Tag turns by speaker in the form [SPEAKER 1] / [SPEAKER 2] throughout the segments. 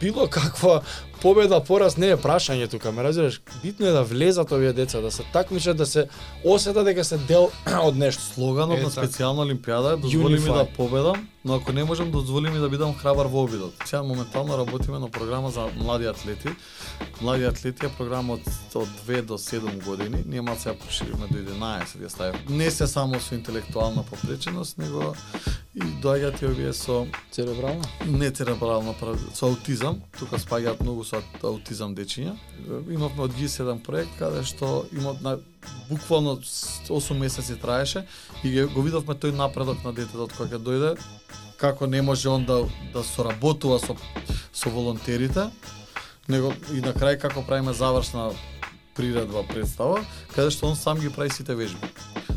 [SPEAKER 1] било каква победа, пораз не е прашање тука, ме разбираш? Битно е да влезат овие деца, да се такмичат, да се осета дека се дел од нешто.
[SPEAKER 2] Слоганот
[SPEAKER 1] Е,
[SPEAKER 2] на
[SPEAKER 1] така.
[SPEAKER 2] специјална олимпијада е дозволи ми
[SPEAKER 1] Unify.
[SPEAKER 2] да победам, но ако не можам дозволи ми да бидам храбар во обидот. Сега моментално работиме на програма за млади атлети. Млади атлети е програма од, од 2 до 7 години. Ние малку сега пошириме до 11 ја ставиме. Не се само со интелектуална попреченост, него и доаѓаат и овие со
[SPEAKER 1] Церебрално?
[SPEAKER 2] не церебрална парализа, со аутизам, тука спаѓаат многу со аутизам дечиња. Имавме од ги 7 проект каде што имат на буквално 8 месеци траеше и ге- го видовме тој напредок на детето од кога ќе дојде како не може он да да соработува со со волонтерите, него и на крај како правиме завршна приредба представа, каде што он сам ги прави сите вежби.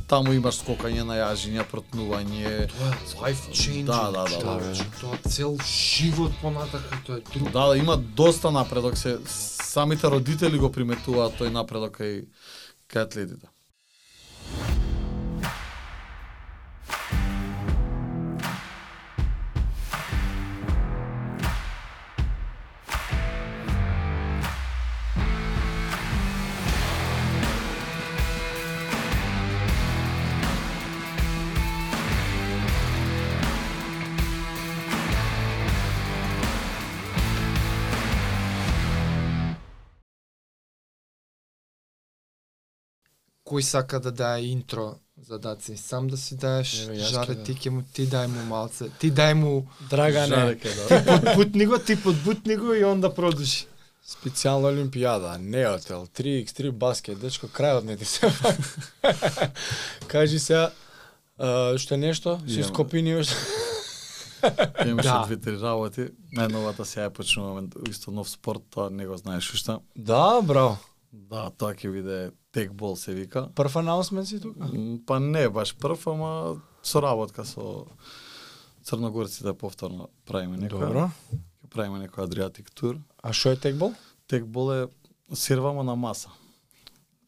[SPEAKER 2] Таму имаш скокање на јажиња, протнување,
[SPEAKER 3] Тоа е life changing.
[SPEAKER 2] Да, да, да,
[SPEAKER 3] човече. Тоа цел живот понатака, тоа е друг.
[SPEAKER 2] Да, да, има доста напредок се самите родители го приметуваат тој напредок кај кај атлетите.
[SPEAKER 3] Кој сака да дае интро за даци? Сам да си даеш,
[SPEAKER 1] Еве, јас
[SPEAKER 3] жаре
[SPEAKER 1] ќе
[SPEAKER 3] ти ќе му ти дај му малце. Ти дај му
[SPEAKER 1] Драгане,
[SPEAKER 2] Жареке, да.
[SPEAKER 3] подбутни го, ти подбутни го и он да продолжи.
[SPEAKER 1] специјална олимпијада, неотел, 3x3 баскет, дечко, крајот не ти се. Кажи се, што е нешто, си
[SPEAKER 2] Имам.
[SPEAKER 1] скопиниош.
[SPEAKER 2] Имаше
[SPEAKER 3] Да.
[SPEAKER 2] две-три работи. Најновата сега ја почнуваме исто нов спорт, тоа не го знаеш уште.
[SPEAKER 1] Да, браво.
[SPEAKER 2] Да, тоа ќе биде текбол се вика.
[SPEAKER 1] Прв анонсмент си тука.
[SPEAKER 2] М, Па не баш прв, ама соработка со Црногорците повторно правиме некоја.
[SPEAKER 1] Добро.
[SPEAKER 2] Ќе правиме некој Адриатик тур.
[SPEAKER 1] А што е текбол?
[SPEAKER 2] Текбол е сервама на маса.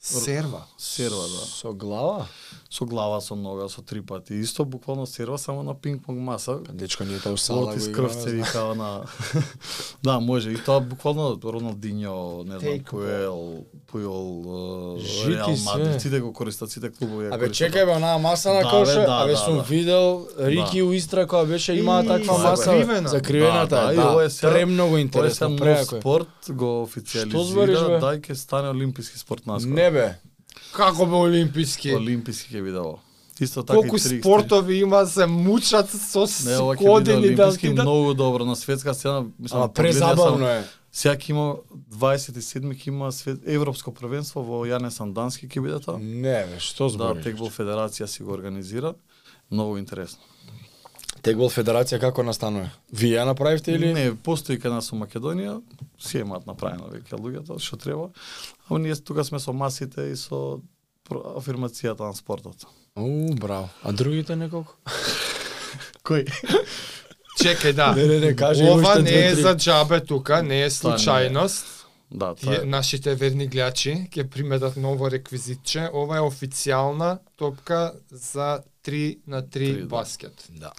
[SPEAKER 3] Серва.
[SPEAKER 2] Серва, да.
[SPEAKER 1] Со глава?
[SPEAKER 2] со глава, со нога, со три пати. Исто буквално серва само на пинг-понг маса.
[SPEAKER 1] Дечко ние тоа сала
[SPEAKER 2] Салот из крв се вика на... да, може. И тоа буквално Роналдиньо, не знам,
[SPEAKER 3] Take
[SPEAKER 2] Пуел, Пуел,
[SPEAKER 1] Жити
[SPEAKER 2] Реал
[SPEAKER 1] се.
[SPEAKER 2] Мадрид, сите го користат, сите клубови го
[SPEAKER 1] Абе
[SPEAKER 2] користат.
[SPEAKER 1] чекај бе, онаа маса на
[SPEAKER 2] Да, бе,
[SPEAKER 1] коша,
[SPEAKER 2] да,
[SPEAKER 1] абе
[SPEAKER 2] да,
[SPEAKER 1] сум
[SPEAKER 2] да.
[SPEAKER 1] видел Рики у Истра која беше имаа
[SPEAKER 3] И,
[SPEAKER 1] таква
[SPEAKER 2] да,
[SPEAKER 1] маса
[SPEAKER 3] закривена.
[SPEAKER 1] закривената,
[SPEAKER 2] Да, да, и
[SPEAKER 1] да,
[SPEAKER 2] ово е сега-
[SPEAKER 1] премногу
[SPEAKER 2] Тоа е само
[SPEAKER 1] интересно,
[SPEAKER 2] нов
[SPEAKER 1] преако е.
[SPEAKER 2] спорт, го
[SPEAKER 1] збориш, бе?
[SPEAKER 2] официализира, дај ќе стане олимписки спорт наскоро.
[SPEAKER 1] Не бе,
[SPEAKER 3] Како бе олимписки?
[SPEAKER 2] Олимписки ќе биде ово. Исто така
[SPEAKER 3] Колку
[SPEAKER 2] и 3x3.
[SPEAKER 3] спортови има да се мучат со
[SPEAKER 2] Не, ова ќе биде
[SPEAKER 3] кодени да
[SPEAKER 2] олимписки
[SPEAKER 3] ти да
[SPEAKER 2] многу добро на светска сцена. Мислам,
[SPEAKER 1] ама
[SPEAKER 2] погледнија сам-
[SPEAKER 1] презабавно е.
[SPEAKER 2] Сега ќе има 27 ќе има свет европско првенство во Јане Сандански ќе биде тоа.
[SPEAKER 1] Не бе, што
[SPEAKER 2] Да,
[SPEAKER 1] збориш?
[SPEAKER 2] Текбол Федерација си го организира. Многу интересно.
[SPEAKER 1] Тегбол Федерација како настанува? Вие ја направивте или?
[SPEAKER 2] Не, постои кај нас во Македонија, си ја имаат направено веќе луѓето што треба. А ние тука сме со масите и со про- афирмацијата на спортот.
[SPEAKER 1] У, браво. А другите неколку?
[SPEAKER 2] Кој?
[SPEAKER 3] Чекај да.
[SPEAKER 1] Не, не, не, кажи
[SPEAKER 3] Ова
[SPEAKER 1] уште
[SPEAKER 3] не е
[SPEAKER 1] две-три.
[SPEAKER 3] за џабе тука, не
[SPEAKER 2] Тоа не е.
[SPEAKER 3] е случајност.
[SPEAKER 2] Да, тоа
[SPEAKER 3] Тие,
[SPEAKER 2] е.
[SPEAKER 3] нашите верни гледачи ќе приметат ново реквизитче. Ова е официјална топка за 3 на 3,
[SPEAKER 2] да.
[SPEAKER 3] баскет.
[SPEAKER 1] Да.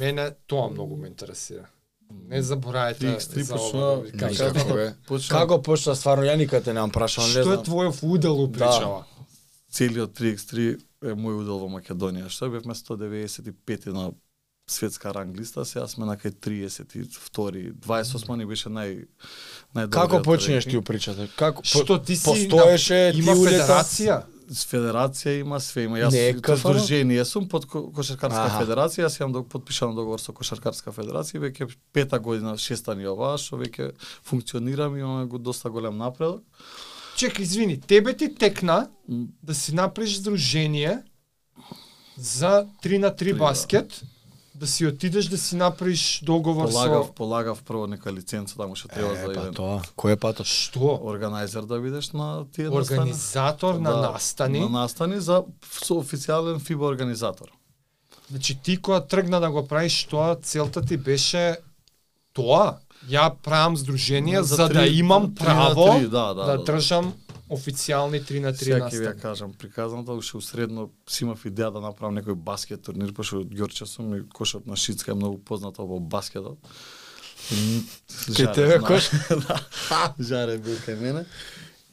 [SPEAKER 3] Мене тоа многу ме интересира. Не заборајте
[SPEAKER 2] 3x3
[SPEAKER 3] за
[SPEAKER 2] почна,
[SPEAKER 3] ова. да
[SPEAKER 1] Кај,
[SPEAKER 2] Како
[SPEAKER 1] како
[SPEAKER 2] бе?
[SPEAKER 1] бе?
[SPEAKER 2] почна
[SPEAKER 1] Како почна стварно, ја никад те немам прашал, не
[SPEAKER 3] Што е
[SPEAKER 1] знам.
[SPEAKER 3] твојов удел у
[SPEAKER 1] Да.
[SPEAKER 3] причава?
[SPEAKER 2] целиот 3x3 е мој удел во Македонија. Што бевме 195 на светска ранглиста, сега сме на кај 32, 28 ни беше нај најдобриот.
[SPEAKER 1] Како почнеш ти
[SPEAKER 2] рейтинг.
[SPEAKER 1] у причата? Како
[SPEAKER 3] Што ти си
[SPEAKER 1] постоеше ти
[SPEAKER 3] има
[SPEAKER 1] улета?
[SPEAKER 3] федерација?
[SPEAKER 2] С федерација има све, има јас
[SPEAKER 1] Не е
[SPEAKER 2] со
[SPEAKER 1] КФР?
[SPEAKER 2] здружение сум под ко- кошаркарска
[SPEAKER 1] Аха.
[SPEAKER 2] федерација, јас имам дог- подпишан договор со кошаркарска федерација, веќе пета година, шеста ни е оваа, што веќе функционирам, имаме го доста голем напредок.
[SPEAKER 3] Чека, извини, тебе ти текна да си направиш здружение за 3 на 3
[SPEAKER 2] да.
[SPEAKER 3] баскет, да си отидеш да си направиш договор со
[SPEAKER 2] Полагав, полагав прво нека лиценца таму што треба за
[SPEAKER 1] Е, па
[SPEAKER 2] еден
[SPEAKER 1] тоа, кој е патот?
[SPEAKER 3] што?
[SPEAKER 2] органајзер да бидеш на тие настани.
[SPEAKER 3] Организатор на
[SPEAKER 2] Да,
[SPEAKER 3] настани.
[SPEAKER 2] На настани за со официјален FIBA организатор.
[SPEAKER 3] Значи ти кога тргна да го правиш тоа, целта ти беше тоа. Ја правам здружение за, за
[SPEAKER 2] три-
[SPEAKER 3] да имам
[SPEAKER 2] три на
[SPEAKER 3] право
[SPEAKER 2] три, да, да,
[SPEAKER 3] да, држам официјални 3 на 3
[SPEAKER 2] Сега ќе ви ја
[SPEAKER 3] настани.
[SPEAKER 2] кажам, приказната уште усредно си имав идеја да направам некој баскет турнир, пошто од Ѓорче сум и кошот на Шицка е многу познато во баскетот.
[SPEAKER 1] Кај тебе
[SPEAKER 2] знам.
[SPEAKER 1] кош?
[SPEAKER 2] Да, Жаре бил кај мене.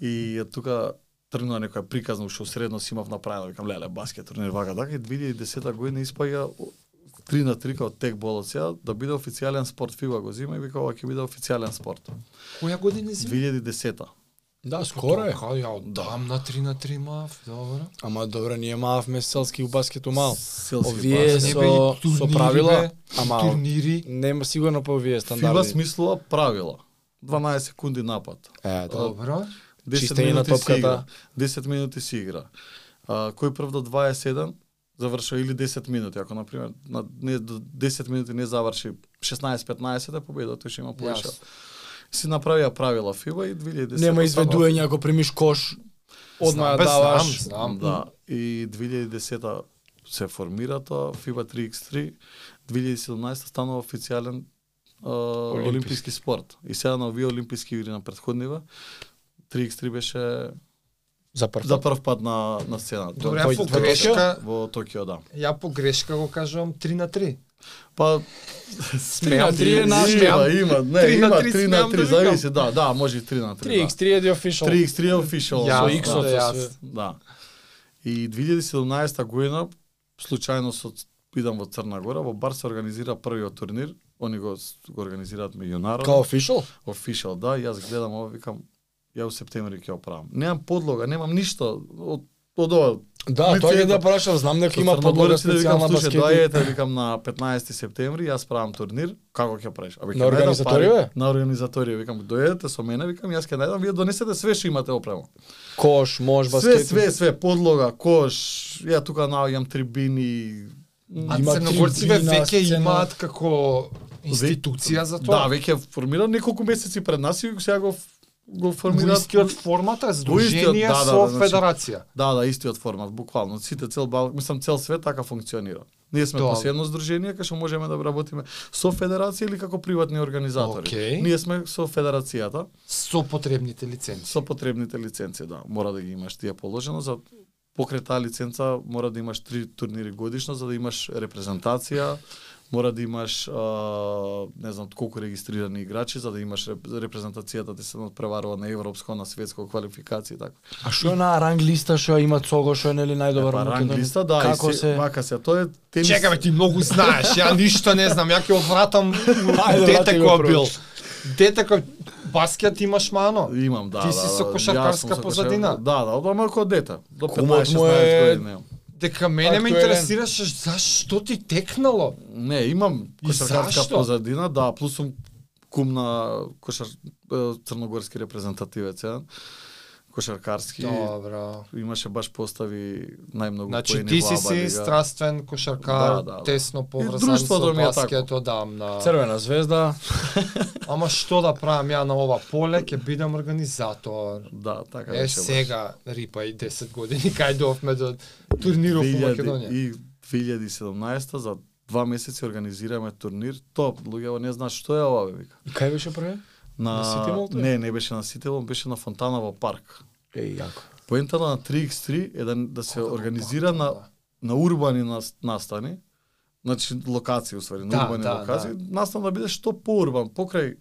[SPEAKER 2] И од тука тргнува некоја приказна уште средно си имав направено, викам леле баскет турнир вака така и 2010 година испаѓа 3 на 3 као тек бол од сега да биде официјален спорт фиба го зима и вика ова ќе биде официјален спорт.
[SPEAKER 3] Која година извини?
[SPEAKER 2] 2010
[SPEAKER 1] Да, скоро е.
[SPEAKER 3] Така, ја одам на 3 на 3 мав, добро.
[SPEAKER 1] Ама добро, ние мавме селски баскету мал.
[SPEAKER 2] Селски
[SPEAKER 1] Овие
[SPEAKER 2] баскет.
[SPEAKER 3] Не
[SPEAKER 1] со,
[SPEAKER 3] бе и турнири,
[SPEAKER 1] со правила,
[SPEAKER 3] бе,
[SPEAKER 1] ама
[SPEAKER 3] турнири.
[SPEAKER 1] нема сигурно па овие
[SPEAKER 2] Фиба
[SPEAKER 1] стандарди.
[SPEAKER 2] смислува правила. 12 секунди напад.
[SPEAKER 1] Е, да.
[SPEAKER 3] Добро.
[SPEAKER 2] 10
[SPEAKER 1] Чистење на
[SPEAKER 2] минути
[SPEAKER 1] топката.
[SPEAKER 2] си игра. 10 минути си игра. А, кој прв до 21 завршува или 10 минути, ако например на не до 10 минути не заврши 16-15 е победа, тој ќе има поише.
[SPEAKER 1] Јас.
[SPEAKER 2] Си направија правила ФИБА и 2010
[SPEAKER 1] Нема
[SPEAKER 2] стана-
[SPEAKER 1] изведување ако примиш кош, одма
[SPEAKER 3] Знам, бе,
[SPEAKER 1] даваш.
[SPEAKER 3] знам, знам.
[SPEAKER 2] Да, и 2010 се формира тоа FIBA 3x3, 2017 станува официјален а,
[SPEAKER 1] Олимписки.
[SPEAKER 2] олимписки спорт. И сега на овие олимписки игри на претходнива 3x3 беше
[SPEAKER 1] За прв.
[SPEAKER 2] за прв пат на на сцената.
[SPEAKER 3] Добре,
[SPEAKER 1] тој-
[SPEAKER 3] ја по
[SPEAKER 1] тој-
[SPEAKER 3] грешка,
[SPEAKER 2] во Токио, да.
[SPEAKER 3] ја по грешка го кажувам 3 на 3.
[SPEAKER 2] Па
[SPEAKER 1] Смеам, три е наш,
[SPEAKER 2] има,
[SPEAKER 1] смеам.
[SPEAKER 2] има, не,
[SPEAKER 3] Три на
[SPEAKER 2] има 3
[SPEAKER 3] три
[SPEAKER 2] на
[SPEAKER 3] смеам да
[SPEAKER 2] 3,
[SPEAKER 3] викам.
[SPEAKER 2] зависи, да, да, може и 3 на 3.
[SPEAKER 1] 3x3 е the official.
[SPEAKER 2] 3x3 е official.
[SPEAKER 3] Ја,
[SPEAKER 2] да,
[SPEAKER 1] со иксот,
[SPEAKER 2] да,
[SPEAKER 1] со
[SPEAKER 2] да.
[SPEAKER 1] све.
[SPEAKER 2] Да. И 2017 година случајно со идам во Црна Гора, во Бар се организира првиот турнир, они го го организираат меѓународно.
[SPEAKER 1] Као official?
[SPEAKER 2] офишал, да, и јас гледам ова, викам, ја у септември ќе оправам. Немам подлога, немам ништо од од ова.
[SPEAKER 1] Да,
[SPEAKER 2] Ми
[SPEAKER 1] тоа ќе
[SPEAKER 2] цена.
[SPEAKER 1] да прашам, знам дека
[SPEAKER 2] Со
[SPEAKER 1] има подлога
[SPEAKER 2] Црногорци да викам,
[SPEAKER 1] специјална
[SPEAKER 2] слушај,
[SPEAKER 1] баскети.
[SPEAKER 2] доаѓајте, викам на 15 септември, јас правам турнир, како ќе правиш? Абе,
[SPEAKER 1] На
[SPEAKER 2] ќе најдам
[SPEAKER 1] организаторија,
[SPEAKER 2] пари.
[SPEAKER 1] бе?
[SPEAKER 2] На организаторија, викам, дојдете со мене, викам, јас ќе најдам, вие донесете све што имате опрема.
[SPEAKER 1] Кош, мож,
[SPEAKER 2] Све,
[SPEAKER 1] баскети.
[SPEAKER 2] све, све, подлога, кош, ја тука наоѓам трибини.
[SPEAKER 3] А
[SPEAKER 1] Има
[SPEAKER 3] црногорците
[SPEAKER 1] трибина,
[SPEAKER 3] веќе
[SPEAKER 1] сцена.
[SPEAKER 3] имаат како институција за
[SPEAKER 2] Да,
[SPEAKER 3] тоа.
[SPEAKER 2] веќе формира неколку месеци пред нас и сега го ф- го
[SPEAKER 3] Го
[SPEAKER 2] формираат.
[SPEAKER 3] искиот формата
[SPEAKER 2] истиот,
[SPEAKER 3] здружение
[SPEAKER 2] да, да,
[SPEAKER 3] со
[SPEAKER 2] да, значи,
[SPEAKER 3] федерација.
[SPEAKER 2] Да, да, истиот формат, буквално. Сите цел Бал, мислам цел свет така функционира. Ние сме
[SPEAKER 3] Тоа.
[SPEAKER 2] посебно здружение кај што можеме да работиме со федерација или како приватни организатори.
[SPEAKER 3] Океј.
[SPEAKER 2] Ние сме со федерацијата,
[SPEAKER 3] Со потребните лиценци.
[SPEAKER 2] со потребните лиценци, да. Мора да ги имаш тие положено за покрај таа лиценца мора да имаш три турнири годишно за да имаш репрезентација, мора да имаш а, не знам колку регистрирани играчи за да имаш реп- репрезентацијата да се надпреварува на европско, на светско квалификација и така.
[SPEAKER 1] А што е на ранг листа, што ја има Цого, што е нели најдобар
[SPEAKER 2] Па, ранг
[SPEAKER 1] Македонец?
[SPEAKER 2] листа, да,
[SPEAKER 1] Како
[SPEAKER 2] и се,
[SPEAKER 1] се?
[SPEAKER 2] вака се, тоа е тенис.
[SPEAKER 3] Чекаме ти многу знаеш, ја ништо не знам, ја ќе одвратам
[SPEAKER 1] Ајде,
[SPEAKER 3] дете
[SPEAKER 1] врати го
[SPEAKER 3] кој
[SPEAKER 1] прво.
[SPEAKER 3] бил. Дете кој баскет имаш мано.
[SPEAKER 2] Имам, да,
[SPEAKER 3] Ти
[SPEAKER 2] да,
[SPEAKER 3] си
[SPEAKER 2] да,
[SPEAKER 3] со
[SPEAKER 2] јас сум
[SPEAKER 3] кошаркарска
[SPEAKER 2] со кошар-
[SPEAKER 3] позадина.
[SPEAKER 2] Да, да, ама како дете. До
[SPEAKER 1] Кумот
[SPEAKER 2] 15-16
[SPEAKER 1] му е-
[SPEAKER 2] години. имам.
[SPEAKER 3] Дека мене ме
[SPEAKER 1] Актуелен.
[SPEAKER 3] интересираше зашто ти текнало.
[SPEAKER 2] Не, имам
[SPEAKER 3] И
[SPEAKER 2] кошаркарска
[SPEAKER 3] зашто?
[SPEAKER 2] позадина, да, плюс сум кум на кошар е, црногорски репрезентативец, ја. Кошаркарски.
[SPEAKER 3] Добро.
[SPEAKER 2] Имаше баш постави најмногу
[SPEAKER 3] Да. Значи
[SPEAKER 2] поени
[SPEAKER 3] ти
[SPEAKER 2] во
[SPEAKER 3] си
[SPEAKER 2] АБА
[SPEAKER 3] си
[SPEAKER 2] лига.
[SPEAKER 3] страствен кошаркар,
[SPEAKER 2] Да, да, да.
[SPEAKER 3] тесно
[SPEAKER 2] И
[SPEAKER 3] поврзан со
[SPEAKER 2] друштвото ми е тако.
[SPEAKER 3] баскет, одамна.
[SPEAKER 1] Црвена звезда.
[SPEAKER 3] Ама што да правам ја на ова поле, ќе бидам организатор.
[SPEAKER 2] Да, така
[SPEAKER 3] Е
[SPEAKER 2] беше баш.
[SPEAKER 3] сега рипа и 10 години кај дофме до турниров во
[SPEAKER 2] 2000
[SPEAKER 3] Македонија.
[SPEAKER 2] И 2017 за два месеци организираме турнир. Топ, луѓе, не знаат што е ова, бе, вика.
[SPEAKER 1] И кај беше прве?
[SPEAKER 2] На,
[SPEAKER 1] На Ситимол тој?
[SPEAKER 2] Не, не беше на Ситимол, беше на Фонтана во парк.
[SPEAKER 1] Еј, јако.
[SPEAKER 2] Поентата на 3x3 е да, да се организира
[SPEAKER 3] да.
[SPEAKER 2] на, на урбани нас- настани, значи локации усвари, на
[SPEAKER 3] Да,
[SPEAKER 2] урбани
[SPEAKER 3] да,
[SPEAKER 2] локации, настан да биде што поурбан, покрај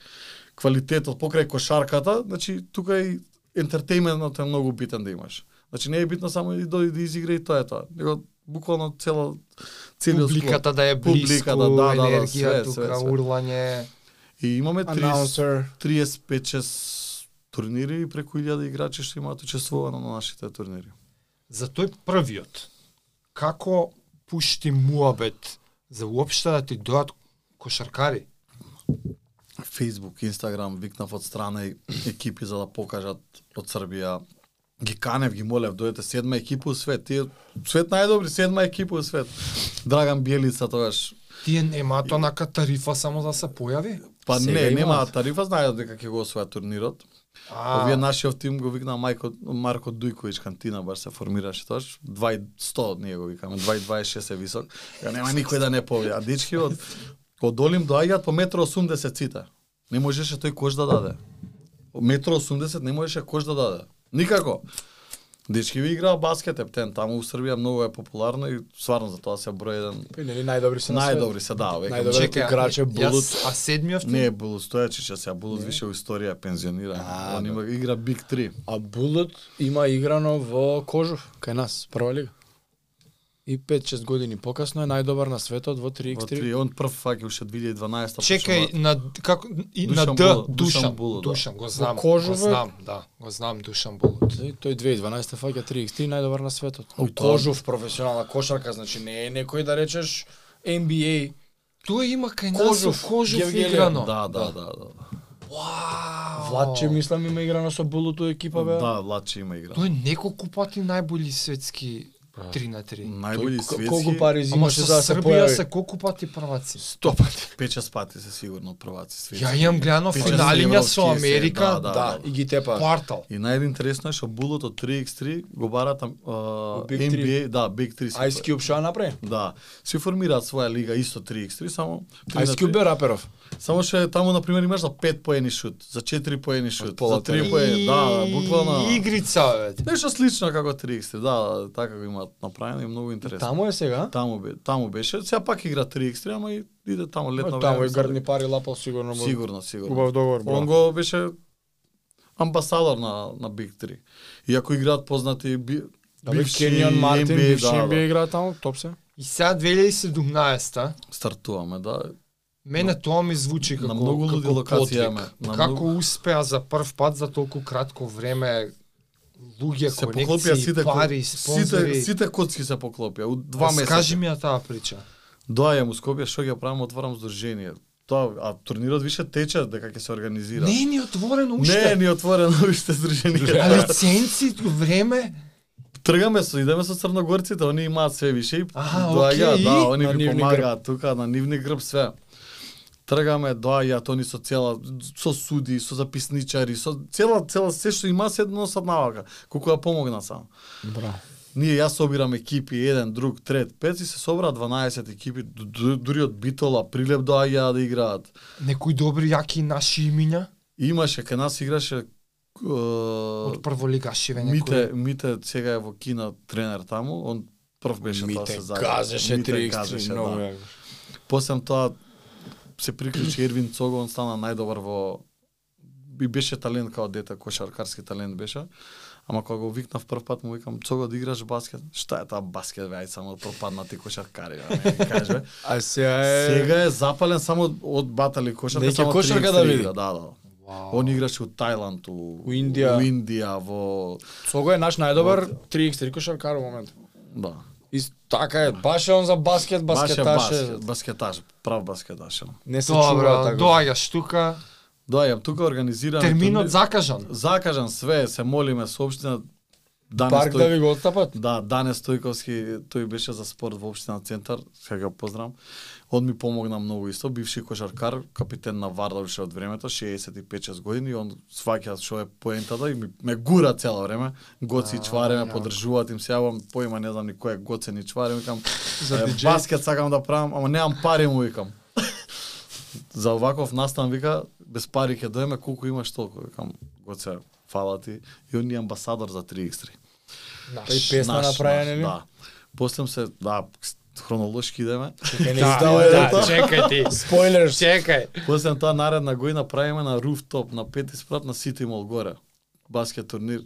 [SPEAKER 2] квалитетот, покрај кошарката, значи тука и ентертејментот е многу битен да имаш. Значи не е битно само и дојде да изигра и тоа е тоа, него буквално цела целиот склоп.
[SPEAKER 3] Публиката да е близко,
[SPEAKER 2] Публиката, да, да, да,
[SPEAKER 3] енергија
[SPEAKER 2] све,
[SPEAKER 3] тука,
[SPEAKER 2] све, све.
[SPEAKER 3] урлање.
[SPEAKER 2] И имаме 30
[SPEAKER 1] Announcer.
[SPEAKER 2] 35-6 турнири и преку 1000 играчи што имаат учествувано на нашите турнири.
[SPEAKER 3] За тој првиот, како пушти муабет за уопште да ти дојат кошаркари?
[SPEAKER 2] Facebook, Instagram, викнав од страна и екипи за да покажат од Србија. Ги канев, ги молев, дојдете седма екипа у свет. Тие свет најдобри, седма екипа у свет. Драган Бјелица тогаш.
[SPEAKER 3] Тие немаат онака тарифа само да се појави?
[SPEAKER 2] Па
[SPEAKER 1] Сега
[SPEAKER 2] не,
[SPEAKER 1] имаат.
[SPEAKER 2] нема тарифа, знаеат дека ќе го освојат турнирот.
[SPEAKER 3] А,
[SPEAKER 2] Овие нашиот тим го викна Мајко Марко Дујковиќ кантина баш се формираше тогаш. 2100 ние го викаме, 226 е висок. Ја нема никој да не повија. А дечки од од Олим доаѓаат по метро 80 ците. Не можеше тој кош да даде. Метро 80 не можеше кош да даде. Никако. Дечки ви играа баскет, ептен, таму у Србија многу е популарно и сварно за тоа се број еден
[SPEAKER 1] Па нели најдобри се на свет?
[SPEAKER 2] најдобри се да, веќе.
[SPEAKER 1] Најдобри. Добре, играч е Булут.
[SPEAKER 3] Јас, а седмиот?
[SPEAKER 2] Не е Булут Стојачич, а сега Булут више у историја пензионира.
[SPEAKER 1] А, да.
[SPEAKER 2] Он има игра Биг 3.
[SPEAKER 1] А Булет има играно во Кожов, кај нас, прва лига. И 5-6 години покасно е најдобар на светот во
[SPEAKER 2] Во
[SPEAKER 1] 3x3.
[SPEAKER 2] 3, он прв фаќа уште 2012
[SPEAKER 3] Чекај
[SPEAKER 2] почнува.
[SPEAKER 3] на како и на
[SPEAKER 2] Душан
[SPEAKER 3] Д
[SPEAKER 2] Булут,
[SPEAKER 3] Душан
[SPEAKER 2] Душан Булут, да.
[SPEAKER 3] Душан го знам.
[SPEAKER 1] Кожове-
[SPEAKER 3] Го знам, да. Го знам Душан Булут.
[SPEAKER 1] И Тој 2012 фаќа 3x3 најдобар на светот.
[SPEAKER 2] Ој,
[SPEAKER 1] О,
[SPEAKER 2] тоа-
[SPEAKER 1] Кожов професионална кошарка, значи не е некој да речеш NBA.
[SPEAKER 3] Тој има кај нас
[SPEAKER 1] Кожов,
[SPEAKER 3] со Кожов
[SPEAKER 1] Гевгелијан,
[SPEAKER 3] играно.
[SPEAKER 2] Да, да, да, да.
[SPEAKER 3] Вау.
[SPEAKER 1] Владче мислам има играно со Булут у екипа Па бе.
[SPEAKER 2] Да, Лачи има игра.
[SPEAKER 3] Тој неколку пати најбољи светски 3 на 3.
[SPEAKER 2] Најбољи
[SPEAKER 1] Тој
[SPEAKER 2] светски.
[SPEAKER 1] Колку пари
[SPEAKER 3] Ама
[SPEAKER 1] зимаше
[SPEAKER 3] со
[SPEAKER 1] за да се
[SPEAKER 3] Србија
[SPEAKER 1] појави?
[SPEAKER 3] се колку пати прваци?
[SPEAKER 1] Сто пати.
[SPEAKER 2] Печес пати се сигурно прваци светски.
[SPEAKER 3] Ја имам гледано
[SPEAKER 2] Пече
[SPEAKER 3] финалиња со
[SPEAKER 2] европски се,
[SPEAKER 3] Америка,
[SPEAKER 2] да,
[SPEAKER 1] Да, и ги тепа.
[SPEAKER 3] квартал.
[SPEAKER 2] И најинтересно е што булот од 3x3 го барат а,
[SPEAKER 1] Big
[SPEAKER 2] NBA, да, Big 3. се
[SPEAKER 1] Ice Cube шо ја направи?
[SPEAKER 2] Да, си формираат своја лига исто 3x3, само три на
[SPEAKER 1] Ice
[SPEAKER 2] три.
[SPEAKER 1] Cube е раперов.
[SPEAKER 2] Само што е таму на пример имаш за 5 поени шут, за 4 поени
[SPEAKER 1] Од
[SPEAKER 2] шут,
[SPEAKER 1] пола
[SPEAKER 2] за 3
[SPEAKER 1] терен.
[SPEAKER 2] поени, да, да, буквално.
[SPEAKER 3] Игрица, бе.
[SPEAKER 2] Нешто слично како 3x3, да, да, така го имаат направено и многу интересно.
[SPEAKER 1] Таму е сега?
[SPEAKER 2] Таму, бе, таму беше, сега пак игра 3x3, ама и иде таму летно
[SPEAKER 1] Ма, Таму и
[SPEAKER 2] време, да-
[SPEAKER 1] гарни пари лапал сигурно. бе.
[SPEAKER 2] Сигурно, сигурно.
[SPEAKER 1] Убав договор. бе.
[SPEAKER 2] Он го беше амбасадор на на Big 3. Иако играат познати би,
[SPEAKER 3] Да,
[SPEAKER 1] Абе, Кенион
[SPEAKER 2] да,
[SPEAKER 1] Мартин, бивши NBA игра таму, топ се.
[SPEAKER 3] И сега 2017-та,
[SPEAKER 2] Стартуваме, да.
[SPEAKER 3] мене тоа ми звучи како
[SPEAKER 2] на многу луди
[SPEAKER 3] како
[SPEAKER 2] локации
[SPEAKER 3] подвиг.
[SPEAKER 2] имаме, на
[SPEAKER 3] Како успеа за прв пат за толку кратко време луѓе,
[SPEAKER 2] Се поклопија
[SPEAKER 3] конекции,
[SPEAKER 2] сите ко-
[SPEAKER 3] пари,
[SPEAKER 2] сите
[SPEAKER 3] спонзори.
[SPEAKER 2] сите коцки се поклопија у два
[SPEAKER 3] Па,
[SPEAKER 2] месеца.
[SPEAKER 3] Скажи ми ја таа прича.
[SPEAKER 2] Доаѓам у Скопје, што ќе правам, отварам здружение. Тоа а турнирот више тече дека ќе се организира.
[SPEAKER 3] Не е ни отворено
[SPEAKER 2] Не,
[SPEAKER 3] уште.
[SPEAKER 2] ни отворено уште
[SPEAKER 3] А
[SPEAKER 2] здружение.
[SPEAKER 3] лиценци, време,
[SPEAKER 2] Тргаме со, идеме со црногорците, они имаат све више и
[SPEAKER 3] Аха,
[SPEAKER 2] доаѓаат,
[SPEAKER 3] окей,
[SPEAKER 2] да,
[SPEAKER 3] и?
[SPEAKER 2] они
[SPEAKER 1] На
[SPEAKER 2] ми
[SPEAKER 1] нивни
[SPEAKER 2] помагаат тука на нивни грб све. Тргаме, доаѓаат они со цела со суди, со записничари, со цела цела се што има се едно сад навака, колку ја помогна само.
[SPEAKER 1] Браво.
[SPEAKER 2] Ние ја собирам екипи, еден, друг, трет, пет и се собра 12 екипи, ду- ду- дури од Битола, Прилеп доаѓаа да играат.
[SPEAKER 3] некои добри јаки наши имиња
[SPEAKER 2] Имаше кај нас играше
[SPEAKER 3] од
[SPEAKER 2] е,
[SPEAKER 3] прволигашиве некои.
[SPEAKER 2] Мите, Мите сега е во Кина тренер таму, он прв беше
[SPEAKER 1] Ми
[SPEAKER 2] тоа
[SPEAKER 1] те
[SPEAKER 2] се зајде.
[SPEAKER 1] газеше 3x3, многу
[SPEAKER 2] да.
[SPEAKER 1] јако.
[SPEAKER 2] После тоа се приклучи Ервин Цого, он стана најдобар во и беше талент као дете, кошаркарски талент беше. Ама кога го викнав прв пат му викам Цого да играш баскет. Šta е тоа баскет бе, ај само пропаднати кошаркари, бе, не кажеш бе.
[SPEAKER 1] А сега е...
[SPEAKER 2] Сега е запален само од батали кошарка,
[SPEAKER 1] Веќе
[SPEAKER 2] само
[SPEAKER 1] кошарка
[SPEAKER 2] 3x3
[SPEAKER 1] да види.
[SPEAKER 2] игра, Да, да. Он играше у Тајланд, у,
[SPEAKER 1] У Индија.
[SPEAKER 2] у Индија, во
[SPEAKER 1] Цого е наш најдобар 3x3 кошаркар во момент.
[SPEAKER 2] да.
[SPEAKER 1] И така е, баш е он за баскет,
[SPEAKER 2] Баше
[SPEAKER 1] баскеташ е.
[SPEAKER 2] баскет- баскеташ, прав баскеташ. е он.
[SPEAKER 1] Не се чува
[SPEAKER 3] Добра,
[SPEAKER 1] така.
[SPEAKER 3] доаѓаш тука,
[SPEAKER 2] Доаѓам тука организираме
[SPEAKER 3] терминот
[SPEAKER 2] турнир.
[SPEAKER 3] закажан.
[SPEAKER 2] Да, закажан све, се молиме со општина данес
[SPEAKER 1] Парк да ви го оттапат.
[SPEAKER 2] Да, Данес Стојковски, тој беше за спорт во општина Центар, сега го познавам. Он ми помогна многу исто, бивши кошаркар, капитен на Вардар беше од времето, 65-6 години, и он сваќа што е поентата и ми, ме гура цело време. Гоци и чваре ме поддржуваат им се јавам, поима не знам ни кој е Гоце ни чваре, викам,
[SPEAKER 1] За
[SPEAKER 2] «Е,
[SPEAKER 1] диџеј?
[SPEAKER 2] баскет сакам да правам, ама немам пари му викам. за оваков настан вика, без пари ќе доеме, колку имаш толку, викам, Гоце, фала ти, и он ни е амбасадор за 3x3
[SPEAKER 1] Па и песна
[SPEAKER 2] наш,
[SPEAKER 1] направена,
[SPEAKER 2] наш,
[SPEAKER 1] нели?
[SPEAKER 2] Да. После се, да, хронолошки идеме.
[SPEAKER 1] Чекај,
[SPEAKER 2] Да.
[SPEAKER 1] не издава е тоа.
[SPEAKER 3] чекај ти.
[SPEAKER 1] Спойлер.
[SPEAKER 3] Чекај.
[SPEAKER 2] После тоа наредна година правиме на руфтоп на пети спрат на Сити Мол горе. Баскет турнир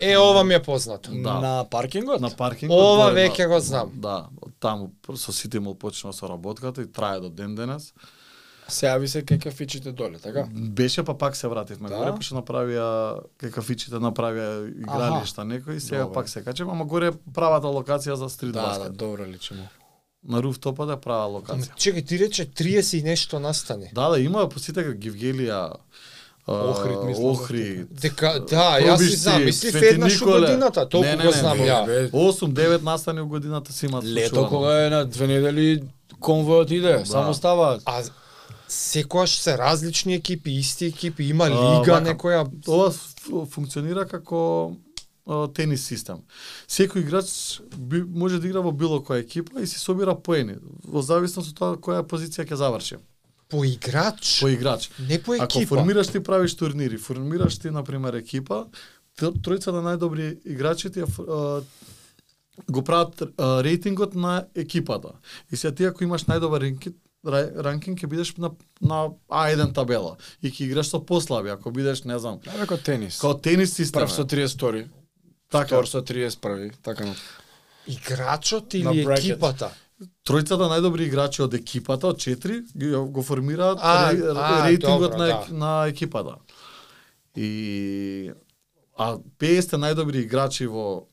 [SPEAKER 3] Е, ова ми е познато.
[SPEAKER 2] Да.
[SPEAKER 1] На паркингот?
[SPEAKER 2] на паркингот.
[SPEAKER 3] Ова
[SPEAKER 2] горе, да.
[SPEAKER 3] веќе го знам.
[SPEAKER 2] Да, од таму со Сити Мол почнува со работката и трае до ден денес.
[SPEAKER 1] Се јави се кај кафичите доле, така?
[SPEAKER 2] Беше па пак се вративме
[SPEAKER 1] Да?
[SPEAKER 2] да? горе, пошто направија кај кафичите направија игралишта некои, сега
[SPEAKER 1] Добро.
[SPEAKER 2] пак се качем, ама горе е правата локација за стрит
[SPEAKER 1] Да, да,
[SPEAKER 2] баскет.
[SPEAKER 1] добро личимо.
[SPEAKER 2] На руфтопа да е права локација.
[SPEAKER 3] Чекај, ти рече 30 и нешто настане.
[SPEAKER 2] Да, да, има по сите Гивгелија, а,
[SPEAKER 1] Охрид, мислам,
[SPEAKER 2] Охрид.
[SPEAKER 3] Дека, да, јас си
[SPEAKER 2] Пробиш
[SPEAKER 3] знам,
[SPEAKER 2] ти,
[SPEAKER 3] мислив
[SPEAKER 2] Свети
[SPEAKER 3] еднаш у
[SPEAKER 2] Николе.
[SPEAKER 3] годината,
[SPEAKER 2] Не,
[SPEAKER 3] толку
[SPEAKER 2] не,
[SPEAKER 3] го
[SPEAKER 2] не,
[SPEAKER 3] знам
[SPEAKER 2] не,
[SPEAKER 3] ја.
[SPEAKER 1] Бе,
[SPEAKER 2] 8-9 настани у годината си имаат
[SPEAKER 1] Лето
[SPEAKER 2] случувано.
[SPEAKER 1] кога е на две недели конвојот
[SPEAKER 2] Да.
[SPEAKER 1] иде, само ставаат.
[SPEAKER 3] А секојаш се различни екипи, исти екипи, има
[SPEAKER 2] А,
[SPEAKER 3] лига
[SPEAKER 2] вака,
[SPEAKER 3] некоја.
[SPEAKER 2] Ова ф- функционира како а, тенис систем. Секој играч би, може да игра во било која екипа и си собира поени, во зависност од тоа која позиција ќе заврши.
[SPEAKER 3] По играч,
[SPEAKER 2] По играч.
[SPEAKER 3] не по
[SPEAKER 2] Ако
[SPEAKER 3] екипа.
[SPEAKER 2] формираш ти правиш турнири, формираш ти на пример екипа, тр- тројца на најдобри играчите ја ф- а, го прават а, рейтингот на екипата. И сега ти ако имаш најдобар ринки- ра- ранкинг ќе бидеш на на А1 табела и ќе играш со послаби, ако бидеш, не знам,
[SPEAKER 1] Да, како тенис.
[SPEAKER 2] као тенис система.
[SPEAKER 1] Прв со 32,
[SPEAKER 2] така,
[SPEAKER 1] втор со 31, така на.
[SPEAKER 3] Играчот
[SPEAKER 1] На
[SPEAKER 3] или
[SPEAKER 1] брекет.
[SPEAKER 3] екипата?
[SPEAKER 2] тројцата најдобри играчи од екипата, од четири, ги- го формираат
[SPEAKER 3] А,
[SPEAKER 2] ре-
[SPEAKER 3] а,
[SPEAKER 2] рейтингот
[SPEAKER 3] добро,
[SPEAKER 2] на,
[SPEAKER 3] да.
[SPEAKER 2] ек- на екипата. И а 50 најдобри играчи во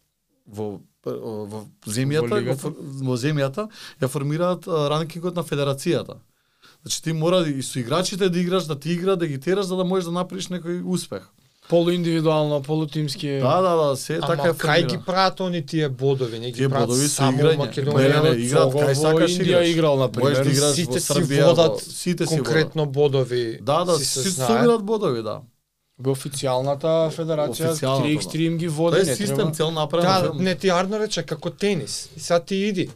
[SPEAKER 2] во во земјата,
[SPEAKER 1] Во
[SPEAKER 2] во,
[SPEAKER 1] лигата.
[SPEAKER 2] во, во земјата ја формираат а, ранкингот на федерацијата. Значи ти мора и со играчите да играш, да ти игра, да ги тераш за да можеш да направиш некој успех.
[SPEAKER 1] Полуиндивидуално, полутимски.
[SPEAKER 2] Да, да, да, се е
[SPEAKER 3] Ама
[SPEAKER 2] така е
[SPEAKER 3] кај
[SPEAKER 2] формирано.
[SPEAKER 3] ги прават они тие бодови? Не ги
[SPEAKER 2] Тие
[SPEAKER 3] прават
[SPEAKER 2] бодови со
[SPEAKER 3] само
[SPEAKER 2] играње.
[SPEAKER 3] у
[SPEAKER 2] Не,
[SPEAKER 3] Македонија.
[SPEAKER 2] не, не, играат
[SPEAKER 1] кај
[SPEAKER 2] кај сакаш
[SPEAKER 1] Индија
[SPEAKER 2] играш.
[SPEAKER 1] играл,
[SPEAKER 2] Можеш да
[SPEAKER 1] например.
[SPEAKER 2] играш
[SPEAKER 3] сите
[SPEAKER 2] во
[SPEAKER 3] си
[SPEAKER 2] Србија,
[SPEAKER 3] водат
[SPEAKER 2] во- сите си водат.
[SPEAKER 3] Конкретно бодови
[SPEAKER 2] Да, да,
[SPEAKER 3] си се
[SPEAKER 2] си
[SPEAKER 3] знаат.
[SPEAKER 2] сумират бодови, да.
[SPEAKER 1] Во официјалната федерација,
[SPEAKER 2] Официјалната,
[SPEAKER 1] 3x3 им ги
[SPEAKER 2] Тоа
[SPEAKER 1] води,
[SPEAKER 2] е
[SPEAKER 1] не
[SPEAKER 2] систем
[SPEAKER 1] треба.
[SPEAKER 2] цел направен.
[SPEAKER 3] Да,
[SPEAKER 2] филм.
[SPEAKER 3] не ти Арно рече како тенис. И сега ти иди.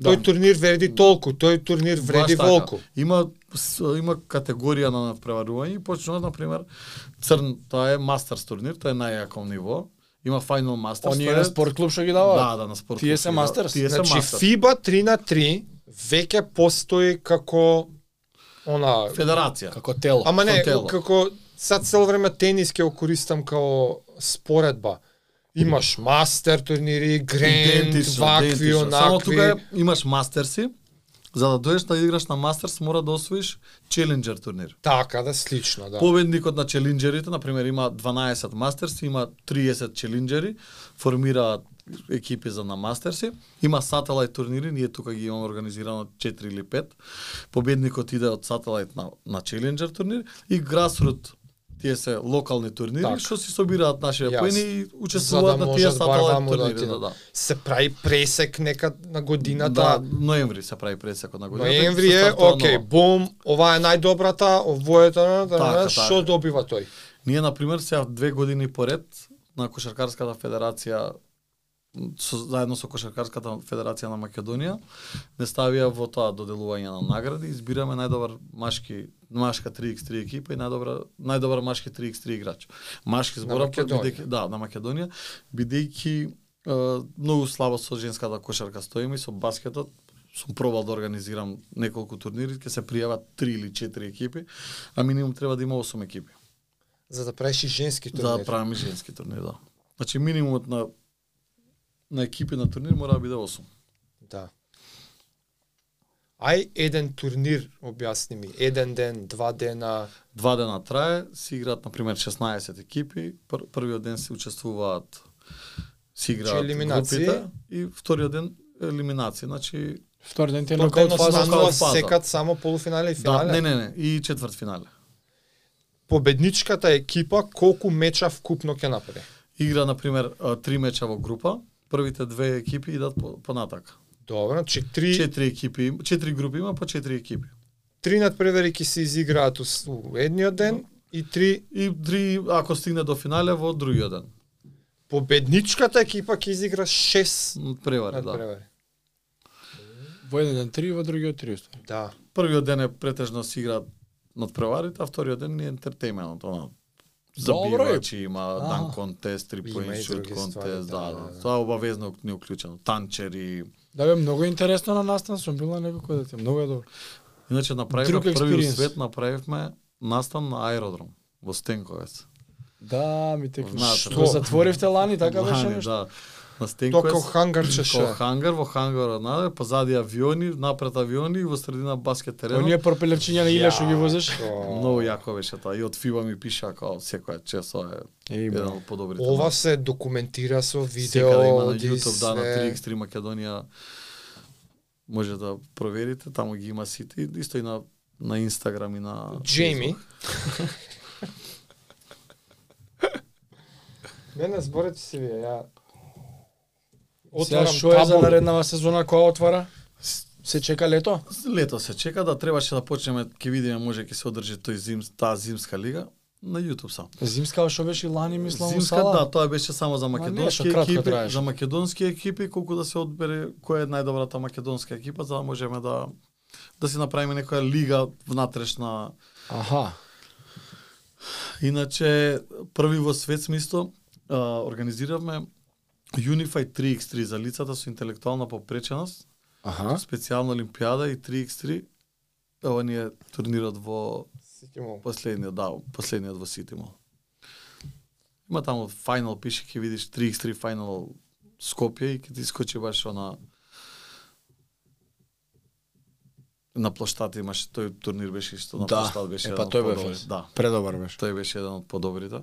[SPEAKER 1] Да.
[SPEAKER 3] Тој турнир вреди толку, тој турнир
[SPEAKER 2] Баш
[SPEAKER 3] вреди
[SPEAKER 2] така.
[SPEAKER 3] волку.
[SPEAKER 2] Има с- има категорија на преварување и почнува на пример Црн, тоа е мастерс турнир, тоа е најјако ниво. Има финал мастерс.
[SPEAKER 1] Оние на спорт клуб што ги
[SPEAKER 2] Да,
[SPEAKER 1] дава.
[SPEAKER 2] да, на спорт.
[SPEAKER 1] Тие
[SPEAKER 2] клуб
[SPEAKER 1] се
[SPEAKER 2] се
[SPEAKER 1] мастерс?
[SPEAKER 2] Тие се
[SPEAKER 3] Значи
[SPEAKER 2] мастерс.
[SPEAKER 3] FIBA 3 на 3 веќе постои како она
[SPEAKER 2] Федерација.
[SPEAKER 1] Како тело.
[SPEAKER 3] Ама не,
[SPEAKER 2] Фонтело.
[SPEAKER 3] како сад цел време тенис ќе го користам као споредба. Имаш мастер турнири, гренд,
[SPEAKER 2] Идентично,
[SPEAKER 3] вакви,
[SPEAKER 2] идентично. Само тука
[SPEAKER 3] онакви.
[SPEAKER 2] е- имаш мастерси. За да доеш да играш на мастерс мора да освоиш челенџер турнир.
[SPEAKER 3] Така, да, слично, да.
[SPEAKER 2] Победникот на челенџерите, на пример, има 12 мастерси, има 30 челенџери, формираат екипи за на мастерси. Има сателайт турнири, ние тука ги имаме организирано 4 или 5. Победникот иде од сателайт на, на челенџер турнир и грасрут тие се локални турнири
[SPEAKER 3] Так.
[SPEAKER 2] што си собираат нашите
[SPEAKER 3] Јасно.
[SPEAKER 2] поени и
[SPEAKER 3] За
[SPEAKER 2] учествуваат
[SPEAKER 3] да
[SPEAKER 2] на тие
[SPEAKER 3] можат бар
[SPEAKER 2] сателайт
[SPEAKER 3] ваму да
[SPEAKER 2] турнири.
[SPEAKER 3] отидат.
[SPEAKER 2] Да, да.
[SPEAKER 3] Се прави пресек некад на
[SPEAKER 2] Да,
[SPEAKER 3] годината.
[SPEAKER 2] ноември се прави пресекот на годината. и
[SPEAKER 3] Ноември
[SPEAKER 2] се
[SPEAKER 3] е,
[SPEAKER 2] стартува
[SPEAKER 3] окей,
[SPEAKER 2] нова.
[SPEAKER 3] бум, ова е најдобрата, ово е тоа, тоа,
[SPEAKER 2] Така,
[SPEAKER 3] тоа, што
[SPEAKER 2] така.
[SPEAKER 3] добива тој?
[SPEAKER 2] Ние, например, сега две години поред на Кошаркарската федерација со, заедно со Кошаркарската федерација на Македонија не ставија во тоа доделување на награди, избираме најдобар машки машка 3x3 екипа и најдобра најдобар машки 3x3 играч. Машки збора
[SPEAKER 3] Македонија.
[SPEAKER 2] бидејќи да, на Македонија, бидејќи е, многу слабо со женската кошарка стоиме и со баскетот сум пробал да организирам неколку турнири, ќе се пријават 3 или 4 екипи, а минимум треба да има 8 екипи.
[SPEAKER 3] За да правиш и женски
[SPEAKER 2] За да
[SPEAKER 3] турнир.
[SPEAKER 2] правиме женски турнир, да. Значи минимумот на на екипи на турнир мора да биде 8.
[SPEAKER 3] Да. Ај еден турнир, објасни ми, еден ден, два дена,
[SPEAKER 2] Два дена трае, се играат на пример 16 екипи, пр првиот ден се учествуваат се играат
[SPEAKER 3] Значи, елиминации?
[SPEAKER 2] групите и вториот ден елиминации. Значи
[SPEAKER 1] Втори ден ти е
[SPEAKER 3] Тоа кај
[SPEAKER 1] нокаут
[SPEAKER 3] нас
[SPEAKER 1] фаза.
[SPEAKER 2] фаза,
[SPEAKER 3] останува
[SPEAKER 2] нокаут фаза.
[SPEAKER 3] секад само полуфинале и
[SPEAKER 2] да,
[SPEAKER 3] финале.
[SPEAKER 2] не, не, не, и четврт финале.
[SPEAKER 3] Победничката екипа колку меча вкупно ќе направи?
[SPEAKER 2] Игра на пример а, три меча во група, првите две екипи идат по- понатака.
[SPEAKER 3] Добро, значи три,
[SPEAKER 2] Четири екипи, им- четири групи има по четири екипи.
[SPEAKER 3] три надпревери ќе се изиграат ус- у едниот
[SPEAKER 2] Да.
[SPEAKER 3] ден и три
[SPEAKER 2] И три ако стигне до финале во другиот ден.
[SPEAKER 3] победничката екипа ќе изигра шест
[SPEAKER 2] Преваре, да.
[SPEAKER 3] надпревери.
[SPEAKER 1] Во еден ден 3, во другиот 3.
[SPEAKER 3] Да.
[SPEAKER 2] првиот ден е претежно да се играат над преварите, а вториот ден е ентертејмент, она
[SPEAKER 1] Добро е.
[SPEAKER 2] забивачи, има
[SPEAKER 1] А.
[SPEAKER 2] дан контест, три
[SPEAKER 3] Има
[SPEAKER 2] поен
[SPEAKER 3] и
[SPEAKER 2] шут
[SPEAKER 3] други ствари,
[SPEAKER 2] контест,
[SPEAKER 3] да,
[SPEAKER 2] да,
[SPEAKER 3] да,
[SPEAKER 2] да,
[SPEAKER 3] да.
[SPEAKER 2] тоа обавезно не е уклучено, танчери.
[SPEAKER 1] Да бе, многу интересно на настан сум била некако дете, многу е добро.
[SPEAKER 2] Иначе направивме
[SPEAKER 1] Друг
[SPEAKER 2] први
[SPEAKER 1] experience.
[SPEAKER 2] свет, направивме настан на аеродром во Стенковец.
[SPEAKER 1] Да, ми текна.
[SPEAKER 2] Знаат,
[SPEAKER 1] Што
[SPEAKER 3] тоа.
[SPEAKER 1] затворивте лани, така беше
[SPEAKER 2] Лани,
[SPEAKER 1] нешто.
[SPEAKER 2] Да, на
[SPEAKER 3] Тоа како
[SPEAKER 2] Стенковец.
[SPEAKER 3] хангарче
[SPEAKER 2] Као
[SPEAKER 3] ше.
[SPEAKER 2] хангар, во хангар однаде, позади авиони, напред авиони и во средина баскет терен.
[SPEAKER 1] Оние пропелерчиња на иле што ги возиш.
[SPEAKER 2] Многу јако беше тоа. И од FIBA ми пиша како секоја чесо е
[SPEAKER 1] Еј, бе.
[SPEAKER 2] еден од подобрите.
[SPEAKER 3] Ова се документира со видео,
[SPEAKER 2] Секаде да има на
[SPEAKER 3] оди
[SPEAKER 2] YouTube, да, на
[SPEAKER 3] све.
[SPEAKER 2] 3x3 Македонија може да проверите, таму ги има сите, и исто и на на Инстаграм и на
[SPEAKER 3] Джейми.
[SPEAKER 2] Facebook.
[SPEAKER 3] Не, не, зборете си вие, ја...
[SPEAKER 1] Сега
[SPEAKER 3] Отварам
[SPEAKER 1] што е за
[SPEAKER 3] табу.
[SPEAKER 1] нареднава сезона која отвара? Се чека лето?
[SPEAKER 2] Лето се чека да требаше да почнеме, ќе видиме може ќе се одржи тој зим таа зимска лига на YouTube само.
[SPEAKER 1] Зимска што беше и лани, мислам, у
[SPEAKER 2] Зимска,
[SPEAKER 1] сала.
[SPEAKER 2] да, тоа беше само за
[SPEAKER 1] Ма
[SPEAKER 2] македонски
[SPEAKER 1] не, што кратко да
[SPEAKER 2] екипи,
[SPEAKER 1] траеше.
[SPEAKER 2] за македонски екипи, колку да се одбере која е најдобрата македонска екипа, за да можеме да да си направиме некоја лига внатрешна
[SPEAKER 1] Аха.
[SPEAKER 2] Иначе, први во свет сме исто, а, организиравме Unify 3x3 за лицата со интелектуална попреченост,
[SPEAKER 1] Аха.
[SPEAKER 2] специјална олимпијада и 3x3 ова ни е турнирот во
[SPEAKER 1] Сеќавам.
[SPEAKER 2] последниот, да, последниот во Сити Мол. Има таму финал пише ќе видиш 3x3 финал Скопје и ќе ти искочи баш она на плоштата имаше тој турнир беше што на
[SPEAKER 1] Да,
[SPEAKER 2] плоштат беше.
[SPEAKER 1] е,
[SPEAKER 2] еден
[SPEAKER 1] па
[SPEAKER 2] од
[SPEAKER 1] тој бе
[SPEAKER 2] подобри-
[SPEAKER 1] фест.
[SPEAKER 2] Да,
[SPEAKER 1] Предобар беше.
[SPEAKER 2] тој беше еден од подобрите.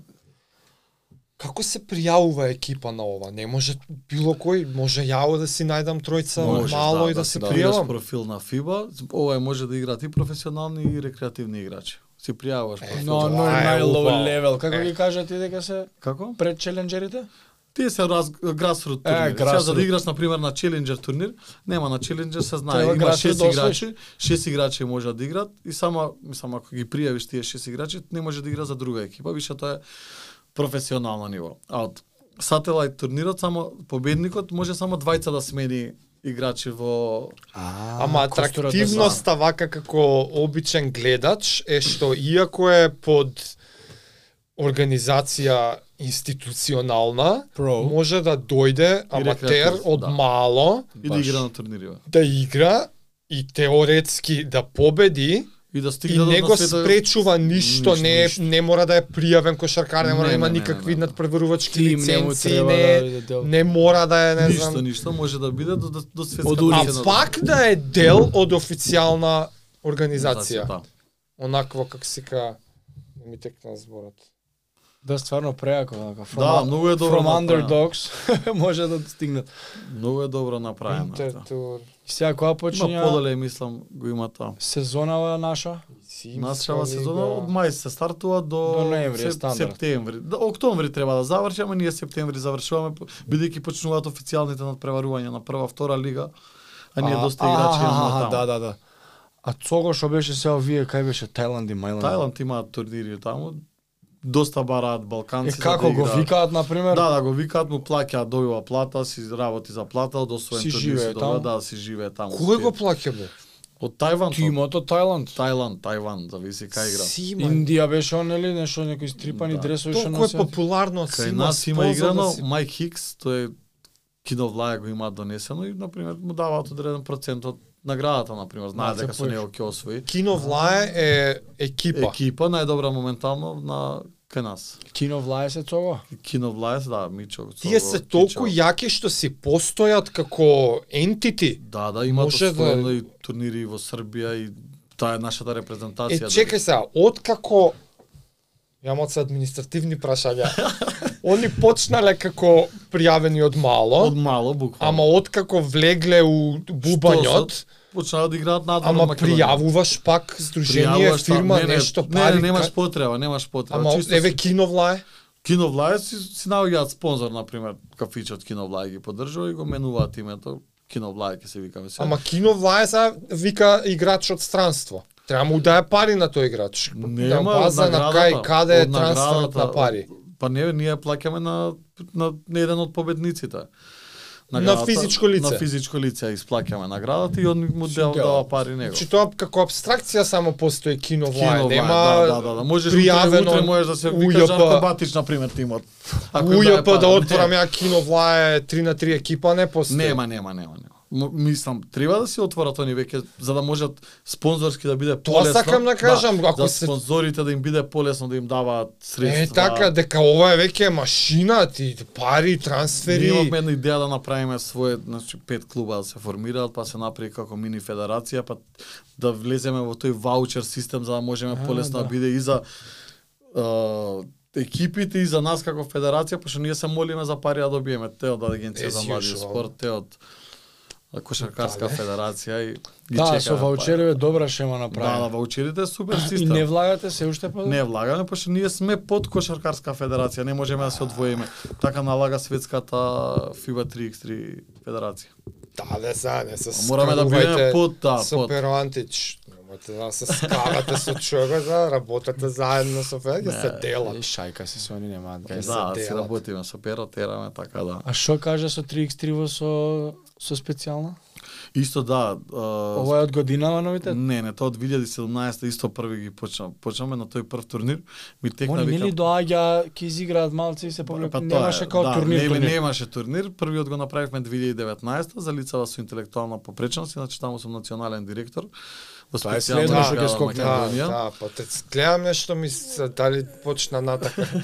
[SPEAKER 3] Како се пријавува екипа на ова? Не може било кој, може јао да си најдам тројца
[SPEAKER 2] Можеш,
[SPEAKER 3] мало и да, се
[SPEAKER 2] да,
[SPEAKER 3] пријавам.
[SPEAKER 2] Да, профил на FIBA, ова може да играат и професионални и рекреативни играчи. Си пријавуваш профил.
[SPEAKER 1] Но, но
[SPEAKER 3] Тоа е
[SPEAKER 1] најлоу
[SPEAKER 3] убаво.
[SPEAKER 1] левел, како
[SPEAKER 3] Е.
[SPEAKER 1] ги кажа ти дека се
[SPEAKER 2] Како?
[SPEAKER 1] пред челенџерите?
[SPEAKER 2] Тие се раз, грасрут
[SPEAKER 1] Е,
[SPEAKER 2] турнири. Е, Сега за
[SPEAKER 1] грасрут.
[SPEAKER 2] да играш на пример на челенџер турнир, нема на челенџер се знае,
[SPEAKER 1] Треба
[SPEAKER 2] има
[SPEAKER 1] грасрут
[SPEAKER 2] шест
[SPEAKER 1] да освоиш.
[SPEAKER 2] играчи, шест играчи може да играат и само мислам ако ги пријавиш тие шест играчи, не може да игра за друга екипа, више тоа е професионално ниво. А од сателит турнирот само победникот може само двајца да смени играчи во
[SPEAKER 3] Ама
[SPEAKER 1] костурата
[SPEAKER 3] атрактивноста вака како обичен гледач е што иако е под организација институционална,
[SPEAKER 1] Pro.
[SPEAKER 3] може да дојде аматер
[SPEAKER 2] рекреатив,
[SPEAKER 3] од
[SPEAKER 2] да.
[SPEAKER 3] мало
[SPEAKER 2] и да
[SPEAKER 1] Баш.
[SPEAKER 2] игра на турнири. бе.
[SPEAKER 3] да игра и теоретски да победи
[SPEAKER 2] И да
[SPEAKER 3] и
[SPEAKER 2] стигне
[SPEAKER 3] не
[SPEAKER 2] до
[SPEAKER 3] го
[SPEAKER 2] света-
[SPEAKER 3] спречува ништо,
[SPEAKER 2] Ништо,
[SPEAKER 3] не
[SPEAKER 2] ништо.
[SPEAKER 3] не мора да е пријавен кошаркар, не мора да
[SPEAKER 2] Не,
[SPEAKER 3] има
[SPEAKER 2] не, не,
[SPEAKER 3] никакви
[SPEAKER 2] не, не.
[SPEAKER 3] надпреварувачки
[SPEAKER 1] Тим не му
[SPEAKER 3] лиценци,
[SPEAKER 1] треба
[SPEAKER 3] не
[SPEAKER 1] да биде
[SPEAKER 3] не мора да е не
[SPEAKER 2] ништо,
[SPEAKER 3] знам
[SPEAKER 2] ништо може да биде до, до, до светска
[SPEAKER 1] Од
[SPEAKER 3] А
[SPEAKER 2] првенство.
[SPEAKER 3] пак да е дел од официјална организација.
[SPEAKER 2] Да.
[SPEAKER 3] Онакво како се ка не ми текна зборот.
[SPEAKER 1] Да, стварно преако, вака. From,
[SPEAKER 2] Да, многу е добро
[SPEAKER 1] From
[SPEAKER 2] направено.
[SPEAKER 1] underdogs може да стигнат.
[SPEAKER 2] Многу е добро направено. е Па тоа.
[SPEAKER 3] Интертур.
[SPEAKER 1] И сега која
[SPEAKER 2] Има
[SPEAKER 1] почиња
[SPEAKER 2] подале, мислам, го има таа.
[SPEAKER 1] сезонава наша?
[SPEAKER 2] Нашава сезона
[SPEAKER 3] да.
[SPEAKER 2] од мај се стартува до,
[SPEAKER 1] До ноември е
[SPEAKER 2] сеп-
[SPEAKER 1] стандард.
[SPEAKER 2] септември. Да, октомври треба да заврши, ама ние септември завршуваме п- бидејќи почнуваат официјалните надпреварувања на прва, втора лига. А ние доста играчи имаме таму.
[SPEAKER 1] Да, да, да. А цого што беше се овие, кај беше Тајланд и Мајланд?
[SPEAKER 2] Тајланд имаат турнири таму. Доста бараат
[SPEAKER 1] Е,
[SPEAKER 2] балканци. за
[SPEAKER 1] како
[SPEAKER 2] да
[SPEAKER 1] го
[SPEAKER 2] играат.
[SPEAKER 1] викаат, например?
[SPEAKER 2] Да, да, го викаат, му плаќаат, добива плата, си работи за плата, од освоен
[SPEAKER 1] Си
[SPEAKER 2] турнир
[SPEAKER 1] живее
[SPEAKER 2] се добива,
[SPEAKER 1] таму?
[SPEAKER 2] да, си живее таму.
[SPEAKER 3] Кој
[SPEAKER 2] Си-
[SPEAKER 3] го плаќа бе?
[SPEAKER 2] Од Тајван, од
[SPEAKER 1] Тимото Тајланд.
[SPEAKER 2] Тајланд, Тајван, зависи кај игра.
[SPEAKER 3] Сима.
[SPEAKER 1] Индија беше он, нели, нешто некои стрипани
[SPEAKER 2] Да.
[SPEAKER 1] дресови што
[SPEAKER 3] Толку е
[SPEAKER 1] носеат.
[SPEAKER 3] популарно од
[SPEAKER 2] Кај
[SPEAKER 3] Сима.
[SPEAKER 2] нас има
[SPEAKER 3] спозна
[SPEAKER 2] играно
[SPEAKER 3] да си-
[SPEAKER 2] Майк Хикс, тој е кино влага го има донесено и на пример му даваат одреден процент од наградата на пример, знае
[SPEAKER 3] Да,
[SPEAKER 1] Малце
[SPEAKER 2] дека со
[SPEAKER 1] поиш.
[SPEAKER 2] него ќе освои.
[SPEAKER 3] Кино Влае е екипа.
[SPEAKER 2] Екипа најдобра моментално на кај нас.
[SPEAKER 1] Кино влае се цого.
[SPEAKER 2] Кино влага се да, Мичо.
[SPEAKER 3] Тие
[SPEAKER 2] Цово,
[SPEAKER 3] се толку
[SPEAKER 2] Кичо.
[SPEAKER 3] јаки што си постојат како ентити.
[SPEAKER 2] Да, да, имаат
[SPEAKER 3] Може да-
[SPEAKER 2] освоено и турнири во Србија и таа е нашата репрезентација.
[SPEAKER 3] Е, чекај сега, откако Јамот се административни прашања. Они почнале како пријавени од мало.
[SPEAKER 2] од мало буквално.
[SPEAKER 3] Ама откако влегле у бубањот,
[SPEAKER 2] почнаа да играат надвор
[SPEAKER 3] ама
[SPEAKER 2] од Македонија.
[SPEAKER 3] пријавуваш пак здружение,
[SPEAKER 2] Пријавуваш, да.
[SPEAKER 3] фирма,
[SPEAKER 2] не, не,
[SPEAKER 3] нешто
[SPEAKER 2] не,
[SPEAKER 3] пари.
[SPEAKER 2] Не, немаш
[SPEAKER 3] ка-
[SPEAKER 2] потреба, немаш потреба.
[SPEAKER 3] Ама
[SPEAKER 2] чисто
[SPEAKER 3] еве
[SPEAKER 2] си-
[SPEAKER 3] кино влае.
[SPEAKER 2] Кино Влај си, си наоѓаат спонзор, например, кафичот Кино Влај ги поддржува и го менуваат името. Кино Влај ќе се вика веќе.
[SPEAKER 3] Ама кино влае са вика играч од странство. Треба му да е пари на тој играч.
[SPEAKER 2] нема
[SPEAKER 3] на база на
[SPEAKER 2] наградата,
[SPEAKER 3] кај каде е
[SPEAKER 2] од
[SPEAKER 3] трансферот
[SPEAKER 2] наградата,
[SPEAKER 3] на пари.
[SPEAKER 2] Па не, ние плаќаме на, на, на еден од победниците.
[SPEAKER 3] На физичко лице.
[SPEAKER 2] На физичко лице ја исплаќаме наградата и он му
[SPEAKER 1] Си
[SPEAKER 2] дел,
[SPEAKER 1] дел.
[SPEAKER 2] дава пари него.
[SPEAKER 3] Значи тоа како абстракција само постои кино влае.
[SPEAKER 2] Кино Влај,
[SPEAKER 3] Нема
[SPEAKER 2] да, да, да, да. Можеш утре, утре можеш да се викаш
[SPEAKER 3] УЈП.
[SPEAKER 2] Жарко Батич, например, тимот. Ако им дае
[SPEAKER 3] Ујапа
[SPEAKER 2] пари.
[SPEAKER 3] да отворам
[SPEAKER 2] Не.
[SPEAKER 3] ја кино влае 3 на 3 екипа не постои.
[SPEAKER 2] Нема, нема, нема, нема. М- Мислам, треба да се отворат они веќе за да можат спонзорски да биде
[SPEAKER 3] Тоа
[SPEAKER 2] полесно.
[SPEAKER 3] сакам да кажам,
[SPEAKER 2] да,
[SPEAKER 3] ако
[SPEAKER 2] за
[SPEAKER 3] се-
[SPEAKER 2] спонзорите да им биде полесно да им даваат средства.
[SPEAKER 3] Е,
[SPEAKER 2] да.
[SPEAKER 3] така, дека ова е веќе машина, ти пари,
[SPEAKER 2] Ние имавме
[SPEAKER 3] трансфери.
[SPEAKER 2] една идеја да направиме свое, значи пет клуба да се формираат, па се направи како мини федерација, па да влеземе во тој ваучер систем за да можеме полесно да.
[SPEAKER 1] да.
[SPEAKER 2] биде и за а, екипите и за нас како федерација, пошто ние се молиме за пари да добиеме те од агенција
[SPEAKER 3] As
[SPEAKER 2] за млади
[SPEAKER 3] usual.
[SPEAKER 2] спорт, те од а, кошаркарска федерација и ги
[SPEAKER 1] Да,
[SPEAKER 2] чекаме
[SPEAKER 1] со ваучери бе, добра шема
[SPEAKER 2] Да, да,
[SPEAKER 1] направена.
[SPEAKER 2] ваучерите е супер
[SPEAKER 1] И не
[SPEAKER 2] систем.
[SPEAKER 1] влагате се уште па?
[SPEAKER 2] Не влагаме, пошто ние сме под кошаркарска федерација, не можеме да се одвоиме. Така налага светската FIBA 3x3 федерација.
[SPEAKER 3] Да, да, са, не се
[SPEAKER 2] Мораме да
[SPEAKER 3] скарувајте
[SPEAKER 2] бидеме под таа,
[SPEAKER 3] со
[SPEAKER 2] под.
[SPEAKER 3] Пероантич. Немате да се скарате со човека, да, работате заедно со фе, ќе се
[SPEAKER 1] Е,
[SPEAKER 3] делат.
[SPEAKER 1] шајка се се они немаат.
[SPEAKER 3] Е, за
[SPEAKER 2] Да, си
[SPEAKER 3] делат.
[SPEAKER 2] работиме со перо, тераме така да.
[SPEAKER 1] А што кажа со 3x3 во со со специјална?
[SPEAKER 2] Исто да, а,
[SPEAKER 1] Ова е од годинава новите?
[SPEAKER 2] Не, не, тоа од 2017 исто први ги почна, почнаме на тој прв турнир. Ми текна
[SPEAKER 1] Они нели доаѓа, ќе изиграат малци и се
[SPEAKER 2] Па,
[SPEAKER 1] повлеку.
[SPEAKER 2] па, тоа е,
[SPEAKER 1] немаше као
[SPEAKER 2] да,
[SPEAKER 1] турнир,
[SPEAKER 2] нема-
[SPEAKER 1] турнир.
[SPEAKER 2] Немаше турнир, првиот го направивме 2019 за лицава со интелектуална попреченост, иначе таму сум национален директор. Во
[SPEAKER 1] Тоа е
[SPEAKER 2] специјална
[SPEAKER 1] следно што ќе
[SPEAKER 2] бригада
[SPEAKER 1] скокне.
[SPEAKER 3] Да,
[SPEAKER 2] Македонија.
[SPEAKER 3] да, па те гледам нешто ми се дали почна натака.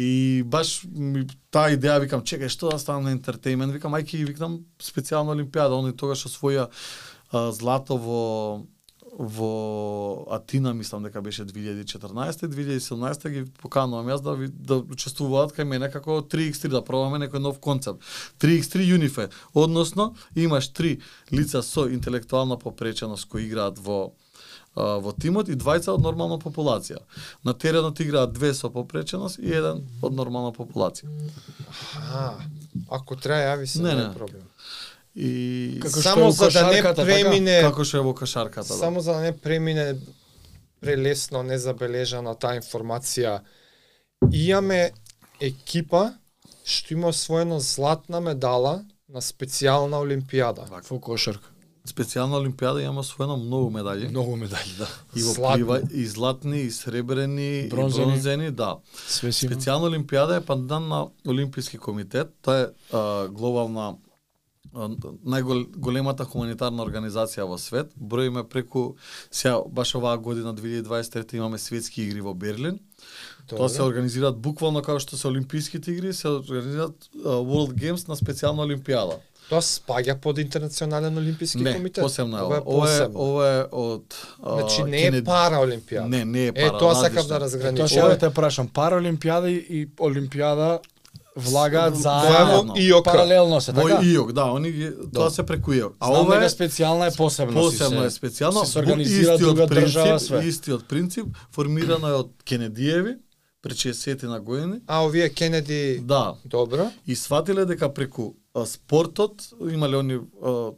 [SPEAKER 2] И баш ми, таа идеја викам, чекај, што да станам на ентертејмент? Викам, ајки и викам специјална олимпијада. Они тогаш освоја а, злато во во Атина, мислам дека беше 2014 2017 ги поканувам јас да, ви- да учествуваат кај мене како 3x3 да пробаме некој нов концепт. 3x3 Unify, односно имаш три лица со интелектуална попреченост кои играат во а, во тимот и двајца од нормална популација. На теренот играат две со попреченост и еден од нормална популација.
[SPEAKER 3] А, ако треба јави се,
[SPEAKER 2] Не,
[SPEAKER 3] не,
[SPEAKER 2] не.
[SPEAKER 3] е проблем.
[SPEAKER 2] И
[SPEAKER 1] Како
[SPEAKER 3] Само
[SPEAKER 1] што е
[SPEAKER 3] за
[SPEAKER 1] во
[SPEAKER 3] да не
[SPEAKER 1] кошарката,
[SPEAKER 3] премине,
[SPEAKER 2] како што е во кашарката. да.
[SPEAKER 3] само за да не премине прелесно незабележана таа информација. Имаме екипа што има освоено златна медала на специјална олимпијада.
[SPEAKER 1] Во кошарка.
[SPEAKER 2] специјална олимпијада имам освоено многу медали.
[SPEAKER 1] Многу медали, да.
[SPEAKER 2] И во
[SPEAKER 3] Златни.
[SPEAKER 2] плива, и златни, и сребрени,
[SPEAKER 1] Бронзени.
[SPEAKER 2] и бронзени, да.
[SPEAKER 1] Све си. има.
[SPEAKER 2] Специјална олимпијада е пандан на Олимписки комитет. Тоа е а, глобална а, најголемата хуманитарна организација во свет. Броиме преку сега баш оваа година 2023 имаме светски игри во Берлин. Тоа
[SPEAKER 3] Добро.
[SPEAKER 2] се организираат буквално како што се олимписките игри, се организираат а, World Games на специјална олимпијада.
[SPEAKER 3] Тоа спаѓа под Интернационален олимписки
[SPEAKER 2] Не,
[SPEAKER 3] комитет.
[SPEAKER 2] посебно е ова.
[SPEAKER 3] Ова е
[SPEAKER 2] Ова е,
[SPEAKER 3] посебно.
[SPEAKER 2] ова е од а,
[SPEAKER 3] Значи не е
[SPEAKER 2] Кенеди-
[SPEAKER 3] пара олимпијада.
[SPEAKER 2] Не, не е пара.
[SPEAKER 3] Е, тоа сакав
[SPEAKER 2] различно.
[SPEAKER 3] да разграничам.
[SPEAKER 1] Тоа
[SPEAKER 3] Тоа
[SPEAKER 1] ќе ја те прашам, параолимпијада и и олимпијада влагаат
[SPEAKER 2] Заедно.
[SPEAKER 1] заедно.
[SPEAKER 3] ИОК.
[SPEAKER 1] Паралелно се,
[SPEAKER 2] Во
[SPEAKER 1] така?
[SPEAKER 2] ИОК, да, они ги, тоа се преку ИОК.
[SPEAKER 1] А ова е специјална е посебно си
[SPEAKER 2] Посебно е
[SPEAKER 1] се.
[SPEAKER 2] специјално.
[SPEAKER 1] се организира
[SPEAKER 2] истиот
[SPEAKER 1] друга држава,
[SPEAKER 2] принцип-
[SPEAKER 1] све.
[SPEAKER 2] Истиот принцип, формирано е од Кенедиеви, пред 60 на години.
[SPEAKER 3] А овие Кенеди
[SPEAKER 2] Да,
[SPEAKER 3] Добро.
[SPEAKER 2] и сватиле дека преку а, спортот, имале они а,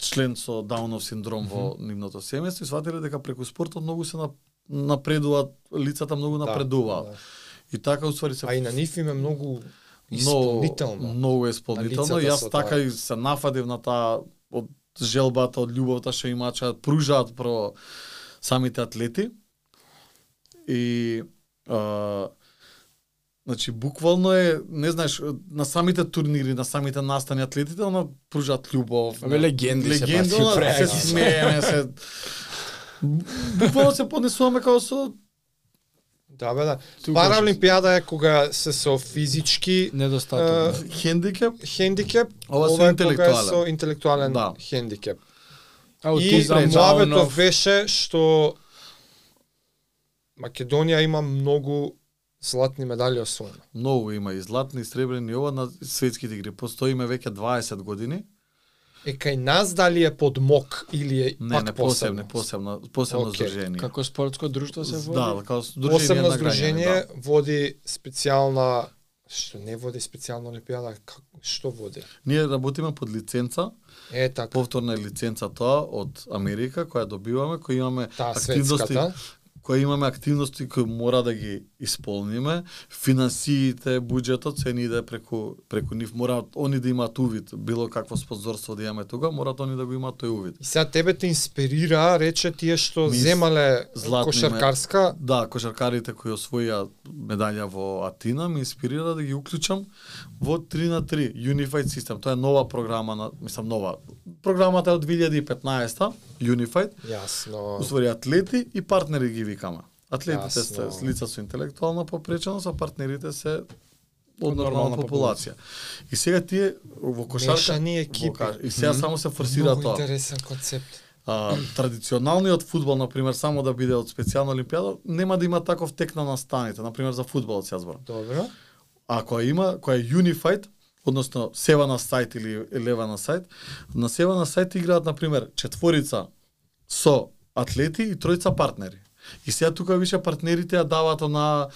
[SPEAKER 2] член со Даунов синдром во нивното семејство, и сватиле дека преку спортот многу се на- напредуваат, лицата многу напредуваат.
[SPEAKER 3] да.
[SPEAKER 2] И така уствари се
[SPEAKER 3] А и на нив им е многу
[SPEAKER 2] Много-
[SPEAKER 3] исполнително.
[SPEAKER 2] Многу исполнително.
[SPEAKER 3] На лицата
[SPEAKER 2] Јас
[SPEAKER 3] со
[SPEAKER 2] така
[SPEAKER 3] таа.
[SPEAKER 2] и се нафадив на таа од желбата, од љубовта што имаат, пружаат про самите атлети. И а, значи буквално е, не знаеш, на самите турнири, на самите настани атлетите, она пружат љубов.
[SPEAKER 1] Абе, легенди се,
[SPEAKER 2] легенди,
[SPEAKER 1] брат, си
[SPEAKER 2] она, се
[SPEAKER 1] преаки.
[SPEAKER 2] смееме, се буквално се поднесуваме како со
[SPEAKER 3] Да, бе, да.
[SPEAKER 1] Тука
[SPEAKER 3] Параолимпијада е кога се со физички
[SPEAKER 1] Недостаток. да.
[SPEAKER 2] хендикеп.
[SPEAKER 3] хендикеп,
[SPEAKER 2] Ова со
[SPEAKER 3] е
[SPEAKER 2] интелектуален.
[SPEAKER 3] кога е со интелектуален
[SPEAKER 2] Да.
[SPEAKER 3] хендикеп. И
[SPEAKER 1] Аутизам,
[SPEAKER 3] муавето
[SPEAKER 1] Даунов.
[SPEAKER 3] беше што Македонија има многу златни медали освоено.
[SPEAKER 2] Многу има и златни, и сребрени, и ова на светските игри. Постоиме веќе 20 години.
[SPEAKER 3] Е кај нас дали е под мок или е
[SPEAKER 2] Не,
[SPEAKER 3] пак
[SPEAKER 2] не
[SPEAKER 3] посебно?
[SPEAKER 2] посебно, посебно, посебно
[SPEAKER 3] Океј,
[SPEAKER 2] okay. здружение.
[SPEAKER 1] Како спортско друштво се води?
[SPEAKER 2] Да, како здружение
[SPEAKER 3] Посебно
[SPEAKER 2] на граѓани,
[SPEAKER 3] здружение
[SPEAKER 2] да.
[SPEAKER 3] води специјална што не води специјална олимпијада, како- што води?
[SPEAKER 2] Ние работиме под лиценца,
[SPEAKER 3] Е така.
[SPEAKER 2] повторна е лиценца тоа од Америка која добиваме, која имаме
[SPEAKER 3] Таа
[SPEAKER 2] активности,
[SPEAKER 3] светската.
[SPEAKER 2] која имаме активности кои мора да ги исполниме, финансиите, буџетот се ни иде преку преку нив, мора они да имаат увид, било какво спонзорство да имаме тука, мора они да го имаат тој увид.
[SPEAKER 3] И сега тебе те инспирира, рече тие што
[SPEAKER 2] Ми,
[SPEAKER 3] земале
[SPEAKER 2] златни
[SPEAKER 3] кошаркарска,
[SPEAKER 2] Да, кошаркарите кои освоија медалја во Атина ме инспирира да ги уклучам во 3 на 3 Unified System. Тоа е нова програма на, мислам, нова. Програмата е од 2015 Unified.
[SPEAKER 3] јасно.
[SPEAKER 2] Уствари атлети и партнери ги викаме. Атлетите
[SPEAKER 3] Јасно.
[SPEAKER 2] се с лица со интелектуална попреченост, а партнерите се од
[SPEAKER 1] Од нормална
[SPEAKER 2] нормална популација. И сега тие во кошарка
[SPEAKER 3] Мешани
[SPEAKER 2] во
[SPEAKER 3] екипи.
[SPEAKER 2] каш- и сега само се форсира
[SPEAKER 3] Многу
[SPEAKER 2] тоа
[SPEAKER 3] интересен концепт.
[SPEAKER 2] а, традиционалниот фудбал на пример само да биде од специјална олимпијада нема да има таков тек на настаните на пример за фудбалот се зборам
[SPEAKER 3] Добро.
[SPEAKER 2] а која има која е unified односно сева на сајт или лева на сајт на сева на сајт играат на пример четворица со атлети и тројца партнери и сега тука више партнерите ја даваат на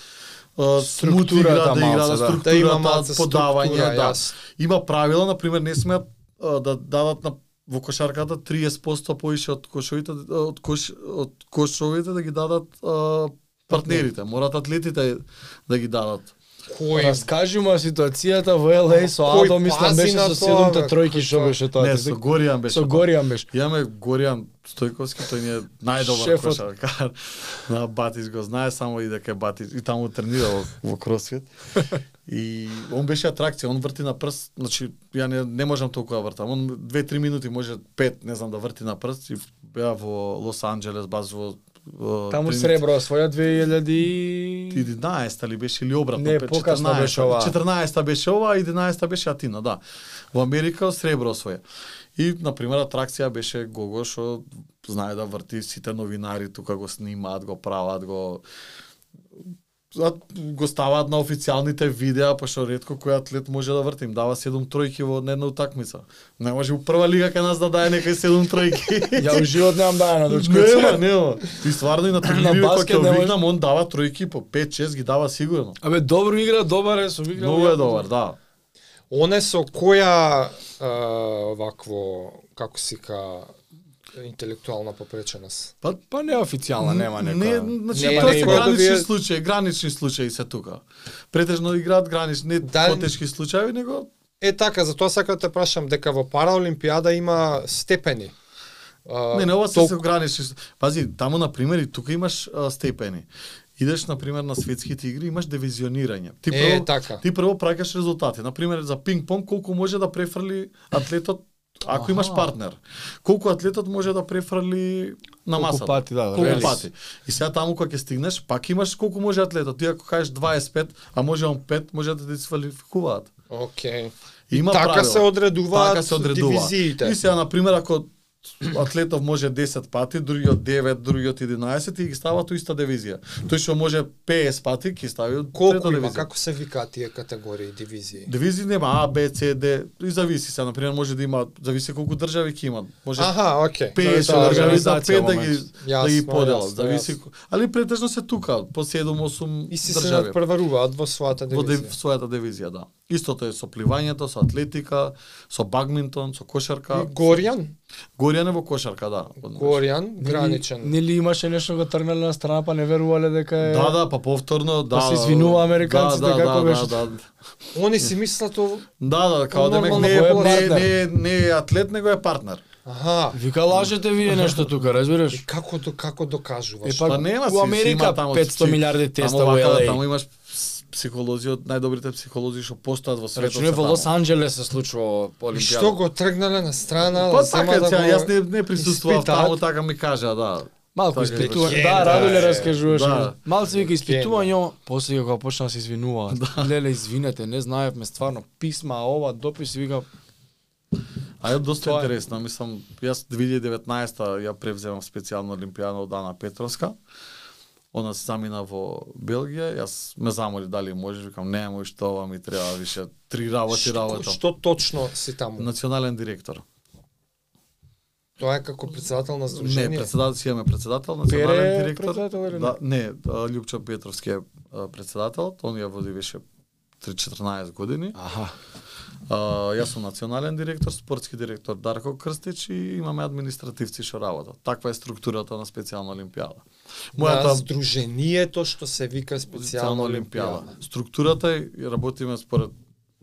[SPEAKER 1] Структурата
[SPEAKER 2] да игра,
[SPEAKER 1] малце, да.
[SPEAKER 2] да, структурата,
[SPEAKER 3] Да има малце
[SPEAKER 2] подавање,
[SPEAKER 3] структура,
[SPEAKER 2] да.
[SPEAKER 3] јасно.
[SPEAKER 2] Има правила, на пример, не смеат а, да дадат на во кошарката 30% поише од кошовите од кош од кошовите да ги дадат а, партнерите. Морат атлетите да ги дадат.
[SPEAKER 3] кој
[SPEAKER 1] Раскажи му ситуацијата во LA со
[SPEAKER 3] Кој
[SPEAKER 1] Адо, мислам
[SPEAKER 3] пази
[SPEAKER 1] беше
[SPEAKER 3] на
[SPEAKER 1] со
[SPEAKER 3] тоа,
[SPEAKER 1] седумта
[SPEAKER 3] бе?
[SPEAKER 1] тројки што
[SPEAKER 3] Кој
[SPEAKER 1] беше тоа.
[SPEAKER 2] Не,
[SPEAKER 1] Ти
[SPEAKER 2] со
[SPEAKER 1] си-
[SPEAKER 2] Горијан беше.
[SPEAKER 1] Со Горијан беше.
[SPEAKER 2] Имаме Горијан Стојковски, тој ни е најдобар
[SPEAKER 1] Шефот.
[SPEAKER 2] кошаркар на Батис, го знае само и дека е Батис и таму тренира во, во кросфит. И он беше атракција, он врти на прст, значи ја не, не можам толку да вртам. Он 2-3 минути може 5, не знам да врти на прст и беа во Лос Анџелес, баз во, во
[SPEAKER 1] Таму
[SPEAKER 2] тренинг-
[SPEAKER 1] сребро освоја 2000 и-
[SPEAKER 2] 11-та ли беше или обратно?
[SPEAKER 1] Не,
[SPEAKER 2] пе-
[SPEAKER 1] покасно
[SPEAKER 2] 14-та.
[SPEAKER 1] беше оваа.
[SPEAKER 2] 14-та беше ова, 11-та беше Атина, да. Во Америка сребро освоја. И, на пример, атракција беше Гого, што знае да врти сите новинари, тука го снимаат, го прават, го а, го ставаат на официјалните видеа, пошто ретко кој атлет може да врти, им дава 7 тројки во една утакмица. Не може у прва лига кај нас да даде некој 7 тројки.
[SPEAKER 1] Ја у живот немам да на дочкојца.
[SPEAKER 2] Нема, нема. Ти стварно и на
[SPEAKER 1] На
[SPEAKER 2] турнири кога
[SPEAKER 1] баскет
[SPEAKER 2] ќе
[SPEAKER 1] не може.
[SPEAKER 2] викнам, он дава тројки по 5-6 ги дава сигурно.
[SPEAKER 1] Абе, добро игра, добар е, со игра.
[SPEAKER 2] Многу е добар, да.
[SPEAKER 3] оне со која а, овакво како си ка интелектуална попреченост.
[SPEAKER 1] Па, па не официјална, нема нека.
[SPEAKER 2] Не, значи
[SPEAKER 3] Нема
[SPEAKER 2] тоа
[SPEAKER 3] некој
[SPEAKER 2] се
[SPEAKER 3] да
[SPEAKER 2] гранични
[SPEAKER 3] биде-
[SPEAKER 2] случаи, гранични случаи се тука. Претежно играат гранични, не
[SPEAKER 3] Да.
[SPEAKER 2] потешки случаи, него
[SPEAKER 3] Е така, затоа сакам да те прашам дека во параолимпијада има степени. А,
[SPEAKER 2] Не, не, ова се
[SPEAKER 3] толку-
[SPEAKER 2] се ограничи. Пази, таму на пример и тука имаш а, степени. Идеш на пример на светските игри, имаш дивизионирање. Ти
[SPEAKER 3] Е,
[SPEAKER 2] прво
[SPEAKER 3] така.
[SPEAKER 2] ти прво праќаш резултати. На пример за пинг-понг колку може да префрли атлетот ако
[SPEAKER 1] Аха.
[SPEAKER 2] имаш партнер. Колку атлетот може да префрли на
[SPEAKER 1] Колку
[SPEAKER 2] масата.
[SPEAKER 1] пати, да, да,
[SPEAKER 2] колку
[SPEAKER 1] релиз.
[SPEAKER 2] пати. И сега таму кога ќе стигнеш, пак имаш колку може атлетот. Ти ако кажеш 25, а може он 5, може да те дисквалификуваат.
[SPEAKER 3] Океј.
[SPEAKER 2] Има
[SPEAKER 3] така
[SPEAKER 2] правила.
[SPEAKER 3] се одредуваат
[SPEAKER 2] така се одредува.
[SPEAKER 3] дивизиите.
[SPEAKER 2] И сега, на пример, ако атлетов може 10 пати, другиот 9, другиот 11 и ги стават у иста дивизија. Тој што може 50 пати ќе стави у трета
[SPEAKER 3] Колку има,
[SPEAKER 2] дивизија.
[SPEAKER 3] како се викаат тие категории, дивизии?
[SPEAKER 2] Дивизии нема А, Б, С, Д. И зависи се, на пример, може да има, зависи колку држави ќе имат. Може
[SPEAKER 3] Аха,
[SPEAKER 2] 50
[SPEAKER 3] океј.
[SPEAKER 1] Тоа е
[SPEAKER 2] држави за
[SPEAKER 1] организација
[SPEAKER 2] 5 да
[SPEAKER 1] во
[SPEAKER 2] ги
[SPEAKER 1] момент.
[SPEAKER 2] да ги
[SPEAKER 3] Јасно,
[SPEAKER 2] поделат.
[SPEAKER 3] јасно,
[SPEAKER 2] Зависи.
[SPEAKER 3] јасно.
[SPEAKER 2] ко- Али претежно се тука, по 7-8
[SPEAKER 3] И си се
[SPEAKER 2] држави.
[SPEAKER 3] надпреваруваат во својата
[SPEAKER 2] во див,
[SPEAKER 3] дивизија.
[SPEAKER 2] својата дивизија, да. Истото е со пливањето, со атлетика, со багминтон, со кошарка.
[SPEAKER 3] И Горјан,
[SPEAKER 2] Горјан е во кошарка, да. однаш.
[SPEAKER 3] Горјан,
[SPEAKER 1] Нели-
[SPEAKER 3] граничен.
[SPEAKER 1] Нели имаше нешто го тргнале на страна, па не верувале дека е...
[SPEAKER 2] Да, да, па повторно, да.
[SPEAKER 1] се извинува американците
[SPEAKER 2] да, да,
[SPEAKER 1] како
[SPEAKER 2] да,
[SPEAKER 1] беше.
[SPEAKER 2] Да, да,
[SPEAKER 3] Они си мислат ово...
[SPEAKER 2] да, да, као демек
[SPEAKER 3] Нормално,
[SPEAKER 2] не,
[SPEAKER 1] кој
[SPEAKER 2] е-
[SPEAKER 1] е
[SPEAKER 2] не, е-
[SPEAKER 1] партнер?
[SPEAKER 2] не, е- не е атлет, него е партнер.
[SPEAKER 3] Аха,
[SPEAKER 1] Вика, лажете вие нешто тука,
[SPEAKER 3] и
[SPEAKER 1] разбираш?
[SPEAKER 3] како, до, како докажуваш?
[SPEAKER 1] Е, па,
[SPEAKER 2] Па нема си,
[SPEAKER 1] у Америка
[SPEAKER 2] има таму
[SPEAKER 1] 500
[SPEAKER 2] си-
[SPEAKER 1] милиарди теста
[SPEAKER 2] таму,
[SPEAKER 1] во
[SPEAKER 2] вака,
[SPEAKER 1] LA.
[SPEAKER 2] Таму имаш пс- психолози од најдобрите психолози што постојат во светот.
[SPEAKER 1] Рачуне
[SPEAKER 2] се
[SPEAKER 1] во
[SPEAKER 2] таму.
[SPEAKER 1] Лос Анџелес се случува
[SPEAKER 3] И
[SPEAKER 1] Олимпијада.
[SPEAKER 3] што го тргнале на страна,
[SPEAKER 2] Па
[SPEAKER 3] зема
[SPEAKER 2] така,
[SPEAKER 3] да
[SPEAKER 2] ця,
[SPEAKER 3] го...
[SPEAKER 2] јас не, не присуствував
[SPEAKER 3] испитаат.
[SPEAKER 2] таму, така ми кажа, да.
[SPEAKER 1] Малку
[SPEAKER 2] Така
[SPEAKER 1] испитува.
[SPEAKER 3] беше.
[SPEAKER 1] Да,
[SPEAKER 3] Е,
[SPEAKER 1] Радуле
[SPEAKER 3] да, е.
[SPEAKER 1] раскажуваше.
[SPEAKER 2] Да.
[SPEAKER 1] Малце вика испитување, после кога почна да се извинува. Леле, извинете, не знаевме стварно писма, а ова допис и вика
[SPEAKER 2] А е доста
[SPEAKER 1] Тоа е.
[SPEAKER 2] интересно, мислам, јас 2019-та ја превземам специјална олимпијада од Ана Петровска. Она се замина во Белгија, јас ме замоли дали можеш, викам не може што ова ми треба више три работи
[SPEAKER 3] Што,
[SPEAKER 2] работа.
[SPEAKER 3] што точно си таму?
[SPEAKER 2] Национален директор.
[SPEAKER 3] Тоа е како председател на
[SPEAKER 2] Не,
[SPEAKER 3] здружение.
[SPEAKER 2] председател си имаме председател, национален
[SPEAKER 1] Пере е
[SPEAKER 2] директор.
[SPEAKER 1] председател или не?
[SPEAKER 2] Да, не, а, Лјупчо Петровски е а, председател, он ја води више 3-14 години.
[SPEAKER 1] Аха.
[SPEAKER 2] А, јас сум национален директор, спортски директор Дарко Крстич и имаме административци што работат. Таква е структурата на специјална олимпијада.
[SPEAKER 3] Мојата...
[SPEAKER 2] Мојата
[SPEAKER 3] На здружението што се вика Да, специјална олимпијада.
[SPEAKER 2] Структурата е, работиме според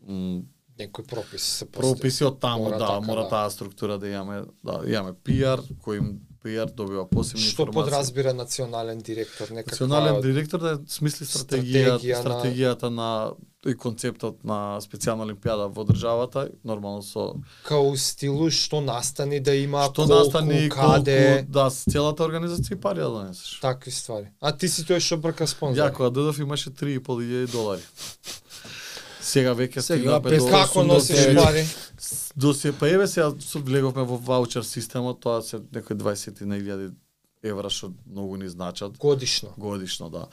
[SPEAKER 2] м,
[SPEAKER 3] Некој пропис се постои.
[SPEAKER 2] прописи од таму,
[SPEAKER 3] Мора
[SPEAKER 2] да,
[SPEAKER 3] така,
[SPEAKER 2] мора
[SPEAKER 3] да.
[SPEAKER 2] таа структура да имаме, да, имаме PR, кој им PR добива посебни
[SPEAKER 3] Што
[SPEAKER 2] информации.
[SPEAKER 3] подразбира национален директор? Некаква...
[SPEAKER 2] Национален директор да смисли стратегија,
[SPEAKER 3] Стратегија на-
[SPEAKER 2] стратегијата на и концептот на специјална олимпијада во државата, нормално со
[SPEAKER 3] Као стилу што настани да има,
[SPEAKER 2] што
[SPEAKER 3] колку,
[SPEAKER 2] настани
[SPEAKER 3] каде,
[SPEAKER 2] колку, да, с целата организација и пари да донесеш.
[SPEAKER 3] такви ствари. А ти си тој што брка спонзор.
[SPEAKER 2] Ја кога дојдов имаше 3.500 долари. Сега веќе
[SPEAKER 1] Сега
[SPEAKER 2] стигнапе
[SPEAKER 1] пес-
[SPEAKER 2] до
[SPEAKER 3] Како
[SPEAKER 2] 8
[SPEAKER 3] носиш
[SPEAKER 2] до-
[SPEAKER 3] пари?
[SPEAKER 2] До се па еве сега со- влеговме во ваучер системот, тоа се некои 20 на 1000 евра што многу ни значат.
[SPEAKER 3] Годишно.
[SPEAKER 2] годишно, да.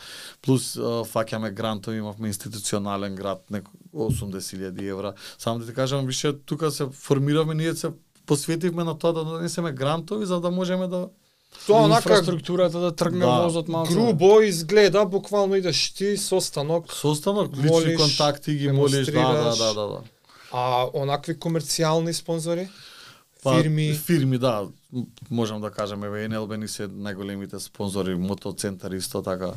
[SPEAKER 2] Плюс а, фаќаме грантови, имавме институционален грант нек 80.000 евра. Само да ти кажам, више тука се формиравме, ние се посветивме на тоа да донесеме грантови за да можеме да
[SPEAKER 3] Тоа онака
[SPEAKER 1] инфраструктурата да тргне
[SPEAKER 2] Да.
[SPEAKER 1] возот малку.
[SPEAKER 3] грубо изгледа, буквално идеш ти со станок
[SPEAKER 2] состанок лични
[SPEAKER 3] Молиш,
[SPEAKER 2] контакти ги молиш, да, да,
[SPEAKER 3] демонстрираш.
[SPEAKER 2] да, да, да.
[SPEAKER 3] А онакви комерцијални спонзори?
[SPEAKER 2] Па,
[SPEAKER 3] фирми,
[SPEAKER 2] фирми, да, м- можам да кажам, еве НЛБ ни се најголемите спонзори, мотоцентар исто така.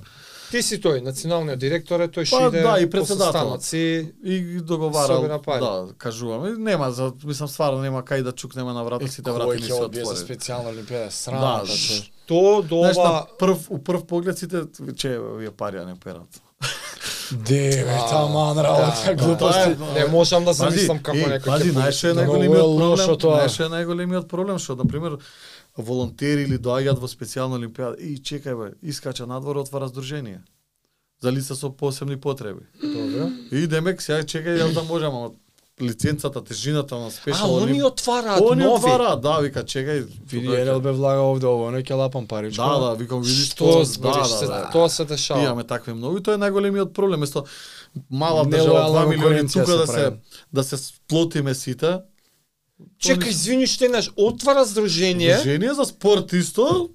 [SPEAKER 3] Ти си тој, националниот директор е, тој
[SPEAKER 2] Па,
[SPEAKER 3] ще иде
[SPEAKER 2] да, и
[SPEAKER 3] по
[SPEAKER 2] председател.
[SPEAKER 3] состаноци.
[SPEAKER 2] И ги договарал,
[SPEAKER 3] Собира пари.
[SPEAKER 2] да, кажуваме. Нема, за, мислам, стварно нема кај да чукнеме на врата, сите врати
[SPEAKER 1] Кој
[SPEAKER 2] ни
[SPEAKER 1] ќе
[SPEAKER 2] се
[SPEAKER 1] одбие за
[SPEAKER 2] отвори.
[SPEAKER 1] специјална олимпијада? Срамата,
[SPEAKER 2] Да,
[SPEAKER 1] човек.
[SPEAKER 2] знаеш,
[SPEAKER 3] То до
[SPEAKER 2] на
[SPEAKER 3] ова...
[SPEAKER 2] прв, у прв поглед сите, че вие парија не перат.
[SPEAKER 1] Деве,
[SPEAKER 3] А,
[SPEAKER 1] таман
[SPEAKER 3] да,
[SPEAKER 1] работа, глупости.
[SPEAKER 2] да,
[SPEAKER 3] Не можам да
[SPEAKER 2] Пази,
[SPEAKER 3] замислам како
[SPEAKER 2] е, па,
[SPEAKER 3] некој
[SPEAKER 2] пази,
[SPEAKER 3] ќе
[SPEAKER 2] знаеш што е
[SPEAKER 1] Многу е
[SPEAKER 2] најголемиот
[SPEAKER 1] лошо
[SPEAKER 2] проблем,
[SPEAKER 1] тоа.
[SPEAKER 2] знаеш што е најголемиот проблем што на пример волонтери или доаѓаат во специјална олимпијада и чекај бе, искача надвор отвара здружение за лица со посебни потреби.
[SPEAKER 3] Добро.
[SPEAKER 2] И демек сега чекај јас да можам, ама лиценцата, тежината на
[SPEAKER 3] А,
[SPEAKER 2] спешал
[SPEAKER 3] они
[SPEAKER 2] олимпијада.
[SPEAKER 3] отвараат
[SPEAKER 2] Они
[SPEAKER 3] нови.
[SPEAKER 2] отвара, да, вика чекај.
[SPEAKER 1] Види,
[SPEAKER 2] тука ќе-
[SPEAKER 1] ел бе влага овде ово, не ќе лапам паричко.
[SPEAKER 2] Да, да, викам види
[SPEAKER 3] Што
[SPEAKER 2] да,
[SPEAKER 3] збориш
[SPEAKER 2] да,
[SPEAKER 3] се,
[SPEAKER 2] да.
[SPEAKER 3] тоа се дешава.
[SPEAKER 2] Имаме такви многу и тоа е најголемиот проблем, место мала
[SPEAKER 1] Нелојална
[SPEAKER 2] држава 2 милиони
[SPEAKER 1] конкуренција
[SPEAKER 2] тука
[SPEAKER 1] се
[SPEAKER 2] да се
[SPEAKER 1] прави.
[SPEAKER 2] да се сплотиме сите.
[SPEAKER 3] Чекај, извини што еднаш отвара здружение
[SPEAKER 2] Движение за спорт исто,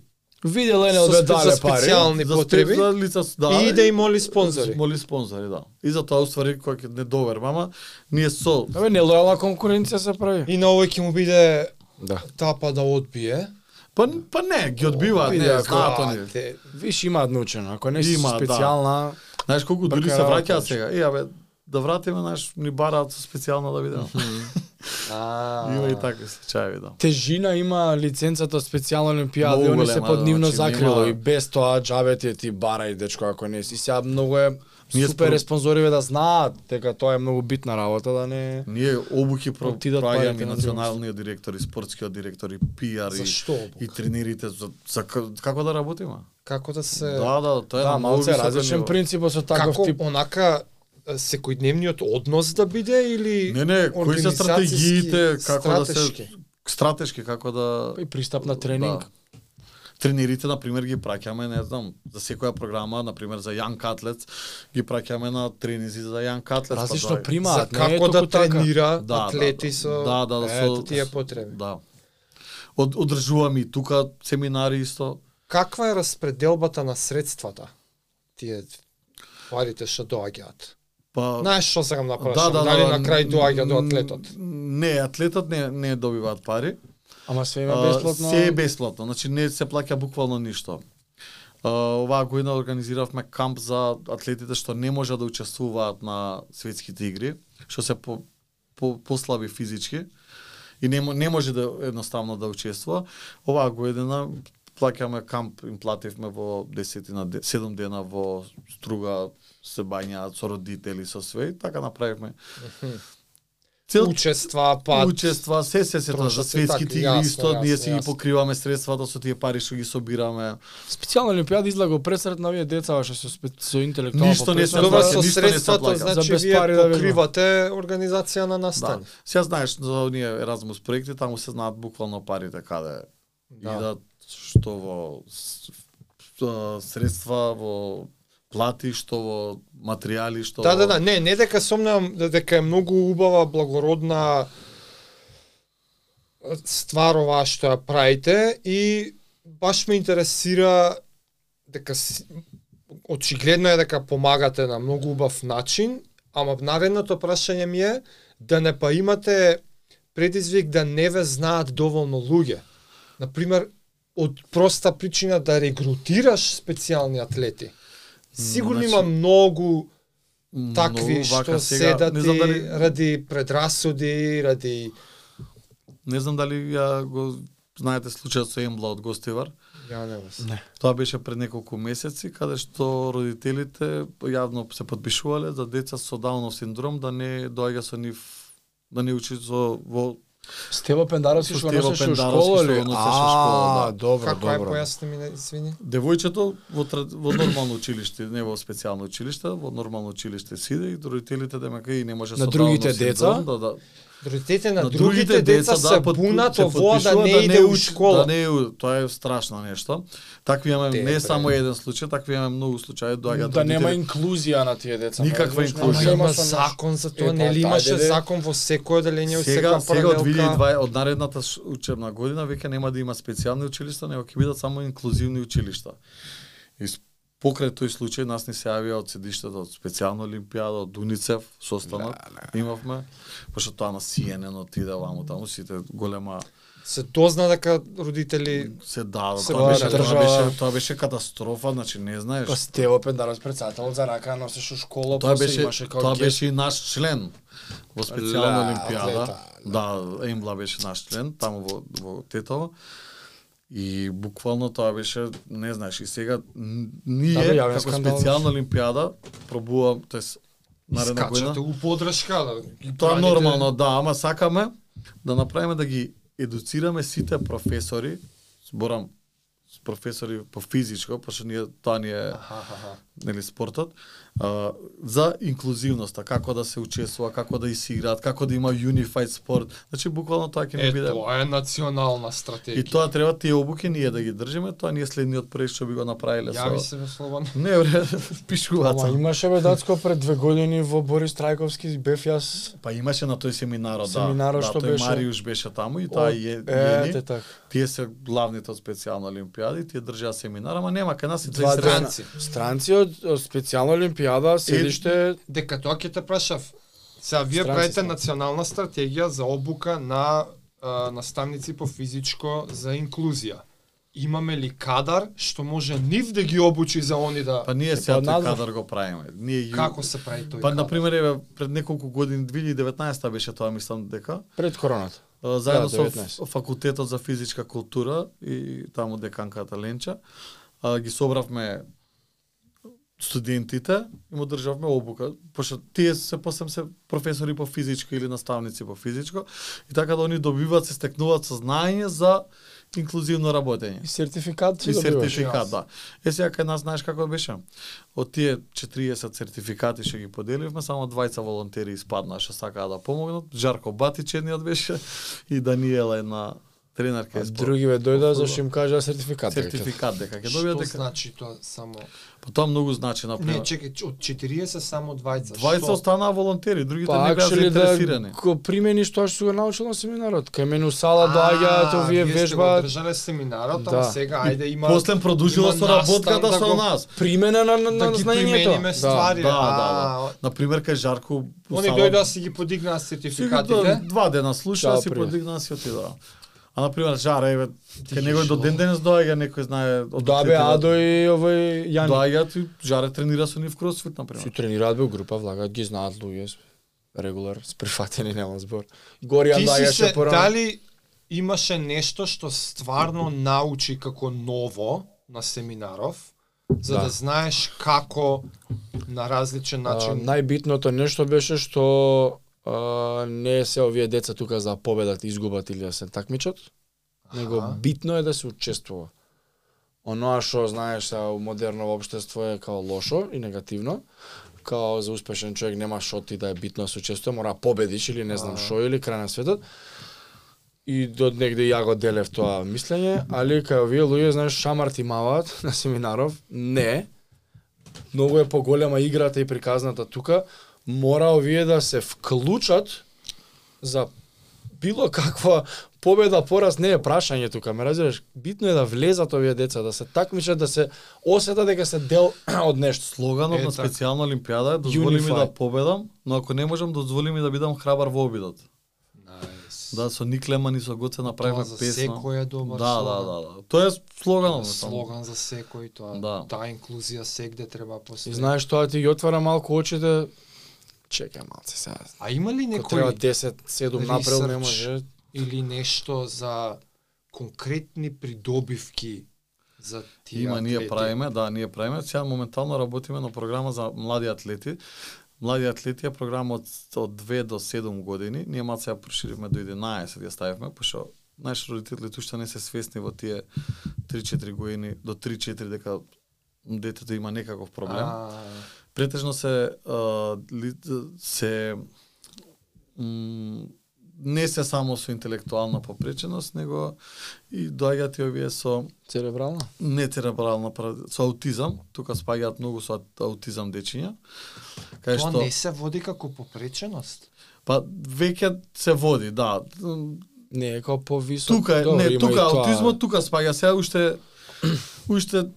[SPEAKER 1] Видел е
[SPEAKER 3] со
[SPEAKER 1] бе
[SPEAKER 3] спе- за
[SPEAKER 1] дале пари.
[SPEAKER 3] специјални
[SPEAKER 2] за
[SPEAKER 3] потреби
[SPEAKER 2] спорт, за лица, да.
[SPEAKER 3] и иде и моли спонзори.
[SPEAKER 2] Моли спонзори, да. И за тоа уствари кој ќе не доверам, ама ние со
[SPEAKER 1] Абе, нелојална конкуренција се прави.
[SPEAKER 3] И на овој ќе му биде
[SPEAKER 1] Да.
[SPEAKER 3] тапа да одбие.
[SPEAKER 2] па па не, ги одбиваат, не,
[SPEAKER 1] Видеа,
[SPEAKER 2] знаат они.
[SPEAKER 3] те-
[SPEAKER 1] Виш имаат научено, ако не си
[SPEAKER 2] Има, да.
[SPEAKER 1] специјална,
[SPEAKER 2] Знаеш колку дури
[SPEAKER 1] Бака
[SPEAKER 2] се
[SPEAKER 1] работа,
[SPEAKER 2] враќаат
[SPEAKER 1] знаеш.
[SPEAKER 2] сега. Е, абе, да вратиме, знаеш, ни бараат со специјално да видиме.
[SPEAKER 3] А,
[SPEAKER 2] Има и такви случаи, да.
[SPEAKER 1] тежина има лиценцата од специјална олимпијада, и
[SPEAKER 2] Многу
[SPEAKER 1] они се
[SPEAKER 2] голема,
[SPEAKER 1] под
[SPEAKER 2] да,
[SPEAKER 1] нивно
[SPEAKER 2] значи,
[SPEAKER 1] закрило
[SPEAKER 2] нема-
[SPEAKER 1] и без тоа џабе ти е ти барај дечко ако не си. И Сега многу е
[SPEAKER 2] Ние
[SPEAKER 1] супер
[SPEAKER 2] спро-
[SPEAKER 1] е спонзориве да знаат дека тоа е многу битна работа да не
[SPEAKER 2] Ние обуки про-
[SPEAKER 1] Отидат
[SPEAKER 2] праќаме
[SPEAKER 1] парите
[SPEAKER 2] и
[SPEAKER 1] на
[SPEAKER 2] националниот директор, и спортскиот директор, и пиар,
[SPEAKER 3] За
[SPEAKER 2] и,
[SPEAKER 3] што обука?
[SPEAKER 2] и тренирите, за, за ка- како да работиме.
[SPEAKER 3] Како да се...
[SPEAKER 2] Да, да, тоа е
[SPEAKER 1] Да,
[SPEAKER 2] на многу
[SPEAKER 1] малце е
[SPEAKER 2] високо
[SPEAKER 1] различен
[SPEAKER 2] ниво.
[SPEAKER 1] принцип со таков
[SPEAKER 3] Како
[SPEAKER 1] тип.
[SPEAKER 3] онака е, секојдневниот однос да биде или...
[SPEAKER 2] Не, не, кои се
[SPEAKER 3] организацијски,
[SPEAKER 2] стратегиите, како да се
[SPEAKER 3] стратешки?
[SPEAKER 2] стратешки како да
[SPEAKER 1] И пристап на тренинг.
[SPEAKER 2] Тренирите на пример ги праќаме, не знам, за секоја програма, на пример за Јан Катлец, ги праќаме на тренинзи за Јан Катлец. па
[SPEAKER 1] Различно
[SPEAKER 2] тоа е-
[SPEAKER 3] За
[SPEAKER 1] примаат, не е
[SPEAKER 3] како да
[SPEAKER 1] толку така.
[SPEAKER 3] тренира
[SPEAKER 2] Да, да,
[SPEAKER 3] атлети
[SPEAKER 2] да.
[SPEAKER 3] со
[SPEAKER 2] Да, да, да, со-
[SPEAKER 3] ето тие потреби.
[SPEAKER 2] Да. Од, одржуваме и тука семинари исто.
[SPEAKER 3] Каква е распределбата на средствата? Тие парите што доаѓаат.
[SPEAKER 2] Па
[SPEAKER 3] Знаеш што сакам да прашам? Дали на крај доаѓа до атлетот?
[SPEAKER 2] Не, атлетот не не добиваат пари.
[SPEAKER 1] Ама све има
[SPEAKER 2] А,
[SPEAKER 1] бесплатно.
[SPEAKER 2] Се е бесплатно, значи не се плаќа буквално ништо. А, оваа година организиравме камп за атлетите што не можат да учествуваат на светските игри, што се по, по, послаби физички и не, мо- не може да едноставно да учествува. Оваа година плаќаме камп, им плативме во 10 на 7 дена во Струга, се бањаат со родители, со све, и така направивме. Цел
[SPEAKER 3] Учества,
[SPEAKER 2] па
[SPEAKER 3] пат.
[SPEAKER 2] учества, се се се тоа
[SPEAKER 3] трошат
[SPEAKER 2] за
[SPEAKER 3] се така,
[SPEAKER 2] светските
[SPEAKER 3] јасно,
[SPEAKER 2] игри исто,
[SPEAKER 3] јасно,
[SPEAKER 2] ние си ги
[SPEAKER 3] јасно.
[SPEAKER 2] покриваме средствата со тие пари што ги собираме.
[SPEAKER 1] Специјална олимпијада излага го пресред на овие деца што се спе- со интелектуална
[SPEAKER 2] Ништо не се
[SPEAKER 1] попреченост.
[SPEAKER 3] Добро,
[SPEAKER 2] плаќа,
[SPEAKER 3] со
[SPEAKER 2] ништо не се
[SPEAKER 3] средствата,
[SPEAKER 2] плаќа.
[SPEAKER 1] За
[SPEAKER 3] значи
[SPEAKER 1] без
[SPEAKER 3] вие
[SPEAKER 1] пари да видиме.
[SPEAKER 3] покривате организација
[SPEAKER 2] Да.
[SPEAKER 3] на настан.
[SPEAKER 2] Сега знаеш за оние Erasmus проекти, таму се знаат буквално парите каде
[SPEAKER 3] Да.
[SPEAKER 2] идат, што во с- а, средства, во плати, што во материјали, што
[SPEAKER 3] Да, да, да,
[SPEAKER 2] во-
[SPEAKER 3] не, не дека сомнам де- дека е многу убава, благородна ствар ова што ја правите и баш ме интересира дека си- очигледно е дека помагате на многу убав начин, ама наредното прашање ми е да не па имате предизвик да не ве знаат доволно луѓе. Например, од проста причина да регрутираш специјални атлети. Сигурно
[SPEAKER 2] Значи-
[SPEAKER 3] има многу
[SPEAKER 2] Многу
[SPEAKER 3] такви
[SPEAKER 2] вака
[SPEAKER 3] што
[SPEAKER 2] сега,
[SPEAKER 3] седат
[SPEAKER 2] не знам
[SPEAKER 3] и
[SPEAKER 2] дали
[SPEAKER 3] ради предрасуди, ради
[SPEAKER 2] не знам дали ја го знаете случајот со Ембла од Гостивар.
[SPEAKER 3] ја не вас.
[SPEAKER 2] Тоа беше пред неколку месеци, каде што родителите јавно се подпишувале за деца со Даунов синдром да не доаѓа со нив да не учи со во
[SPEAKER 1] Стево Пендаровски
[SPEAKER 2] Со
[SPEAKER 1] што го
[SPEAKER 2] Стево
[SPEAKER 1] носеше у
[SPEAKER 2] Пендаровски
[SPEAKER 1] школа
[SPEAKER 2] што
[SPEAKER 1] ли?
[SPEAKER 2] го носеше у школа,
[SPEAKER 1] А,
[SPEAKER 2] да.
[SPEAKER 1] добро,
[SPEAKER 3] Како е
[SPEAKER 1] добро.
[SPEAKER 3] појасни ми, не, извини.
[SPEAKER 2] девојчето во тра- во нормално училиште, не во специјално училиште, во нормално училиште сиде и родителите демека и не може
[SPEAKER 1] На
[SPEAKER 2] со
[SPEAKER 1] другите
[SPEAKER 2] Даунов
[SPEAKER 1] деца?
[SPEAKER 2] синдром, да, да.
[SPEAKER 3] Родителите на,
[SPEAKER 2] на
[SPEAKER 3] другите деца се
[SPEAKER 2] подпи-
[SPEAKER 3] бунат
[SPEAKER 2] се
[SPEAKER 3] овоа да
[SPEAKER 2] подпишува
[SPEAKER 3] не иде у
[SPEAKER 2] учи-
[SPEAKER 3] школа.
[SPEAKER 2] Да не, у- тоа е страшно нешто. Такви имаме
[SPEAKER 3] Те,
[SPEAKER 2] не
[SPEAKER 3] бре.
[SPEAKER 2] само еден случај, такви имаме многу случаи доаѓаат
[SPEAKER 1] Да нема
[SPEAKER 2] родители-
[SPEAKER 1] инклузија на тие деца.
[SPEAKER 2] Никаква
[SPEAKER 1] не знаеш,
[SPEAKER 2] инклузија.
[SPEAKER 1] нема
[SPEAKER 3] Ама има
[SPEAKER 1] со нешто.
[SPEAKER 3] закон за тоа,
[SPEAKER 1] Е, па,
[SPEAKER 3] нели имаше
[SPEAKER 1] дајде, де.
[SPEAKER 3] закон во секој оделение, во
[SPEAKER 2] Сега,
[SPEAKER 3] секоја
[SPEAKER 2] сега од
[SPEAKER 3] паралелка.
[SPEAKER 2] 2020 од наредната ш- учебна година веќе нема да има специјални училишта, него ќе бидат само инклузивни училишта. И с- Покрај тој случај нас ни се јавија од седиштата од специјална олимпијада, од УНИЦЕФ, состанот имавме, пошто тоа на CNN отиде ваму таму сите голема
[SPEAKER 3] Се дозна дека родители
[SPEAKER 2] се дава,
[SPEAKER 3] Се
[SPEAKER 2] тоа беше,
[SPEAKER 1] бара
[SPEAKER 2] тоа
[SPEAKER 3] држава.
[SPEAKER 2] беше, тоа беше катастрофа, значи не знаеш.
[SPEAKER 1] Па Стево Пендаров председател за рака носеше у школа,
[SPEAKER 2] Тоа
[SPEAKER 1] после
[SPEAKER 2] беше,
[SPEAKER 1] имаше као
[SPEAKER 2] тоа
[SPEAKER 1] гест.
[SPEAKER 2] беше и наш член во специјална
[SPEAKER 1] Ла,
[SPEAKER 2] олимпијада.
[SPEAKER 1] атлета,
[SPEAKER 2] Да, Ембла беше наш член таму во во Тетово. И буквално тоа беше, не знаеш, и сега н- ние
[SPEAKER 1] Да, бе, јавен
[SPEAKER 2] како
[SPEAKER 1] скандал.
[SPEAKER 2] специјална олимпијада пробувам, тоест наредна година.
[SPEAKER 3] скачате у подршка. Да, ги
[SPEAKER 2] Тоа е
[SPEAKER 3] браните.
[SPEAKER 2] нормално, да, ама сакаме да направиме да ги едуцираме сите професори, зборам с професори по физичко, пошто ние тоа ни е
[SPEAKER 3] Аха, аха.
[SPEAKER 2] нели спортот, а, за инклузивноста, како да се учествува, како да се играат, како да има unified спорт. Значи буквално тоа ќе
[SPEAKER 3] Е,
[SPEAKER 2] ни биде.
[SPEAKER 3] тоа е национална
[SPEAKER 2] И
[SPEAKER 3] стратегија.
[SPEAKER 2] тоа треба тие обуки ние да ги држиме, тоа ние следниот проект што би го направиле
[SPEAKER 3] Јави
[SPEAKER 2] со
[SPEAKER 3] се бе Слобан.
[SPEAKER 2] Не, бре, пишуваат.
[SPEAKER 1] Ама
[SPEAKER 2] сам.
[SPEAKER 1] имаше бе дацко пред две години во Борис Трајковски бев јас
[SPEAKER 2] Па имаше на тој семинарот, да.
[SPEAKER 1] Семинарот
[SPEAKER 2] да,
[SPEAKER 1] што
[SPEAKER 2] тој
[SPEAKER 1] беше-
[SPEAKER 2] Мариуш беше таму и таа
[SPEAKER 1] од-
[SPEAKER 2] е,
[SPEAKER 1] е,
[SPEAKER 2] е,
[SPEAKER 1] те так.
[SPEAKER 2] Тие се главните од специјална олимпијади, тие држаа семинар, ама нема кај нас и
[SPEAKER 1] Два
[SPEAKER 2] заистрена.
[SPEAKER 1] дена. Странци од, од специјална олимпијада седиште
[SPEAKER 3] Дека тоа ќе те прашав. Сега вие
[SPEAKER 1] Странци
[SPEAKER 3] правите
[SPEAKER 1] сме.
[SPEAKER 3] национална стратегија за обука на а, наставници по физичко за инклузија. Имаме ли кадар што може нив да ги обучи за они да
[SPEAKER 2] Па ние
[SPEAKER 1] Е,
[SPEAKER 2] сега
[SPEAKER 1] па,
[SPEAKER 2] тој
[SPEAKER 1] назва.
[SPEAKER 2] кадар го правиме. Ние ју-
[SPEAKER 3] како се прави тој
[SPEAKER 2] Па
[SPEAKER 3] кадар?
[SPEAKER 2] на пример еве пред неколку години 2019 беше тоа мислам дека
[SPEAKER 1] пред короната.
[SPEAKER 2] а, заедно
[SPEAKER 1] Да,
[SPEAKER 2] со
[SPEAKER 1] 19.
[SPEAKER 2] ф- факултетот за физичка култура и таму деканката Ленча а, ги собравме студентите и му државме обука, пошто тие се посем се професори по физичко или наставници по физичко и така да они добиваат се стекнуваат знаење за инклузивно работење.
[SPEAKER 1] И сертификат си
[SPEAKER 2] И
[SPEAKER 1] добиваш.
[SPEAKER 2] сертификат, да. Е сега кај нас знаеш како беше? Од тие 40 сертификати што ги поделивме, само двајца волонтери испаднаа што сакаа да помогнат. Жарко Батич едниот беше и Даниела една тренерка
[SPEAKER 1] А
[SPEAKER 2] е
[SPEAKER 1] други ве дојда
[SPEAKER 2] Фудбал.
[SPEAKER 1] зашто им кажа сертификат.
[SPEAKER 2] сертификат дека ќе
[SPEAKER 3] Што
[SPEAKER 2] добија дека
[SPEAKER 3] значи тоа само?
[SPEAKER 2] па тоа многу значи на
[SPEAKER 3] Не,
[SPEAKER 2] пример.
[SPEAKER 3] чекај, од 40 само двајца.
[SPEAKER 2] Двајца
[SPEAKER 3] Што?
[SPEAKER 2] останаа волонтери, другите
[SPEAKER 1] Па
[SPEAKER 2] не беа
[SPEAKER 1] акшели да
[SPEAKER 2] заинтересирани.
[SPEAKER 1] го примени што што го научил на семинарот. Кај мене у сала
[SPEAKER 2] да
[SPEAKER 1] доаѓаат,
[SPEAKER 3] А,
[SPEAKER 1] овие
[SPEAKER 3] вие сте го
[SPEAKER 1] вежбаат
[SPEAKER 3] Одржале семинарот,
[SPEAKER 1] Да.
[SPEAKER 3] ама сега ајде има
[SPEAKER 2] После продолжила
[SPEAKER 3] има
[SPEAKER 2] со
[SPEAKER 3] настан
[SPEAKER 2] работката
[SPEAKER 3] да
[SPEAKER 2] со
[SPEAKER 3] го-
[SPEAKER 2] нас.
[SPEAKER 1] примена на на,
[SPEAKER 3] да
[SPEAKER 1] на
[SPEAKER 3] ги
[SPEAKER 1] знаењето.
[SPEAKER 3] примениме
[SPEAKER 1] Да.
[SPEAKER 3] ствари.
[SPEAKER 2] Да,
[SPEAKER 3] а,
[SPEAKER 2] да, да. На пример кај Жарко
[SPEAKER 3] Они
[SPEAKER 2] Сала-
[SPEAKER 3] дојдоа си ги подигнаа
[SPEAKER 2] Сега
[SPEAKER 3] сертификатите.
[SPEAKER 2] да, два дена слуша,
[SPEAKER 1] Да,
[SPEAKER 2] си
[SPEAKER 1] пример.
[SPEAKER 2] подигна си отидоа. А на пример Жара еве
[SPEAKER 3] ги
[SPEAKER 2] кај него до
[SPEAKER 3] шо?
[SPEAKER 2] ден денес доаѓа некој знае од
[SPEAKER 1] Да бе,
[SPEAKER 2] отцетите.
[SPEAKER 1] Адо и овој
[SPEAKER 3] Да.
[SPEAKER 1] Јани.
[SPEAKER 2] доаѓаат и Жаре тренира со нив кросфит на
[SPEAKER 1] Си
[SPEAKER 2] пример.
[SPEAKER 1] тренираат бе у група, влагаат ги знаат луѓе регулар, сприфатени нема збор. Горијан
[SPEAKER 3] Ти си
[SPEAKER 1] доаѓаше
[SPEAKER 3] се,
[SPEAKER 1] порано.
[SPEAKER 3] дали имаше нешто што стварно научи како ново на семинаров, за
[SPEAKER 1] Да.
[SPEAKER 3] да, знаеш како на различен
[SPEAKER 1] А,
[SPEAKER 3] начин
[SPEAKER 1] Најбитното нешто беше што а, не се овие деца тука за да победат, изгубат или да се такмичат, него
[SPEAKER 3] Аха.
[SPEAKER 1] битно е да се учествува. Оноа што знаеш сега, у модерно општество е као лошо и негативно, као за успешен човек нема што ти да е битно да се учествува, мора да победиш или не знам
[SPEAKER 3] Ага.
[SPEAKER 1] што или крај на светот. И до негде ја го делев тоа мислење, али кај овие луѓе знаеш шамар ти маваат на семинаров, не. Многу е поголема играта и приказната тука, мора овие да се вклучат за било каква победа, пораз не е прашање тука, ме разбираш? Битно е да влезат овие деца, да се такмичат, да се осетат дека се дел од нешто.
[SPEAKER 2] Слоганот
[SPEAKER 3] Е,
[SPEAKER 2] на
[SPEAKER 3] така.
[SPEAKER 2] специјална олимпијада е дозволи ми
[SPEAKER 1] Unify.
[SPEAKER 2] да победам, но ако не можам дозволи ми да бидам храбар во обидот.
[SPEAKER 3] Најс.
[SPEAKER 2] Да со Никлеман и со Гоце направиме
[SPEAKER 3] Тоа за
[SPEAKER 2] песма.
[SPEAKER 3] секој е добар
[SPEAKER 2] Да, да,
[SPEAKER 3] слоган.
[SPEAKER 2] да, да. Тоа е слоганот. Слоган.
[SPEAKER 3] Слоган за секој тоа.
[SPEAKER 2] Да.
[SPEAKER 3] Таа инклузија сегде треба
[SPEAKER 1] И
[SPEAKER 3] постои.
[SPEAKER 1] знаеш тоа ти ги отвара малку очите. Чекај малце сега.
[SPEAKER 3] А има ли
[SPEAKER 1] Ако
[SPEAKER 3] некој
[SPEAKER 1] треба 10, 7 напред не
[SPEAKER 3] research
[SPEAKER 1] може.
[SPEAKER 3] или нешто за конкретни придобивки за тие
[SPEAKER 2] Има ние
[SPEAKER 3] атлети?
[SPEAKER 2] правиме, да, ние правиме. Сега моментално работиме на програма за млади атлети. Млади атлети е програма од, од 2 до 7 години. Ние малку сега проширивме до 11, ја ставивме, пошто знаеш родителите уште не се свесни во тие 3-4 години, до 3-4 дека детето има некаков проблем.
[SPEAKER 3] А,
[SPEAKER 2] Претежно се а, ли, се м, не се само со интелектуална попреченост, него и доаѓаат и овие со
[SPEAKER 1] Церебрална.
[SPEAKER 2] не церебрална пара- со аутизам, тука спаѓаат многу со ат- аутизам дечиња. Кај
[SPEAKER 3] тоа
[SPEAKER 2] што
[SPEAKER 3] не се води како попреченост.
[SPEAKER 2] па веќе се води, да.
[SPEAKER 1] Не е како повисок.
[SPEAKER 2] Тука е,
[SPEAKER 1] Добро,
[SPEAKER 2] не,
[SPEAKER 1] има и
[SPEAKER 2] тука
[SPEAKER 1] тоа.
[SPEAKER 2] аутизмот, тука спаѓа сега уште уште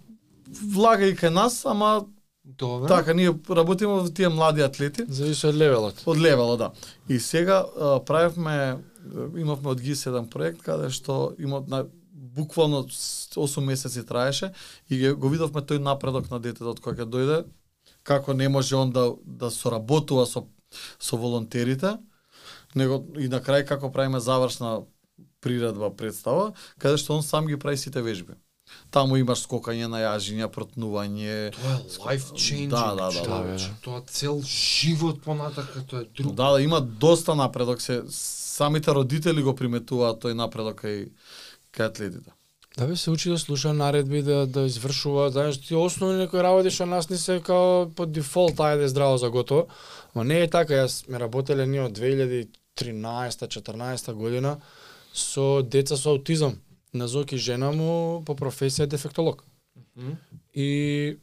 [SPEAKER 2] влага и кај нас, ама
[SPEAKER 3] Добре.
[SPEAKER 2] така, ние работиме во тие млади атлети,
[SPEAKER 1] Зависи од левелот.
[SPEAKER 2] од левела, да. И сега а, правевме, а, имавме од ГИС еден проект, каде што имот на буквално с- 8 месеци траеше и ге- го видовме тој напредок на детето од кога ќе дојде, како не може он да, да соработува со, со волонтерите, него и на крај како правиме завршна приредба представа, каде што он сам ги прави сите вежби. Таму имаш скокање, најажиња, протнување,
[SPEAKER 3] Тоа е life changing,
[SPEAKER 2] Да, да, да, да,
[SPEAKER 3] човече. Тоа цел живот понатака, тоа е друг.
[SPEAKER 2] Да, да, има доста напредок се самите родители го приметуваат тој напредок кај кај атлетите.
[SPEAKER 1] Да бе се учи да слуша наредби, да, да извршува, знаеш, ти основни некои работи што нас не се као по дефолт, ајде здраво за готово. Ма не е така, јас ме работеле ние од 2013-14 година со деца со аутизам. Назок и жена му по професија е дефектолог.
[SPEAKER 3] Мгм.
[SPEAKER 1] И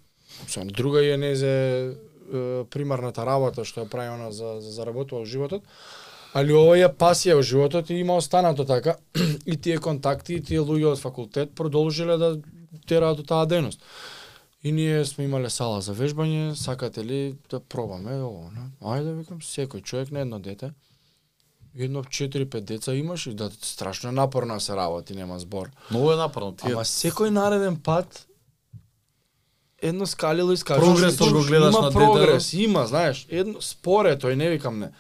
[SPEAKER 1] со друга е незе е, примарната работа што ја прави она за, за заработува во животот. Али ова е пасија во животот и има останато така. и тие контакти, и тие луѓе од факултет продолжиле да тераат до таа дејност. И ние сме имале сала за вежбање, сакате ли да пробаме ово, не? Ајде викам, секој човек на едно дете. Едно 4-5 деца имаш и да страшно напорно се работи, нема збор.
[SPEAKER 2] Многу е напорно тие.
[SPEAKER 1] Ама секој нареден пат едно скалило и скажуваш.
[SPEAKER 2] Прогресот
[SPEAKER 1] Значи,
[SPEAKER 2] го гледаш
[SPEAKER 1] има
[SPEAKER 2] на детето.
[SPEAKER 1] прогрес, Има, знаеш, едно споре тој, не викам не.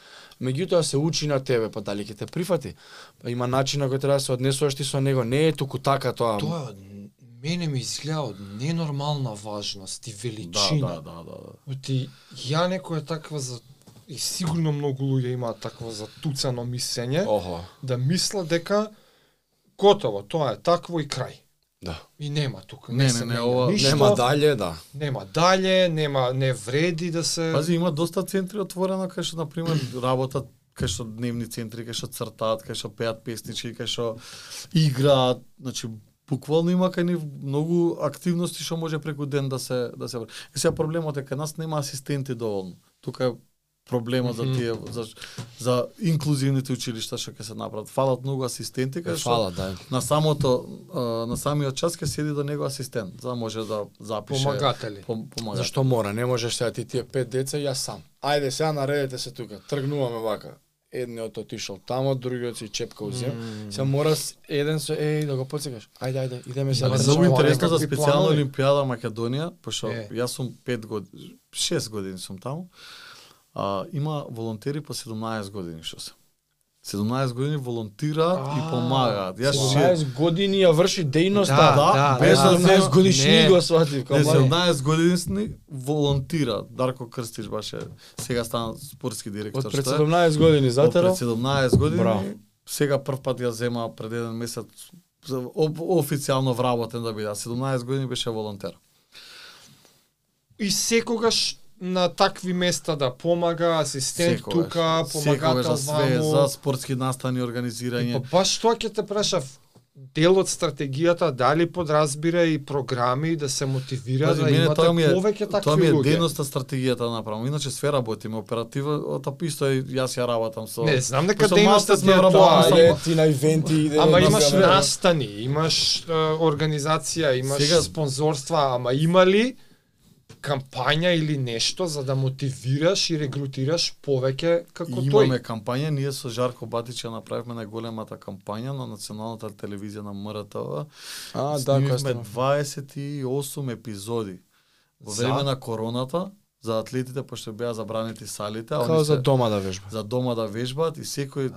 [SPEAKER 1] Меѓутоа се учи на тебе, па дали ќе те прифати? Па има начин на кој треба да се однесуваш ти со него, не е туку така
[SPEAKER 2] Па-
[SPEAKER 1] тоа.
[SPEAKER 3] Тоа е од мене ми изгледа од ненормална важност и
[SPEAKER 2] да,
[SPEAKER 3] величина.
[SPEAKER 2] да, да, да, да.
[SPEAKER 3] Оти ја некоја таква за и сигурно многу луѓе имаат такво затуцано мислење
[SPEAKER 1] Охо,
[SPEAKER 3] да мисла дека готово, тоа е такво и крај.
[SPEAKER 1] да.
[SPEAKER 3] И нема тука,
[SPEAKER 2] Не,
[SPEAKER 3] не,
[SPEAKER 2] не,
[SPEAKER 3] се
[SPEAKER 2] не,
[SPEAKER 3] менја
[SPEAKER 2] ова-
[SPEAKER 3] ништо,
[SPEAKER 1] Нема дале, да.
[SPEAKER 3] нема дале, нема не вреди да се
[SPEAKER 2] Пази, има доста центри отворено кај што на пример работат кај што дневни центри, кај што цртаат, кај што пеат песнички, кај што играат, значи буквално има кај нив многу активности што може преку ден да се да се врши. Е сега проблемот е кај нас нема асистенти доволно. Тука е проблемот за тие за за инклузивните училишта што ќе се направат. Фалат многу асистенти кај што
[SPEAKER 1] Фала, да.
[SPEAKER 2] на самото а, на самиот час ќе седи до него асистент, за да може да запише
[SPEAKER 3] помагатели.
[SPEAKER 2] пом- помага.
[SPEAKER 1] Зашто мора, не можеш сега ти тие пет деца и јас сам. Ајде сега наредете се тука, тргнуваме вака. Едниот отишол тамо, другиот си чепка узем. Mm. Сега мора с- еден со еј да го потсекаш. Ајде, ајде, идеме сега.
[SPEAKER 2] Ама
[SPEAKER 3] Ама
[SPEAKER 1] да
[SPEAKER 2] многу
[SPEAKER 1] трчаме.
[SPEAKER 3] тоа е
[SPEAKER 2] интересно за
[SPEAKER 3] некакви
[SPEAKER 2] специјална
[SPEAKER 3] планови.
[SPEAKER 2] олимпијада Македонија, пошто
[SPEAKER 3] Е.
[SPEAKER 2] јас сум 5 години, 6 години сум таму. А, има волонтери по 17 години што се. 17 години волонтираат и
[SPEAKER 3] А,
[SPEAKER 2] помагаат. Јас ше-
[SPEAKER 1] 17 години ја врши дејноста.
[SPEAKER 2] Да, да, без да знаеш
[SPEAKER 1] годишни
[SPEAKER 3] Не.
[SPEAKER 1] го сватив.
[SPEAKER 2] Не, 17 години волонтира. Дарко Крстиш баше сега стана спортски директор.
[SPEAKER 1] Од
[SPEAKER 2] што е.
[SPEAKER 1] пред 17 години
[SPEAKER 2] Затера?
[SPEAKER 1] затера.
[SPEAKER 2] Пред 17 години.
[SPEAKER 1] Браво.
[SPEAKER 2] Сега прв пат ја зема пред еден месец за- об- официјално вработен да биде. А 17 години беше волонтер.
[SPEAKER 3] И секогаш на такви места да помага, асистент
[SPEAKER 2] Секогаш.
[SPEAKER 3] тука,
[SPEAKER 2] Секогаш
[SPEAKER 3] помагател
[SPEAKER 2] за све,
[SPEAKER 3] ваму.
[SPEAKER 2] за спортски настани,
[SPEAKER 3] И па
[SPEAKER 2] организирање.
[SPEAKER 3] баш тоа ќе те прашав. Дел од стратегијата дали подразбира и програми да се мотивира
[SPEAKER 2] Пази,
[SPEAKER 3] да
[SPEAKER 2] мене
[SPEAKER 3] имате
[SPEAKER 2] тоа ми е,
[SPEAKER 3] повеќе такви
[SPEAKER 2] тоа ми е
[SPEAKER 3] луѓе.
[SPEAKER 2] дејноста стратегијата да направам. Иначе све работиме, оперативата исто е, јас ја работам со...
[SPEAKER 3] Не, знам дека
[SPEAKER 2] Пошто малце
[SPEAKER 3] дејноста
[SPEAKER 2] сме
[SPEAKER 3] сме
[SPEAKER 2] вработени
[SPEAKER 3] тоа,
[SPEAKER 2] со
[SPEAKER 3] е,
[SPEAKER 1] Ајде ти на ивенти иде.
[SPEAKER 3] ама
[SPEAKER 1] на
[SPEAKER 3] имаш
[SPEAKER 1] земја.
[SPEAKER 3] настани, имаш е, организација, имаш
[SPEAKER 2] Сега-
[SPEAKER 3] спонзорства, ама има ли кампања или нешто за да мотивираш и регрутираш повеќе како
[SPEAKER 2] И имаме
[SPEAKER 3] тој?
[SPEAKER 2] кампања, ние со Жарко Батич ја направивме најголемата кампања на националната телевизија на МРТВ.
[SPEAKER 1] А, да, која
[SPEAKER 2] Снимивме
[SPEAKER 1] сте.
[SPEAKER 2] 28 епизоди во
[SPEAKER 3] За?
[SPEAKER 2] време на короната за атлетите пошто беа забранети салите, а
[SPEAKER 1] Као
[SPEAKER 2] они
[SPEAKER 1] за
[SPEAKER 2] се
[SPEAKER 1] дома да вежба.
[SPEAKER 2] за дома да вежбаат и секој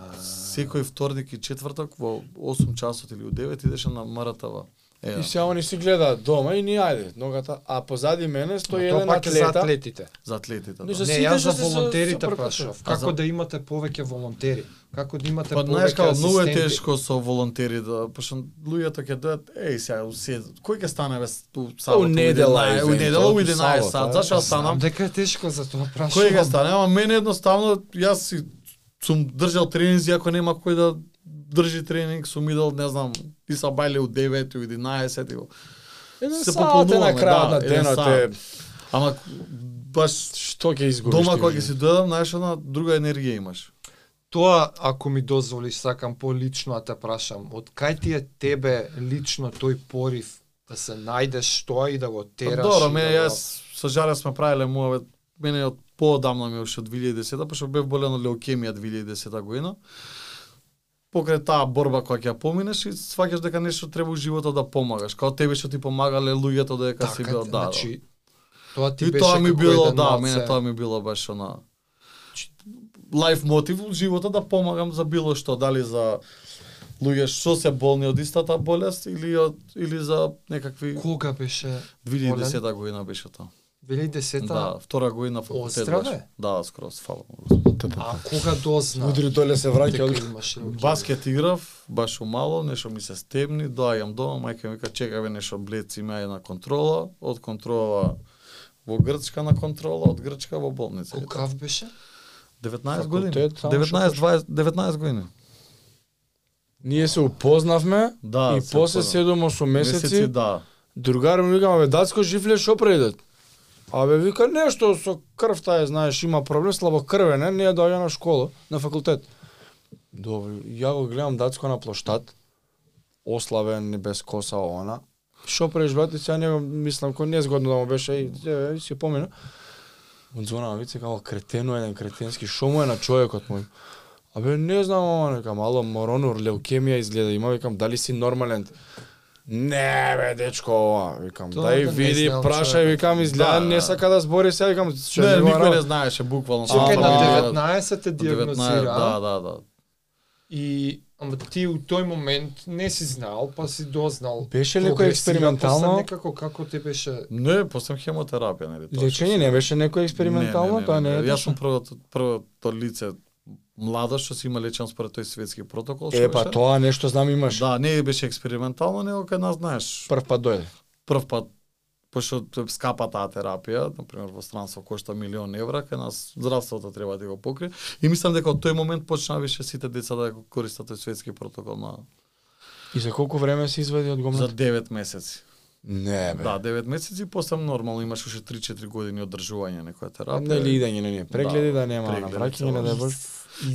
[SPEAKER 2] секој вторник и четврток во 8 часот или у 9 идеше на МРТВ. Е,
[SPEAKER 1] И сега они си гледаат дома и ни ајде, ногата, а позади мене стои
[SPEAKER 3] Тоа
[SPEAKER 1] еден
[SPEAKER 3] пак е за
[SPEAKER 1] атлета.
[SPEAKER 3] атлетите.
[SPEAKER 2] за атлетите.
[SPEAKER 1] Не,
[SPEAKER 2] да.
[SPEAKER 1] За
[SPEAKER 3] Не,
[SPEAKER 1] сите
[SPEAKER 3] јас
[SPEAKER 1] што
[SPEAKER 3] за
[SPEAKER 1] се со-
[SPEAKER 3] волонтерите
[SPEAKER 1] сопркашува.
[SPEAKER 3] прашав.
[SPEAKER 2] А за-
[SPEAKER 3] Како да имате повеќе волонтери? Како да имате
[SPEAKER 2] Па
[SPEAKER 3] повеќе
[SPEAKER 2] знаеш како многу е
[SPEAKER 3] асистенти?
[SPEAKER 2] тешко со волонтери да пошто луѓето ќе дојат еј сега у се кој ќе стане ве у
[SPEAKER 1] У
[SPEAKER 2] сабот
[SPEAKER 1] недела е,
[SPEAKER 2] у 11, у недела
[SPEAKER 1] евентуално,
[SPEAKER 2] у
[SPEAKER 1] сабот,
[SPEAKER 2] 11 сат
[SPEAKER 1] а?
[SPEAKER 2] зашо јас
[SPEAKER 3] Знам
[SPEAKER 2] станам
[SPEAKER 3] дека е тешко за тоа прашувам.
[SPEAKER 2] кој ќе стане ама мене едноставно јас си сум држал тренинзи ако нема кој да држи тренинг сум идел не знам ти са бајле у 9 у 11 и во-
[SPEAKER 1] Еден
[SPEAKER 2] Се
[SPEAKER 1] саат е на
[SPEAKER 2] пополнуваме,
[SPEAKER 1] крајот
[SPEAKER 2] да,
[SPEAKER 1] на
[SPEAKER 2] еден
[SPEAKER 1] денот е
[SPEAKER 2] саат. ама баш
[SPEAKER 1] што ќе изгубиш.
[SPEAKER 2] дома
[SPEAKER 1] ти,
[SPEAKER 2] кога
[SPEAKER 1] бе?
[SPEAKER 2] ќе си дојдам знаеш една друга енергија имаш
[SPEAKER 3] Тоа, ако ми дозволиш, сакам полично да те прашам. Од кај ти е тебе лично тој порив да се најдеш тоа и да го
[SPEAKER 2] Па,
[SPEAKER 3] тераш.
[SPEAKER 2] Добро,
[SPEAKER 3] и
[SPEAKER 2] мене
[SPEAKER 3] да го-
[SPEAKER 2] јас со Жаре сме правеле муавет, мене од поодамна ми е уште од 2010, пошто бев болен од леукемија 2010 година. Покрај таа борба која ќе ја поминеш и сваќаш дека нешто треба у животот да помагаш, како тебе што ти помагале луѓето дека си бил
[SPEAKER 3] Така,
[SPEAKER 2] да.
[SPEAKER 3] Значи, тоа ти
[SPEAKER 2] И
[SPEAKER 3] беше
[SPEAKER 2] тоа ми
[SPEAKER 3] како
[SPEAKER 2] било,
[SPEAKER 3] еден
[SPEAKER 2] да,
[SPEAKER 3] малце-
[SPEAKER 2] мене тоа ми било баш она лайф мотив у живота да помагам за било што, дали за луѓе што се болни од истата болест или од или за некакви
[SPEAKER 3] Кога беше
[SPEAKER 2] 2010 година беше тоа.
[SPEAKER 3] 2010
[SPEAKER 2] Да, втора година факултет.
[SPEAKER 3] Остра, бе?
[SPEAKER 2] беше. Да, скрос, фала. му.
[SPEAKER 3] А кога дозна?
[SPEAKER 1] Удри
[SPEAKER 2] да
[SPEAKER 1] доле се враќа,
[SPEAKER 3] дека
[SPEAKER 1] од
[SPEAKER 3] имаш руки?
[SPEAKER 2] Баскет играв, баш умало, нешто ми се стемни, доаѓам дома, мајка ми вика чекаве нешто блец има една контрола, од контрола во Грчка на контрола, од Грчка во болница. И
[SPEAKER 3] Кокав беше?
[SPEAKER 2] така. 19 години.
[SPEAKER 1] Факултет, само
[SPEAKER 2] 19 20 19 години.
[SPEAKER 1] Ние се упознавме
[SPEAKER 2] Да,
[SPEAKER 1] и
[SPEAKER 2] се
[SPEAKER 1] после
[SPEAKER 2] упознав.
[SPEAKER 1] 7-8 месеци
[SPEAKER 2] да.
[SPEAKER 1] Другар ми вика, бе, дацко, жив ли е, шо предет? Абе, вика, нешто со крв таа, знаеш, има проблем, слабокрвен е, не е доаѓа на школа, на факултет. Добро, ја го гледам дацко на плоштад, ославен, без коса, она. Шо преш, брат, и сега него, мислам, кој не згодно да му беше, и, е, и си помина. Од звона на вице, како кретено еден кретенски, шо му е на човекот мој? Абе, не знам, ама, нека, мало моронур, леукемија изгледа, има, викам, дали си нормален? Не, бе, дечко, ова, викам,
[SPEAKER 3] Тоа
[SPEAKER 1] дај
[SPEAKER 3] да не
[SPEAKER 1] види,
[SPEAKER 3] знам
[SPEAKER 1] прашај,
[SPEAKER 3] човекот.
[SPEAKER 1] викам, изгледа,
[SPEAKER 2] Да,
[SPEAKER 1] не
[SPEAKER 2] да.
[SPEAKER 1] сака да збори сега, викам, што
[SPEAKER 2] Не, никој не
[SPEAKER 1] не
[SPEAKER 2] знаеше буквално.
[SPEAKER 3] Чекај,
[SPEAKER 2] само
[SPEAKER 3] на
[SPEAKER 2] да-
[SPEAKER 3] 19 те диагнозира.
[SPEAKER 2] 19, Да, да, да.
[SPEAKER 3] И ама ти у тој момент не си знаел, па си дознал.
[SPEAKER 1] Беше некој
[SPEAKER 3] Прогресира, после
[SPEAKER 1] експериментално?
[SPEAKER 3] Некако како те беше
[SPEAKER 2] Не, после хемотерапија, нели тоа. што
[SPEAKER 1] Лечење не беше некој експериментално, тоа не е.
[SPEAKER 2] Јас
[SPEAKER 1] точно.
[SPEAKER 2] сум првото првото лице млада што си има лечен според тој светски протокол што
[SPEAKER 1] Е, па
[SPEAKER 2] беше.
[SPEAKER 1] тоа нешто знам имаш.
[SPEAKER 2] Да, не беше експериментално, него кај нас знаеш.
[SPEAKER 1] Прв пат дојде.
[SPEAKER 2] Прв пат пошто е скапа таа терапија, на пример во странство кошта милион евра, кај нас здравството треба да го покрие. И мислам дека од тој момент почнаа више сите деца да го користат тој светски протокол на
[SPEAKER 1] И за колку време се извади од
[SPEAKER 2] за
[SPEAKER 1] гомната?
[SPEAKER 2] 9 месеци.
[SPEAKER 1] Не, бе.
[SPEAKER 2] Да, 9 месеци, после нормално имаш уште 3-4 години одржување некоја терапија.
[SPEAKER 1] Нели идење, не, не, прегледи да,
[SPEAKER 2] Да,
[SPEAKER 1] нема на
[SPEAKER 2] прегледи,
[SPEAKER 1] враќање, не да
[SPEAKER 2] цела
[SPEAKER 1] баш.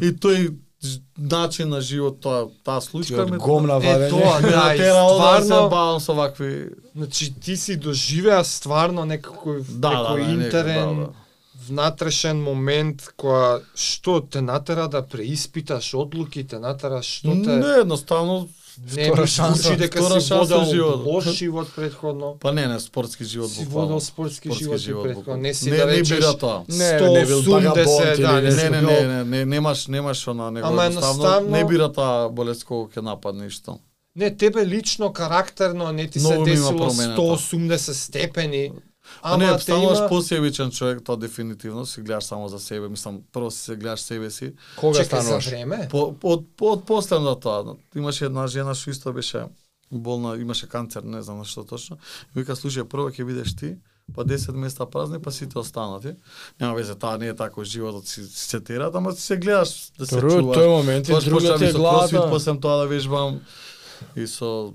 [SPEAKER 2] И тој ж- начин на живот, тоа таа случка
[SPEAKER 1] од гомна
[SPEAKER 3] Е, тоа,
[SPEAKER 2] ме
[SPEAKER 3] да, и
[SPEAKER 2] натерало да се
[SPEAKER 3] стварно,
[SPEAKER 2] бавам со вакви
[SPEAKER 3] значи ти си доживеа стварно некој
[SPEAKER 2] да, да,
[SPEAKER 3] некој
[SPEAKER 2] да,
[SPEAKER 3] интерен
[SPEAKER 2] некој, да, да.
[SPEAKER 3] внатрешен момент која што те натера да преиспиташ одлуки, те натера што те
[SPEAKER 2] Не, едноставно
[SPEAKER 3] не
[SPEAKER 1] втора
[SPEAKER 3] ми
[SPEAKER 1] шанса,
[SPEAKER 3] звучи дека
[SPEAKER 2] втора
[SPEAKER 3] си
[SPEAKER 2] шанса
[SPEAKER 3] водел
[SPEAKER 2] живот.
[SPEAKER 3] лош живот предходно.
[SPEAKER 2] Па не, не, спортски живот
[SPEAKER 3] Си
[SPEAKER 2] буквално.
[SPEAKER 3] водел спортски живот и предходно.
[SPEAKER 2] буквално.
[SPEAKER 3] Не си
[SPEAKER 2] не,
[SPEAKER 3] да
[SPEAKER 2] не
[SPEAKER 3] речеш-
[SPEAKER 2] бира тоа.
[SPEAKER 1] Не, бе, не бил
[SPEAKER 3] 180,
[SPEAKER 1] багабонт
[SPEAKER 3] да,
[SPEAKER 1] или
[SPEAKER 2] Не,
[SPEAKER 1] не
[SPEAKER 2] не,
[SPEAKER 1] си
[SPEAKER 2] не,
[SPEAKER 1] бил.
[SPEAKER 2] не, не, не, немаш, немаш она, него
[SPEAKER 3] Ама едноставно-
[SPEAKER 2] не бира таа болест кога ќе нападне и што.
[SPEAKER 3] Не, тебе лично карактерно не ти се
[SPEAKER 2] Многу ми има
[SPEAKER 3] десило
[SPEAKER 2] промената.
[SPEAKER 3] 180 степени.
[SPEAKER 2] Ама не, па
[SPEAKER 3] Ама те
[SPEAKER 2] стануваш
[SPEAKER 3] има...
[SPEAKER 2] посебичен човек, тоа дефинитивно, си гледаш само за себе, мислам, прво си се гледаш себе си,
[SPEAKER 1] Кога
[SPEAKER 3] Чекай за
[SPEAKER 1] стануваш?
[SPEAKER 3] време.
[SPEAKER 2] По, по, од, по, од последната, имаше една жена што исто беше болна, имаше канцер, не знам на што точно. И Вика, слушај, прво ќе бидеш ти, па 10 места празни, па сите останати. Нема везе, таа не е тако животот си си се терат, ама си се гледаш да се
[SPEAKER 1] Прво,
[SPEAKER 2] чуваш. да
[SPEAKER 1] тој момент и
[SPEAKER 2] Тоа што
[SPEAKER 1] другата
[SPEAKER 2] почнам и
[SPEAKER 1] е
[SPEAKER 2] со кросфит,
[SPEAKER 1] главата.
[SPEAKER 2] После тоа да вежбам и со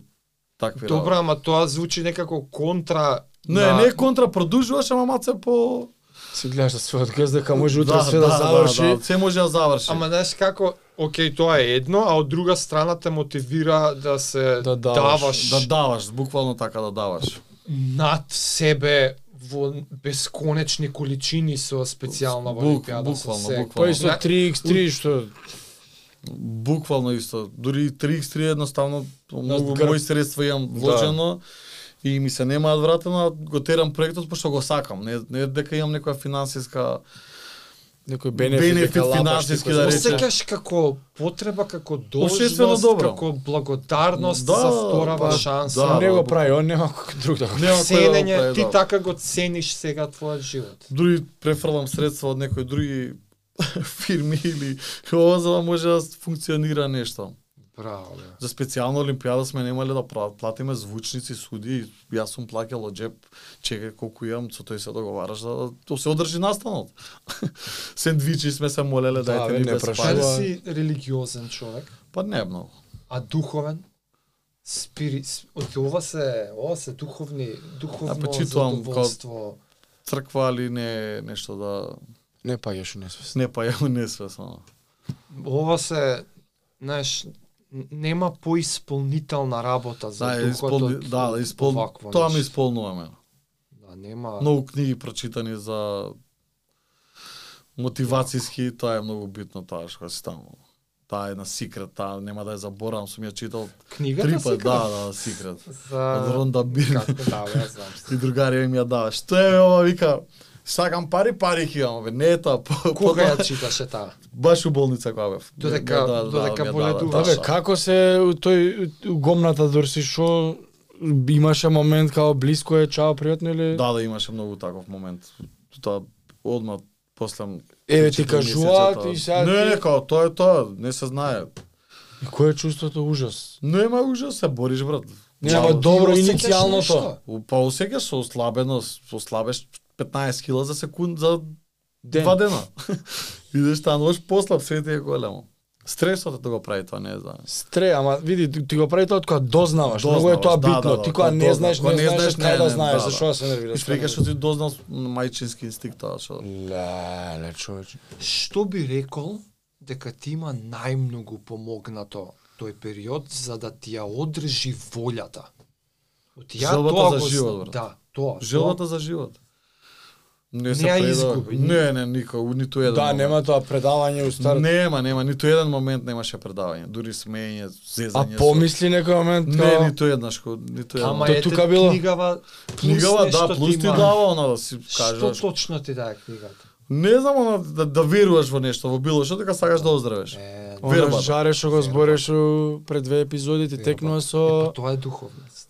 [SPEAKER 2] такви Да.
[SPEAKER 3] Добра, ама тоа звучи некако контра
[SPEAKER 2] Не,
[SPEAKER 3] на-
[SPEAKER 2] не е контра, продужуваш, ама маце по...
[SPEAKER 1] Си гледаш да својот гъз дека може утре све да
[SPEAKER 2] Да,
[SPEAKER 1] заврши.
[SPEAKER 2] да, се може да заврши.
[SPEAKER 3] Ама знаеш како, окей, тоа е едно, а од друга страна те мотивира да се
[SPEAKER 1] Да
[SPEAKER 3] да
[SPEAKER 1] даваш,
[SPEAKER 3] даваш, даваш
[SPEAKER 2] Да даваш, буквално така да даваш.
[SPEAKER 3] над себе во бесконечни количини со специјална
[SPEAKER 2] Бук-
[SPEAKER 3] олимпијада
[SPEAKER 2] буквално,
[SPEAKER 3] со се.
[SPEAKER 2] буквално.
[SPEAKER 1] Па и со 3x3 што
[SPEAKER 2] Буквално исто. Дури и 3x3 едноставно
[SPEAKER 3] Да,
[SPEAKER 2] многу
[SPEAKER 1] грб.
[SPEAKER 2] мои средства имам вложено и ми се немаат вратено, а го терам проектот пошто го сакам. Не, не е дека имам некоја финансиска
[SPEAKER 1] некој бенефит,
[SPEAKER 2] бенефит,
[SPEAKER 1] дека лапаш ти
[SPEAKER 2] финансиски
[SPEAKER 1] кој
[SPEAKER 2] да
[SPEAKER 1] знае.
[SPEAKER 2] рече.
[SPEAKER 3] Осеќаш како потреба, како
[SPEAKER 2] Обществено
[SPEAKER 3] должност,
[SPEAKER 2] добро.
[SPEAKER 3] како благодарност
[SPEAKER 2] Да,
[SPEAKER 3] за вторава
[SPEAKER 2] ба,
[SPEAKER 3] шанса.
[SPEAKER 2] да.
[SPEAKER 1] Не го прави, он нема кој друг да го
[SPEAKER 2] Нема кој да го
[SPEAKER 3] Ценење,
[SPEAKER 2] прави,
[SPEAKER 3] ти
[SPEAKER 2] да.
[SPEAKER 3] така го цениш сега твојот живот.
[SPEAKER 2] Дури префрлам средства од некои други фирми или ова за да може да функционира нешто.
[SPEAKER 3] Браво, бе.
[SPEAKER 2] За специјална олимпијада сме немале да пра- платиме звучници, суди, јас сум плакел од џеб, чекај колку имам, со тој се договараш да то се одржи настанот. Сендвичи сме се молеле
[SPEAKER 1] Да,
[SPEAKER 2] дајте
[SPEAKER 1] бе,
[SPEAKER 2] ни
[SPEAKER 1] не
[SPEAKER 2] без
[SPEAKER 1] прашува.
[SPEAKER 2] пари.
[SPEAKER 3] Па,
[SPEAKER 1] Тоа е.
[SPEAKER 3] си религиозен човек.
[SPEAKER 2] Па не многу.
[SPEAKER 3] А духовен? Спири, с- од ова се, ова се духовни, духовно
[SPEAKER 2] Апе, читувам
[SPEAKER 3] задоволство.
[SPEAKER 2] Црква или не нешто да
[SPEAKER 1] Не паѓаш у несвест.
[SPEAKER 2] не па ја несвесно.
[SPEAKER 3] Ова се, знаеш, н- нема поисполнителна работа за
[SPEAKER 2] Да,
[SPEAKER 3] духот.
[SPEAKER 2] исполни,
[SPEAKER 3] од-
[SPEAKER 2] да,
[SPEAKER 3] од
[SPEAKER 2] испол...
[SPEAKER 3] вакво
[SPEAKER 2] тоа ме
[SPEAKER 3] нешто.
[SPEAKER 2] исполнува мене.
[SPEAKER 3] Да,
[SPEAKER 1] Па.
[SPEAKER 3] нема...
[SPEAKER 2] Многу книги прочитани за мотивацијски, тоа е многу битно тоа што си таму. Таа е една секрет, таа нема да ја заборавам, сум ја читал
[SPEAKER 3] Книгата
[SPEAKER 2] три пат,
[SPEAKER 3] секрет?
[SPEAKER 2] да, да, секрет.
[SPEAKER 3] За...
[SPEAKER 2] Од Ронда Бирн.
[SPEAKER 3] Како, да, бе, ја знам.
[SPEAKER 2] И другари ми ја дава. Што е бе, ова вика? Сакам пари, пари ги имам, бе. Не е тоа. по-
[SPEAKER 3] Кога
[SPEAKER 2] потоа-
[SPEAKER 3] ја читаше таа?
[SPEAKER 2] Баш у болница кога бев.
[SPEAKER 3] Додека-
[SPEAKER 2] Ми ја дава,
[SPEAKER 3] додека
[SPEAKER 2] ми ја дава,
[SPEAKER 1] Да,
[SPEAKER 3] боледуваш.
[SPEAKER 1] бе,
[SPEAKER 2] да.
[SPEAKER 1] како се у тој у гомната дорси шо имаше момент као блиско е, чао, пријатно или
[SPEAKER 2] Да, да, имаше многу таков момент. Тоа одма после
[SPEAKER 1] Еве ти
[SPEAKER 2] три-четири
[SPEAKER 1] кажуваат
[SPEAKER 2] месеца,
[SPEAKER 1] и сега
[SPEAKER 2] Не,
[SPEAKER 1] ти-
[SPEAKER 2] не, као, тоа е тоа, не се знае.
[SPEAKER 1] И кое е чувството ужас?
[SPEAKER 2] Нема ужас, се бориш брат.
[SPEAKER 1] Нема
[SPEAKER 2] Мало.
[SPEAKER 1] добро
[SPEAKER 3] Ти осеќаш
[SPEAKER 1] иницијалното.
[SPEAKER 3] нешто?
[SPEAKER 2] У- Па усеќаш со ослабеност, ослабеш 15 кила за секунд за
[SPEAKER 1] Ден.
[SPEAKER 2] два дена. Идеш стануваш послаб, све ти е големо. Стресот те го прави тоа, не знам.
[SPEAKER 1] Стре, ама види, ти- ти го прави тоа од кога дознаваш. Многу е
[SPEAKER 2] Дознаваш,
[SPEAKER 1] тоа
[SPEAKER 2] да,
[SPEAKER 1] битно.
[SPEAKER 2] да, да,
[SPEAKER 1] Ти кога
[SPEAKER 2] кога
[SPEAKER 1] не
[SPEAKER 2] дозна-
[SPEAKER 1] знаеш,
[SPEAKER 2] кога
[SPEAKER 1] не
[SPEAKER 2] не
[SPEAKER 1] знаеш
[SPEAKER 2] знаеш,
[SPEAKER 1] кај
[SPEAKER 2] не,
[SPEAKER 1] да
[SPEAKER 2] не,
[SPEAKER 1] знаеш,
[SPEAKER 2] да,
[SPEAKER 1] за
[SPEAKER 2] да.
[SPEAKER 1] што да се нервираш.
[SPEAKER 2] И свикаш што ти дознал мајчински инстинкт тоа што.
[SPEAKER 1] Леле, човече.
[SPEAKER 3] Што би рекол дека ти има најмногу помогнато тој период за да ти ја одржи волјата? Од ја
[SPEAKER 2] Желбата
[SPEAKER 3] тоа
[SPEAKER 2] за
[SPEAKER 3] го зна-
[SPEAKER 2] живот, брат.
[SPEAKER 3] Да, тоа.
[SPEAKER 2] Желбата за живот.
[SPEAKER 3] Не
[SPEAKER 2] Не
[SPEAKER 3] ја
[SPEAKER 2] предава.
[SPEAKER 3] изгуби.
[SPEAKER 2] Не, не, никој, ниту еден.
[SPEAKER 1] Да,
[SPEAKER 2] момент.
[SPEAKER 1] нема тоа предавање у стар.
[SPEAKER 2] Нема, нема, ниту еден момент немаше предавање. Дури смеење,
[SPEAKER 1] А
[SPEAKER 2] зезање. со-
[SPEAKER 1] помисли некој момент
[SPEAKER 2] Не,
[SPEAKER 1] као-
[SPEAKER 2] ниту еднаш, ко- ниту еден.
[SPEAKER 3] Ама
[SPEAKER 1] Тоа
[SPEAKER 3] ете
[SPEAKER 1] тука било.
[SPEAKER 3] книгава плюс
[SPEAKER 2] Книгава,
[SPEAKER 3] нешто
[SPEAKER 2] да, плюс
[SPEAKER 3] ти
[SPEAKER 2] ти
[SPEAKER 3] има.
[SPEAKER 2] дава она да си
[SPEAKER 3] Што
[SPEAKER 2] кажеш.
[SPEAKER 3] точно ти дае книгата?
[SPEAKER 2] Не знам она да, да веруваш во нешто, во било што дека сакаш да оздравеш.
[SPEAKER 3] Е,
[SPEAKER 2] О, Верба,
[SPEAKER 1] Она
[SPEAKER 2] да.
[SPEAKER 1] жаре што го збореш у- пред две епизоди, ти
[SPEAKER 3] Верба.
[SPEAKER 1] текнува
[SPEAKER 3] па
[SPEAKER 1] со...
[SPEAKER 3] тоа е духовност.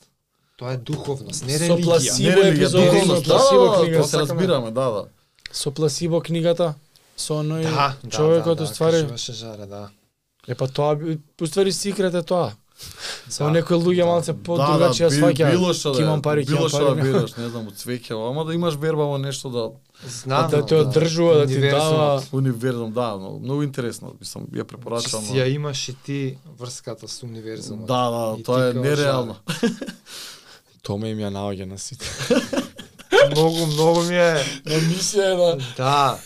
[SPEAKER 3] Тоа е духовност, не
[SPEAKER 1] Со
[SPEAKER 3] религија.
[SPEAKER 1] пласи-
[SPEAKER 2] Не
[SPEAKER 1] Сиво
[SPEAKER 2] религија,
[SPEAKER 1] епизода,
[SPEAKER 2] духовност, да,
[SPEAKER 1] сиво
[SPEAKER 2] да,
[SPEAKER 1] книга,
[SPEAKER 2] да, да, се
[SPEAKER 3] сакаме.
[SPEAKER 2] разбираме, да, да.
[SPEAKER 1] Со пласибо книгата, со оној
[SPEAKER 3] Да,
[SPEAKER 1] човекот
[SPEAKER 3] да, да,
[SPEAKER 1] уствари.
[SPEAKER 3] кажуваше жаре, да.
[SPEAKER 1] Е па тоа, би- уствари секрет е тоа. Само
[SPEAKER 3] Да.
[SPEAKER 1] некои луѓе малце
[SPEAKER 2] да, да,
[SPEAKER 1] по-другачија
[SPEAKER 2] би-
[SPEAKER 1] сваќа.
[SPEAKER 2] било што да,
[SPEAKER 1] Ќе
[SPEAKER 2] е,
[SPEAKER 1] имам пари, ќе
[SPEAKER 2] било
[SPEAKER 1] имам
[SPEAKER 2] што да
[SPEAKER 1] пари.
[SPEAKER 2] бидеш, не знам, од цвеќе, ама да имаш верба во нешто да
[SPEAKER 3] Знам,
[SPEAKER 1] Да те одржува, да ти
[SPEAKER 3] Универзумот.
[SPEAKER 1] дава-
[SPEAKER 2] универзум, да, но многу интересно, мислам, ја препорачувам.
[SPEAKER 3] Значи си ја имаш и ти врската со универзумот.
[SPEAKER 2] Да, да,
[SPEAKER 3] И
[SPEAKER 2] тоа е
[SPEAKER 3] ти као
[SPEAKER 2] нереално.
[SPEAKER 1] Томе им ја наоѓа на сите.
[SPEAKER 3] Многу, многу ми е.
[SPEAKER 1] Емисија е на...
[SPEAKER 3] Да.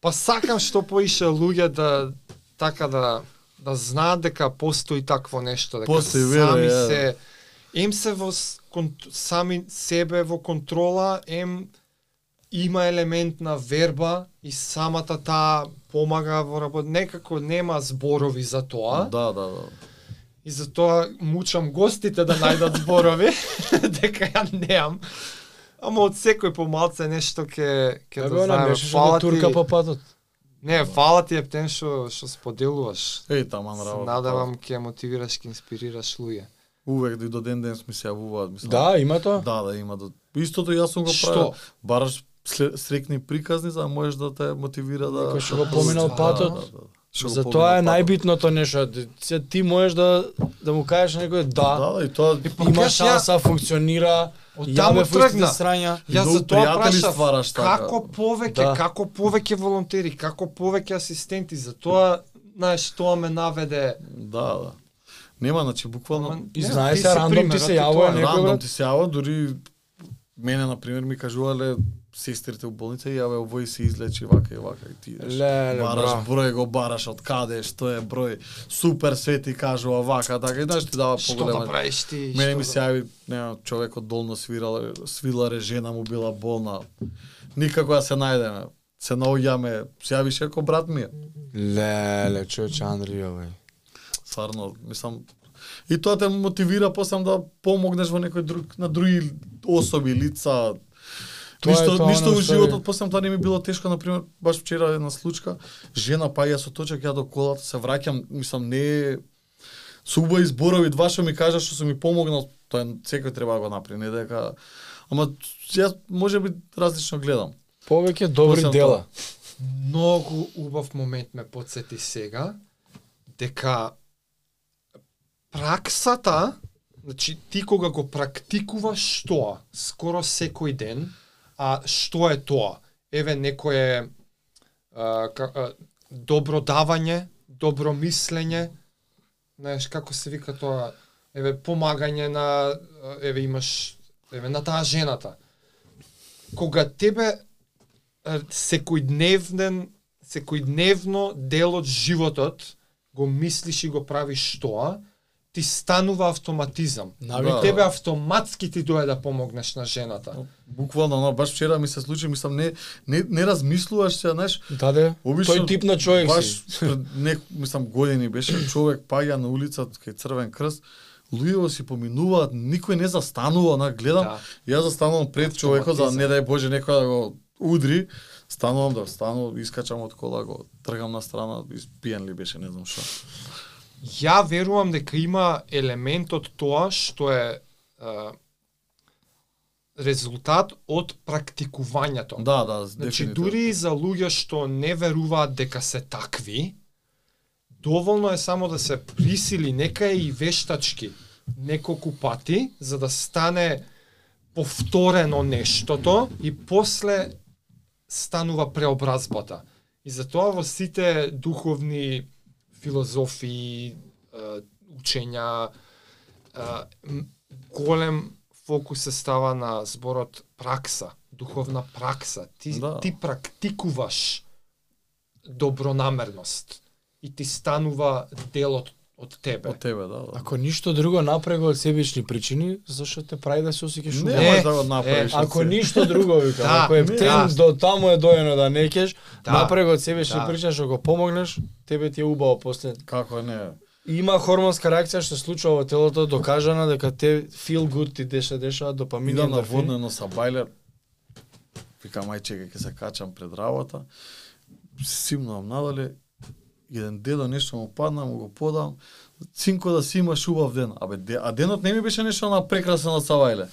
[SPEAKER 3] Па сакам што поише луѓе да така да да знаат дека постои такво нешто, дека
[SPEAKER 2] Постои, верно,
[SPEAKER 3] сами
[SPEAKER 2] е.
[SPEAKER 3] се ем се во с- кон- сами себе во контрола, ем има елемент на верба и самата таа помага во работа. Некако нема зборови за тоа.
[SPEAKER 2] Да, да, да.
[SPEAKER 3] И затоа мучам гостите да најдат зборови, дека ја неам. Ама од секој помалце нешто ќе ќе
[SPEAKER 1] Ја
[SPEAKER 3] да
[SPEAKER 1] бе она
[SPEAKER 3] знаеме.
[SPEAKER 1] беше што
[SPEAKER 3] Фала
[SPEAKER 1] го турка
[SPEAKER 3] ти.
[SPEAKER 1] по патот.
[SPEAKER 3] Не, фала ти ептен што што споделуваш.
[SPEAKER 2] Еј, таман
[SPEAKER 3] Се
[SPEAKER 2] работа.
[SPEAKER 3] надевам ќе моtivираш, ќе инспирираш луѓе.
[SPEAKER 2] па, Увек и до ден денес ми се јавуваат, мислам.
[SPEAKER 1] Да, има тоа.
[SPEAKER 2] Да, да, има до... Истото јас сум го
[SPEAKER 3] Што?
[SPEAKER 2] правил. Бараш сле- срекни приказни за да можеш да те мотивира да
[SPEAKER 1] Некој што го поминал
[SPEAKER 2] Да,
[SPEAKER 1] патот.
[SPEAKER 2] да, да. Што го
[SPEAKER 1] Затоа е
[SPEAKER 2] поминал патот.
[SPEAKER 1] најбитното нешто. Се ти можеш да да му кажеш на некој да,
[SPEAKER 2] Да, да, и тоа
[SPEAKER 1] има
[SPEAKER 3] Ја-
[SPEAKER 1] шанса, функционира,
[SPEAKER 3] Од
[SPEAKER 1] ја
[SPEAKER 3] таму
[SPEAKER 1] бев устите
[SPEAKER 3] тргна.
[SPEAKER 1] срања.
[SPEAKER 3] Јас
[SPEAKER 2] Многу
[SPEAKER 3] за тоа
[SPEAKER 2] пријатели
[SPEAKER 3] прашав,
[SPEAKER 2] ствараш така.
[SPEAKER 3] како повеќе,
[SPEAKER 1] Да.
[SPEAKER 3] како повеќе волонтери, како повеќе асистенти, за тоа, знаеш, тоа ме наведе.
[SPEAKER 2] да, да. Нема, значи
[SPEAKER 3] Ама,
[SPEAKER 2] буквално
[SPEAKER 1] И
[SPEAKER 3] не,
[SPEAKER 1] знае
[SPEAKER 3] ти
[SPEAKER 1] се,
[SPEAKER 3] си
[SPEAKER 1] рандом ти
[SPEAKER 3] примерот
[SPEAKER 1] се
[SPEAKER 3] и
[SPEAKER 1] јавува
[SPEAKER 3] тоа е.
[SPEAKER 1] некој,
[SPEAKER 2] рандом
[SPEAKER 1] брат.
[SPEAKER 2] ти се јава, дури мене на пример ми кажувале сестрите у болница и јаве овој се излечи вака и вака и ти идеш.
[SPEAKER 1] Леле, бра.
[SPEAKER 2] бараш број го бараш од каде, што е број, супер све ти кажува вака, така и знаеш ти дава
[SPEAKER 3] Што да
[SPEAKER 2] поголема
[SPEAKER 3] правиш ти?
[SPEAKER 2] Мене
[SPEAKER 3] што
[SPEAKER 2] ми
[SPEAKER 3] да-
[SPEAKER 2] се јави, нема, човек од долно свирал, свиларе, жена му била болна. Никако да се најдеме. Се наоѓаме, се јавиш како брат ми. е.
[SPEAKER 1] Леле, човече Андри овој.
[SPEAKER 2] Стварно, мислам, и тоа те мотивира посам да помогнеш во некој друг, на други особи, лица.
[SPEAKER 1] Тоа е
[SPEAKER 2] ништо
[SPEAKER 1] тоа,
[SPEAKER 2] ништо
[SPEAKER 1] она,
[SPEAKER 2] у
[SPEAKER 1] што
[SPEAKER 2] животот
[SPEAKER 1] е.
[SPEAKER 2] посам тоа не ми било тешко, на пример, баш вчера една случка, жена паја со точак ја до колата, се враќам, мислам не е Суба изборови два што ми кажа што сум ми помогнал, тоа е- секој треба да го направи, не дека ама јас може би различно гледам.
[SPEAKER 1] Повеќе добри
[SPEAKER 2] Посам
[SPEAKER 1] дела.
[SPEAKER 3] многу убав момент ме подсети сега, дека праксата, значи ти кога го практикуваш тоа, скоро секој ден, а што е тоа? Еве некое а, ка, а, добро давање, добро мислење, знаеш како се вика тоа, еве помагање на а, еве имаш еве на таа жената. Кога тебе е, секојдневен секојдневно дел од животот го мислиш и го правиш тоа, ти станува автоматизам.
[SPEAKER 1] Навика.
[SPEAKER 3] И тебе автоматски ти дојде да помогнеш на жената.
[SPEAKER 2] Буквално, но баш вчера ми се случи, мислам, не, не, не размислуваш се, знаеш,
[SPEAKER 1] Даде,
[SPEAKER 2] Обично,
[SPEAKER 1] тој тип на човек си.
[SPEAKER 2] баш пред нек, мислам, години беше човек паѓа на улица кај Црвен крст, луѓето си поминуваат, никој не застанува, на гледам,
[SPEAKER 3] Да.
[SPEAKER 2] јас застанувам пред човекот за да не дај Боже некој да го удри, станувам да станувам, искачам од кола, го тргам на страна, испиен ли беше, не знам што.
[SPEAKER 3] Ја верувам дека има елемент од тоа што е, е резултат од практикувањето.
[SPEAKER 2] Да, да,
[SPEAKER 3] Значи,
[SPEAKER 2] дефинитивно.
[SPEAKER 3] дури и за луѓе што не веруваат дека се такви, доволно е само да се присили нека и вештачки неколку пати, за да стане повторено нештото и после станува преобразбата. И затоа во сите духовни филозофии, е, учења, е, м- голем фокус се става на зборот пракса, духовна пракса. Ти,
[SPEAKER 2] Да.
[SPEAKER 3] да. ти практикуваш добронамерност и ти станува дел од, од тебе.
[SPEAKER 2] Од тебе, да. да.
[SPEAKER 1] Ако ништо друго напрега од себични причини, зашто те прави да се осеќаш
[SPEAKER 2] не,
[SPEAKER 1] убаво.
[SPEAKER 2] можеш
[SPEAKER 3] е,
[SPEAKER 2] да го направиш. од
[SPEAKER 1] Ако
[SPEAKER 2] себе.
[SPEAKER 1] ништо друго вика,
[SPEAKER 3] Да,
[SPEAKER 1] ако е
[SPEAKER 3] не,
[SPEAKER 1] тренд
[SPEAKER 3] да.
[SPEAKER 1] до таму е доено да не кеш,
[SPEAKER 3] Да.
[SPEAKER 1] напрега од себешни
[SPEAKER 3] Да.
[SPEAKER 1] причини што го помогнеш, тебе ти е убаво после.
[SPEAKER 2] Како не?
[SPEAKER 1] Има хормонска реакција што се случува во телото, докажана дека те feel good ти деша деша допамин
[SPEAKER 2] Мидам на
[SPEAKER 1] ендорфин.
[SPEAKER 2] воднено са бајлер. Викам, ај чека, ќе се качам пред работа. Симнувам надале. Еден дедо нешто му падна, му го подам. Цинко да си имаш убав ден. Абе, де, а денот не ми беше нешто на прекрасен од Савајле.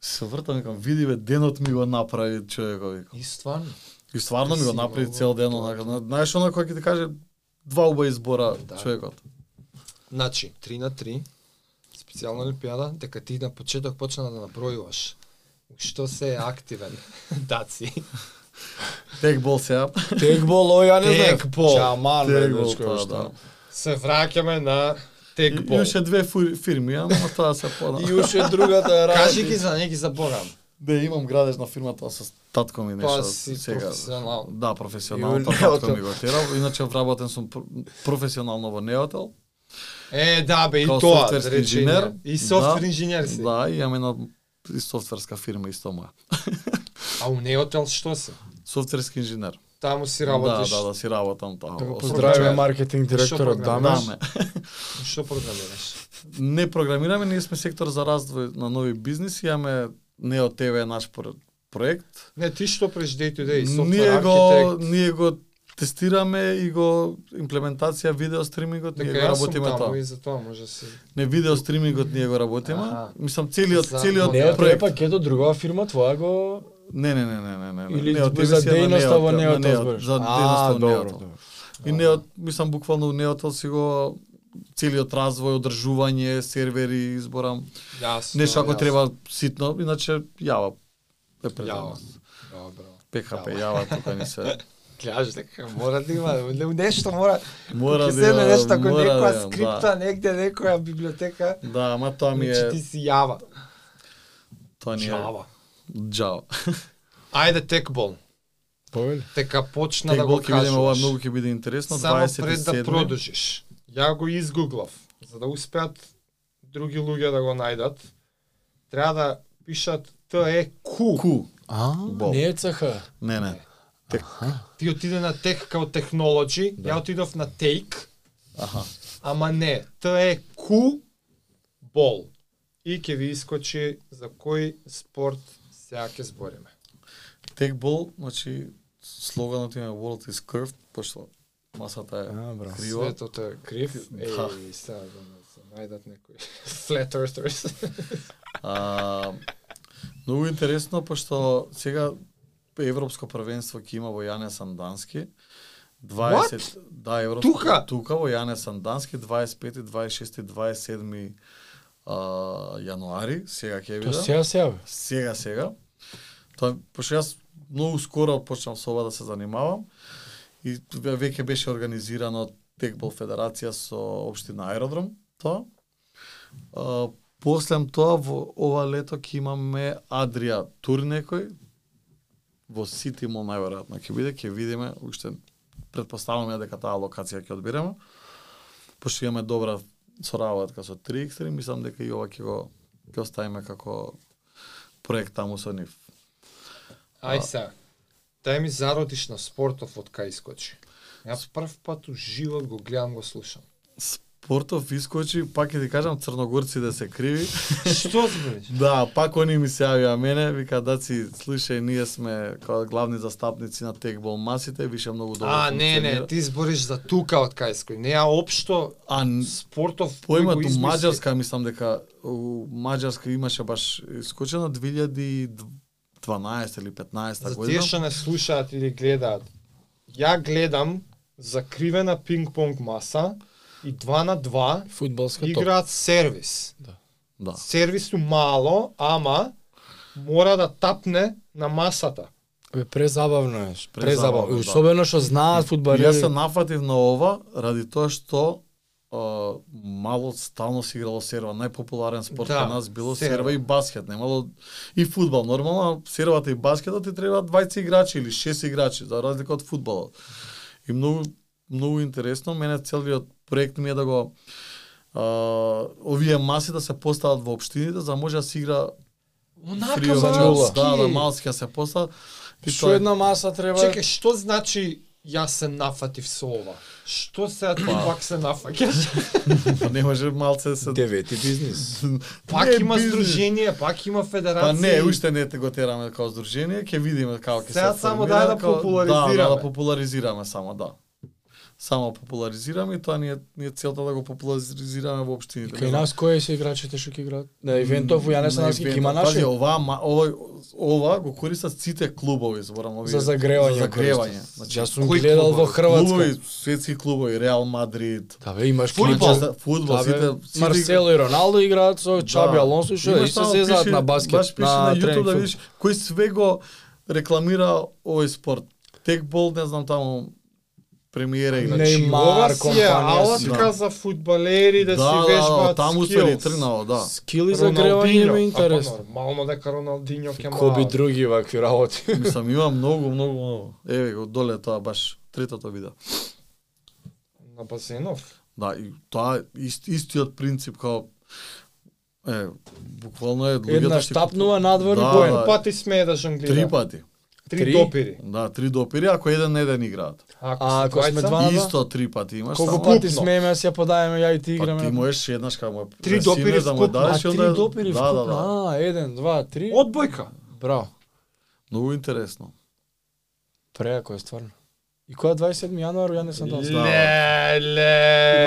[SPEAKER 2] Се вртам, викам, види бе, денот ми го направи човекот, викам.
[SPEAKER 3] И стварно.
[SPEAKER 2] И стварно ми го
[SPEAKER 3] Си
[SPEAKER 2] направи
[SPEAKER 3] го-
[SPEAKER 2] цел ден, онака. На- Знаеш она кој ќе ти каже два убави избора
[SPEAKER 3] Да.
[SPEAKER 2] човекот.
[SPEAKER 3] Значи, 3 на 3, специјална олимпијада, дека ти на почеток почна да набројуваш. Што се е активен? Даци.
[SPEAKER 2] Тек бол сега.
[SPEAKER 1] Текбол, ој, ја не знаев.
[SPEAKER 3] Текбол.
[SPEAKER 1] Чаман, бе,
[SPEAKER 2] Текбол,
[SPEAKER 1] дечко,
[SPEAKER 2] тоа,
[SPEAKER 1] што.
[SPEAKER 2] да.
[SPEAKER 3] Се враќаме на
[SPEAKER 2] И-
[SPEAKER 3] текбол.
[SPEAKER 2] Имаше две фур- фирми, ама тоа се пода.
[SPEAKER 1] И уште другата работа.
[SPEAKER 3] Кажи ги за неги за Бога.
[SPEAKER 2] Да, имам градежна фирма, тоа со татко ми
[SPEAKER 3] Тоа
[SPEAKER 2] нешто
[SPEAKER 3] Па, си професионал.
[SPEAKER 2] Да, професионално,
[SPEAKER 1] И
[SPEAKER 2] тоа
[SPEAKER 1] у неотел.
[SPEAKER 2] татко ми го тера. Иначе вработен сум пр- професионално во неотел.
[SPEAKER 3] Е, да бе, и
[SPEAKER 2] Као
[SPEAKER 3] тоа,
[SPEAKER 2] софтверски
[SPEAKER 3] рече
[SPEAKER 2] инженер.
[SPEAKER 3] ја. И софтвер
[SPEAKER 2] Да.
[SPEAKER 3] инженер си.
[SPEAKER 2] Да, и имам една и софтверска фирма исто моја.
[SPEAKER 3] А у неотел што си?
[SPEAKER 2] Софтверски инженер.
[SPEAKER 3] Таму си
[SPEAKER 2] Да,
[SPEAKER 3] работиш.
[SPEAKER 2] да, да, си работам таа.
[SPEAKER 1] Да го
[SPEAKER 2] Освен-
[SPEAKER 1] поздравиме маркетинг
[SPEAKER 3] Шо
[SPEAKER 1] директорот Дамеш.
[SPEAKER 3] програмираш?
[SPEAKER 2] Даме. да.
[SPEAKER 3] Што програмираш?
[SPEAKER 2] Не програмираме, ние сме сектор за развој на нови бизнеси, имаме Нео ТВ е наш пр- проект.
[SPEAKER 3] Не, ти што преш day to day,
[SPEAKER 2] ние
[SPEAKER 3] софтвер
[SPEAKER 2] го
[SPEAKER 3] архитект.
[SPEAKER 2] ние го тестираме и го имплементација видео стримингот ние
[SPEAKER 3] Дека
[SPEAKER 2] го
[SPEAKER 3] Така, јас сум
[SPEAKER 2] работиме
[SPEAKER 3] таму
[SPEAKER 2] тоа.
[SPEAKER 3] и за тоа може си.
[SPEAKER 2] Не видео стримингот ние го работиме.
[SPEAKER 3] Аха.
[SPEAKER 2] Мислам целиот
[SPEAKER 3] За-
[SPEAKER 2] целиот
[SPEAKER 1] Не,
[SPEAKER 3] Нео
[SPEAKER 1] тоа е
[SPEAKER 2] проект.
[SPEAKER 1] пакет од другава фирма, твоја го...
[SPEAKER 2] Не, не, не, не, не, не.
[SPEAKER 1] Или
[SPEAKER 2] Нео TV
[SPEAKER 1] за
[SPEAKER 2] си е на
[SPEAKER 1] дејноста во
[SPEAKER 2] на
[SPEAKER 1] неото
[SPEAKER 2] Нео,
[SPEAKER 1] збориш.
[SPEAKER 2] За
[SPEAKER 1] А,
[SPEAKER 2] дејноста во
[SPEAKER 1] добро,
[SPEAKER 2] неото.
[SPEAKER 1] добро.
[SPEAKER 2] И неот, мислам буквално у неото си го целиот развој, одржување, сервери изборам.
[SPEAKER 3] Јасно.
[SPEAKER 2] Нешто ако
[SPEAKER 3] јасно.
[SPEAKER 2] треба ситно, иначе јава. Е пред
[SPEAKER 3] Јава.
[SPEAKER 2] нас.
[SPEAKER 3] Добро.
[SPEAKER 2] ПХП, јава тука не се.
[SPEAKER 3] Гледаш дека мора да има, не- нешто мора.
[SPEAKER 2] Мора да
[SPEAKER 3] ќе седне
[SPEAKER 2] ја-
[SPEAKER 3] нешто како
[SPEAKER 2] мора да ја,
[SPEAKER 3] некоја
[SPEAKER 2] да.
[SPEAKER 3] скрипта, негде некоја библиотека.
[SPEAKER 2] Да, ама тоа ми
[SPEAKER 3] Значи ти
[SPEAKER 2] е
[SPEAKER 3] си јава.
[SPEAKER 2] тоа не е.
[SPEAKER 3] Јава.
[SPEAKER 2] Джава.
[SPEAKER 3] Ајде текбол.
[SPEAKER 1] Повели.
[SPEAKER 3] Дека почна да
[SPEAKER 2] Тек
[SPEAKER 3] го
[SPEAKER 2] ќе видиме ова
[SPEAKER 3] кажуваш.
[SPEAKER 2] многу ќе биде интересно.
[SPEAKER 3] Само пред да
[SPEAKER 2] 27.
[SPEAKER 3] продолжиш. Ја го изгуглав, за да успеат други луѓе да го најдат. Треба да пишат ТЕКУ.
[SPEAKER 2] Ку.
[SPEAKER 1] А,
[SPEAKER 2] Бол.
[SPEAKER 1] не е цаха.
[SPEAKER 2] Не, не.
[SPEAKER 3] Ти отиде на тех као технологи,
[SPEAKER 1] Да.
[SPEAKER 3] ја отидов на тейк,
[SPEAKER 2] Аха.
[SPEAKER 3] ама не, ТЕКУ бол. И ќе ви искочи за кој спорт сега ќе збориме.
[SPEAKER 2] Текбол, значи слоганот има World is curved, пошто масата
[SPEAKER 1] А, браво.
[SPEAKER 2] е крива.
[SPEAKER 3] Светот е крив,
[SPEAKER 2] Да.
[SPEAKER 3] еј, сега да не се најдат некои flat earthers.
[SPEAKER 2] А, многу интересно, пошто сега Европско првенство ќе има во Јане Сандански. 20 да Европско
[SPEAKER 3] Тука?
[SPEAKER 2] тука во Јане Сандански 25, 26, 27 а, јануари, сега ќе
[SPEAKER 1] Тоа
[SPEAKER 2] видам.
[SPEAKER 1] сега сега. бе.
[SPEAKER 2] сега сега. Тоа пошто јас многу скоро почнав со ова да се занимавам и ве- веќе беше организирано Текбол Федерација со општина Аеродром, тоа. А, Послем тоа во ова лето ќе имаме Адрија тур некој во Сити Мол најверојатно ќе биде, ќе видиме уште предпоставувам ја дека таа локација ќе одберемо. Пошто имаме добра соработка со 3x3, мислам дека и ова ќе го ќе оставиме како проект таму со нив.
[SPEAKER 3] Ај сега, дај ми зародиш на спортов од кај искочи. Јас прв пат у живот го гледам, го слушам.
[SPEAKER 2] Спортов искочи, пак ќе ти кажам црногорци да се криви.
[SPEAKER 3] Што збориш?
[SPEAKER 2] Да, пак они ми се јавиа мене, вика даци, слушај, ние сме како главни застапници на текбол масите, више многу добро
[SPEAKER 3] А, не, не,
[SPEAKER 2] функционира».
[SPEAKER 3] ти збориш за тука од Кајској. Не, а општо
[SPEAKER 2] А н-
[SPEAKER 3] спортов кој го
[SPEAKER 2] поимат у
[SPEAKER 3] измисли-
[SPEAKER 2] Маѓарска, мислам дека у Маѓарска имаше баш искочено 2012 или 15
[SPEAKER 3] За тие
[SPEAKER 2] година.
[SPEAKER 3] што не слушаат или гледаат. Ја гледам закривена пинг-понг маса и 2 на 2
[SPEAKER 1] Фудбалска топка.
[SPEAKER 3] играат сервис.
[SPEAKER 2] Да.
[SPEAKER 3] Сервису мало, ама мора да тапне на масата.
[SPEAKER 1] Бе, презабавно е.
[SPEAKER 2] Презабавно,
[SPEAKER 1] Презабавно.
[SPEAKER 2] да.
[SPEAKER 1] И Особено што знаат
[SPEAKER 2] Бари... Јас
[SPEAKER 1] фудбалери.
[SPEAKER 2] се нафатив на ова ради тоа што а, мало стално се играло серва. Најпопуларен спорт
[SPEAKER 3] Да,
[SPEAKER 2] да, кај нас било
[SPEAKER 3] серва.
[SPEAKER 2] серва. серва и баскет. Немало и фудбал. Нормално сервата и баскетот ти треба 20 играчи или 6 играчи за разлика од фудбалот. И многу многу интересно, мене целиот проект ми е да го а, овие маси да се постават во општините за да може да се игра
[SPEAKER 3] Значи,
[SPEAKER 2] фри овер.
[SPEAKER 1] малски.
[SPEAKER 2] да, да, малски да се постават. И
[SPEAKER 1] Што една маса треба...
[SPEAKER 3] Чекај, што значи јас се нафатив со ова? Што се
[SPEAKER 1] Па.
[SPEAKER 3] ти пак се нафаќаш?
[SPEAKER 2] тоа не може малце да се
[SPEAKER 1] Девети бизнис. Па,
[SPEAKER 3] Пак
[SPEAKER 2] Не,
[SPEAKER 3] има
[SPEAKER 2] бизнес.
[SPEAKER 3] здружение, пак има
[SPEAKER 2] Па
[SPEAKER 3] федерација.
[SPEAKER 2] не, уште не те го тераме како здружение, ќе видиме како ќе се
[SPEAKER 3] Сега само
[SPEAKER 2] формира,
[SPEAKER 3] дај да
[SPEAKER 2] како-
[SPEAKER 3] популаризираме.
[SPEAKER 2] Да, да, да популаризираме само, да. Само популаризираме и тоа ни е, ни е целта да го популаризираме во општините.
[SPEAKER 1] Кај нас кои се играчите што ќе играат? На ивентов ја не
[SPEAKER 2] На
[SPEAKER 1] се наски ќе
[SPEAKER 2] ивентот.
[SPEAKER 1] има
[SPEAKER 2] Пази,
[SPEAKER 1] наши.
[SPEAKER 2] ова, ма- ова, ова го користат сите клубови, зборам овие.
[SPEAKER 1] За загревање.
[SPEAKER 2] За загревање.
[SPEAKER 1] Значи, јас сум
[SPEAKER 3] кои
[SPEAKER 1] гледал во
[SPEAKER 3] клубови?
[SPEAKER 1] Хрватска.
[SPEAKER 2] Клубови, светски клубови, Реал Мадрид,
[SPEAKER 1] Да бе, имаш
[SPEAKER 2] Фудбал,
[SPEAKER 1] Манчестер-
[SPEAKER 2] фудбал,
[SPEAKER 1] Да, бе,
[SPEAKER 2] сите- сите-
[SPEAKER 1] Марсело и Роналдо играат со Чаби Алонсо и што
[SPEAKER 2] Да. Имаш
[SPEAKER 1] и се
[SPEAKER 2] таму
[SPEAKER 1] зезаат
[SPEAKER 2] пише-
[SPEAKER 1] на баскет.
[SPEAKER 2] Баш пише на, YouTube
[SPEAKER 1] тренинг
[SPEAKER 2] да
[SPEAKER 1] футбол.
[SPEAKER 2] видиш кој све го рекламира овој спорт. Текбол, не знам таму премиера или
[SPEAKER 1] Не, Неймар,
[SPEAKER 3] значи, ова си е
[SPEAKER 1] компанија си.
[SPEAKER 3] алатка за фудбалери да, си вежбаат
[SPEAKER 2] таму се
[SPEAKER 3] скилс.
[SPEAKER 2] ли тргнало, да.
[SPEAKER 1] Скили за гревање ме
[SPEAKER 3] А, па,
[SPEAKER 1] интересно.
[SPEAKER 3] нормално дека Роналдиньо ќе
[SPEAKER 1] Коби
[SPEAKER 3] маа.
[SPEAKER 1] други вакви работи.
[SPEAKER 2] Мислам има многу, многу, многу. Еве го доле тоа баш третото видео.
[SPEAKER 3] На базенов.
[SPEAKER 2] Да, и тоа ист, истиот принцип како е буквално е луѓето
[SPEAKER 1] Една
[SPEAKER 2] што-
[SPEAKER 1] штапнува надвор и
[SPEAKER 2] Да,
[SPEAKER 1] поен.
[SPEAKER 2] да.
[SPEAKER 3] Кој пати смее да жонглира?
[SPEAKER 2] три пати.
[SPEAKER 3] Три,
[SPEAKER 1] Три?
[SPEAKER 3] допири.
[SPEAKER 2] Да, три допири, ако еден не ден играат.
[SPEAKER 1] А, ако сме
[SPEAKER 3] двајца,
[SPEAKER 1] два- Ама да.
[SPEAKER 2] Исто три пати имаш.
[SPEAKER 1] Колку
[SPEAKER 2] само-
[SPEAKER 1] пати
[SPEAKER 3] Вкупно.
[SPEAKER 1] смееме да си ја подаеме ја и ти
[SPEAKER 2] Па
[SPEAKER 1] играме.
[SPEAKER 2] ти
[SPEAKER 1] на-
[SPEAKER 2] можеш еднаш кога му
[SPEAKER 3] Три допири
[SPEAKER 2] пресинеш да му
[SPEAKER 3] вкупно.
[SPEAKER 2] дадеш
[SPEAKER 1] А
[SPEAKER 2] и onda-
[SPEAKER 1] три допири
[SPEAKER 2] да, да, да.
[SPEAKER 1] вкупно. А, еден, два, три.
[SPEAKER 3] Одбојка.
[SPEAKER 1] Браво.
[SPEAKER 2] Многу интересно.
[SPEAKER 1] Преако е стварно. И која 27 јануар ја не сам дал.
[SPEAKER 3] Ле, ле.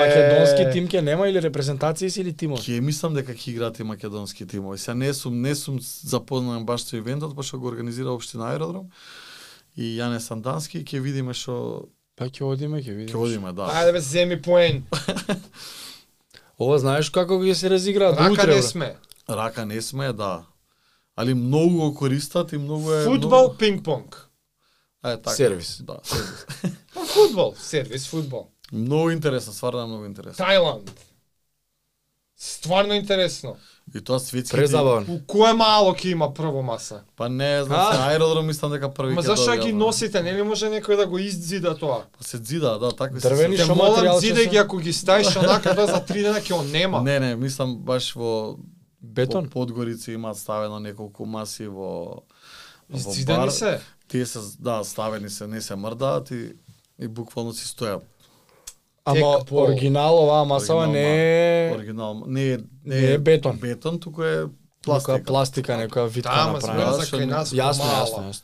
[SPEAKER 1] Да. Македонски тим ќе нема или репрезентација си или тимот?
[SPEAKER 2] Ќе мислам дека ќе играат и македонски тимови. Сега не сум не сум запознат баш со ивентот, пошто го организира општина аеродром. И Јане Сандански ќе видиме што
[SPEAKER 1] Па ќе одиме, ќе
[SPEAKER 2] ќе
[SPEAKER 1] видиме.
[SPEAKER 2] одиме, да.
[SPEAKER 3] Ајде бе, земи поен.
[SPEAKER 1] Ова знаеш како ќе се разиграат
[SPEAKER 3] Рака
[SPEAKER 1] утре.
[SPEAKER 3] не
[SPEAKER 1] бре.
[SPEAKER 3] сме.
[SPEAKER 2] Рака не сме, да. Али многу го користат и многу е
[SPEAKER 3] Фудбал,
[SPEAKER 2] многу-
[SPEAKER 3] пинг-понг.
[SPEAKER 2] Е, така.
[SPEAKER 1] Сервис.
[SPEAKER 2] Да, сервис.
[SPEAKER 3] Па фудбал, сервис фудбал.
[SPEAKER 2] Многу интересно, стварно многу интересно.
[SPEAKER 3] Тајланд. Стварно интересно.
[SPEAKER 2] И тоа светски.
[SPEAKER 1] Да. Презабавно.
[SPEAKER 3] У кое мало ќе има прво маса?
[SPEAKER 2] Па не,
[SPEAKER 1] А?
[SPEAKER 2] знам, се, аеродром мислам дека први
[SPEAKER 3] Ма
[SPEAKER 2] ќе
[SPEAKER 3] зашто ја
[SPEAKER 2] добија,
[SPEAKER 3] ги
[SPEAKER 2] да.
[SPEAKER 3] носите? Нели може некој да го иззида тоа?
[SPEAKER 2] Па се зида, да, такви
[SPEAKER 1] Дрвени Ти
[SPEAKER 2] се.
[SPEAKER 3] Те
[SPEAKER 1] шо
[SPEAKER 3] молам
[SPEAKER 1] материјал ќе
[SPEAKER 3] зидај
[SPEAKER 1] се-
[SPEAKER 3] ги ако ги ставиш онака тоа за три дена ќе он нема.
[SPEAKER 2] Не, не, мислам баш во
[SPEAKER 1] Бетон.
[SPEAKER 2] Во Подгорица имаат ставено неколку маси во во
[SPEAKER 1] да
[SPEAKER 2] бар.
[SPEAKER 3] Иззидани се.
[SPEAKER 2] Тие се да, ставени се, не се мрдаат и и буквално си стојат.
[SPEAKER 1] Ама
[SPEAKER 3] Тек, пол.
[SPEAKER 1] оригинал оваа масава
[SPEAKER 2] Оригинал,
[SPEAKER 1] не е
[SPEAKER 2] Оригинал не е
[SPEAKER 1] не е бетон.
[SPEAKER 2] Бетон туку е
[SPEAKER 1] пластика,
[SPEAKER 2] пластика.
[SPEAKER 1] пластика некоја витка
[SPEAKER 3] Да, ма
[SPEAKER 1] направена.
[SPEAKER 3] зборам за
[SPEAKER 2] што
[SPEAKER 3] кај
[SPEAKER 2] не-
[SPEAKER 3] нас
[SPEAKER 1] Јасно,
[SPEAKER 3] мало.
[SPEAKER 1] јасно, јасно.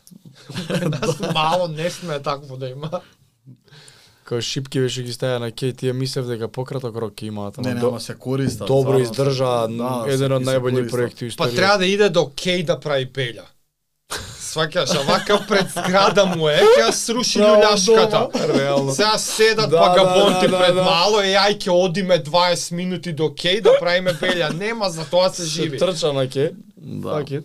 [SPEAKER 3] Кај нас мало не сме такво да има.
[SPEAKER 1] Кај шипки беше ги стаја на кеј, тие мислев дека пократок рок ќе имаат,
[SPEAKER 2] Не,
[SPEAKER 1] ама
[SPEAKER 2] не,
[SPEAKER 1] до-
[SPEAKER 2] ама се користат.
[SPEAKER 1] добро
[SPEAKER 2] стварно се-
[SPEAKER 1] издржа
[SPEAKER 2] да, се-
[SPEAKER 1] еден од
[SPEAKER 2] и се
[SPEAKER 1] најбољи
[SPEAKER 2] користат.
[SPEAKER 1] проекти во
[SPEAKER 3] Па
[SPEAKER 1] историјата.
[SPEAKER 3] треба да иде до кеј да прави пеља. Сваќаш, а вака пред зграда му е, ќе ја сруши
[SPEAKER 1] Право
[SPEAKER 3] луѓашката.
[SPEAKER 1] дома, реално.
[SPEAKER 3] Сега седат
[SPEAKER 1] Да, да,
[SPEAKER 3] вагабонти
[SPEAKER 1] да, да,
[SPEAKER 3] пред
[SPEAKER 1] да.
[SPEAKER 3] мало е, ај ќе одиме 20 минути до кеј да правиме пеља. Нема, за тоа се живи.
[SPEAKER 1] Се трча на кеј.
[SPEAKER 2] Да.
[SPEAKER 1] Пакет.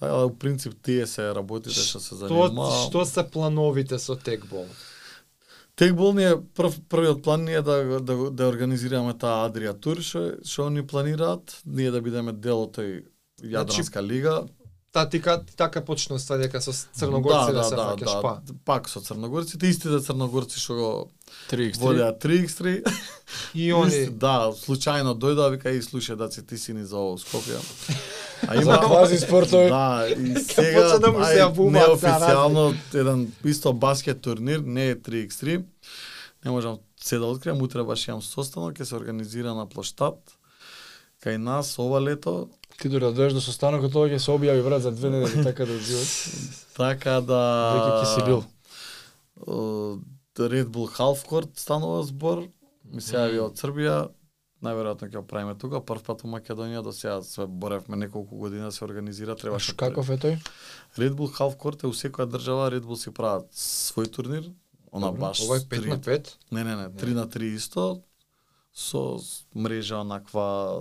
[SPEAKER 2] Така да, у принцип тие се работите што се
[SPEAKER 3] Што,
[SPEAKER 2] занимава.
[SPEAKER 3] што се плановите со текбол?
[SPEAKER 2] Текбол ни е прв првиот план ни е да го- да го- да организираме таа Адрија
[SPEAKER 3] Значи,
[SPEAKER 2] Тур што што они планираат, ние да бидеме дел од тој Јадранска лига.
[SPEAKER 3] Та така, така почна ста дека со
[SPEAKER 2] Да,
[SPEAKER 3] црногорци да,
[SPEAKER 2] да,
[SPEAKER 3] се
[SPEAKER 2] да,
[SPEAKER 3] враќаш
[SPEAKER 2] да,
[SPEAKER 3] па.
[SPEAKER 2] Пак со црногорците, истите црногорци што го
[SPEAKER 1] 3x3.
[SPEAKER 2] водеа 3x3.
[SPEAKER 3] И они
[SPEAKER 2] Да, случајно дојдоа, вика, и слушај, да ти сини за ово, Скопје. А
[SPEAKER 1] За квази спортови.
[SPEAKER 2] Да, и сега
[SPEAKER 3] почна да му се
[SPEAKER 2] ај,
[SPEAKER 3] јабумат,
[SPEAKER 2] неофицијално еден исто баскет турнир, не е 3x3. Не можам се да откриам, утре баш имам состанок, ќе се организира на плоштад кај нас ова лето,
[SPEAKER 1] Ти дури да доеш до состанокот тоа ќе се објави брат за две недели така да живееш.
[SPEAKER 2] така да
[SPEAKER 1] Веќе ќе си бил.
[SPEAKER 2] Э, Red Bull Half Court станува збор, ми се јави од Србија, најверојатно ќе го правиме тука, прв пат во Македонија, до сега се боревме неколку години да се организира, требаше
[SPEAKER 1] Каков е тој?
[SPEAKER 2] Red Bull Half Court е у секоја држава, Red Бул си прават свој турнир, она
[SPEAKER 3] Добро,
[SPEAKER 2] баш
[SPEAKER 3] Ова е 5
[SPEAKER 2] три-
[SPEAKER 3] на 5.
[SPEAKER 2] Не, не, не, 3 на 3 исто со с- мрежа онаква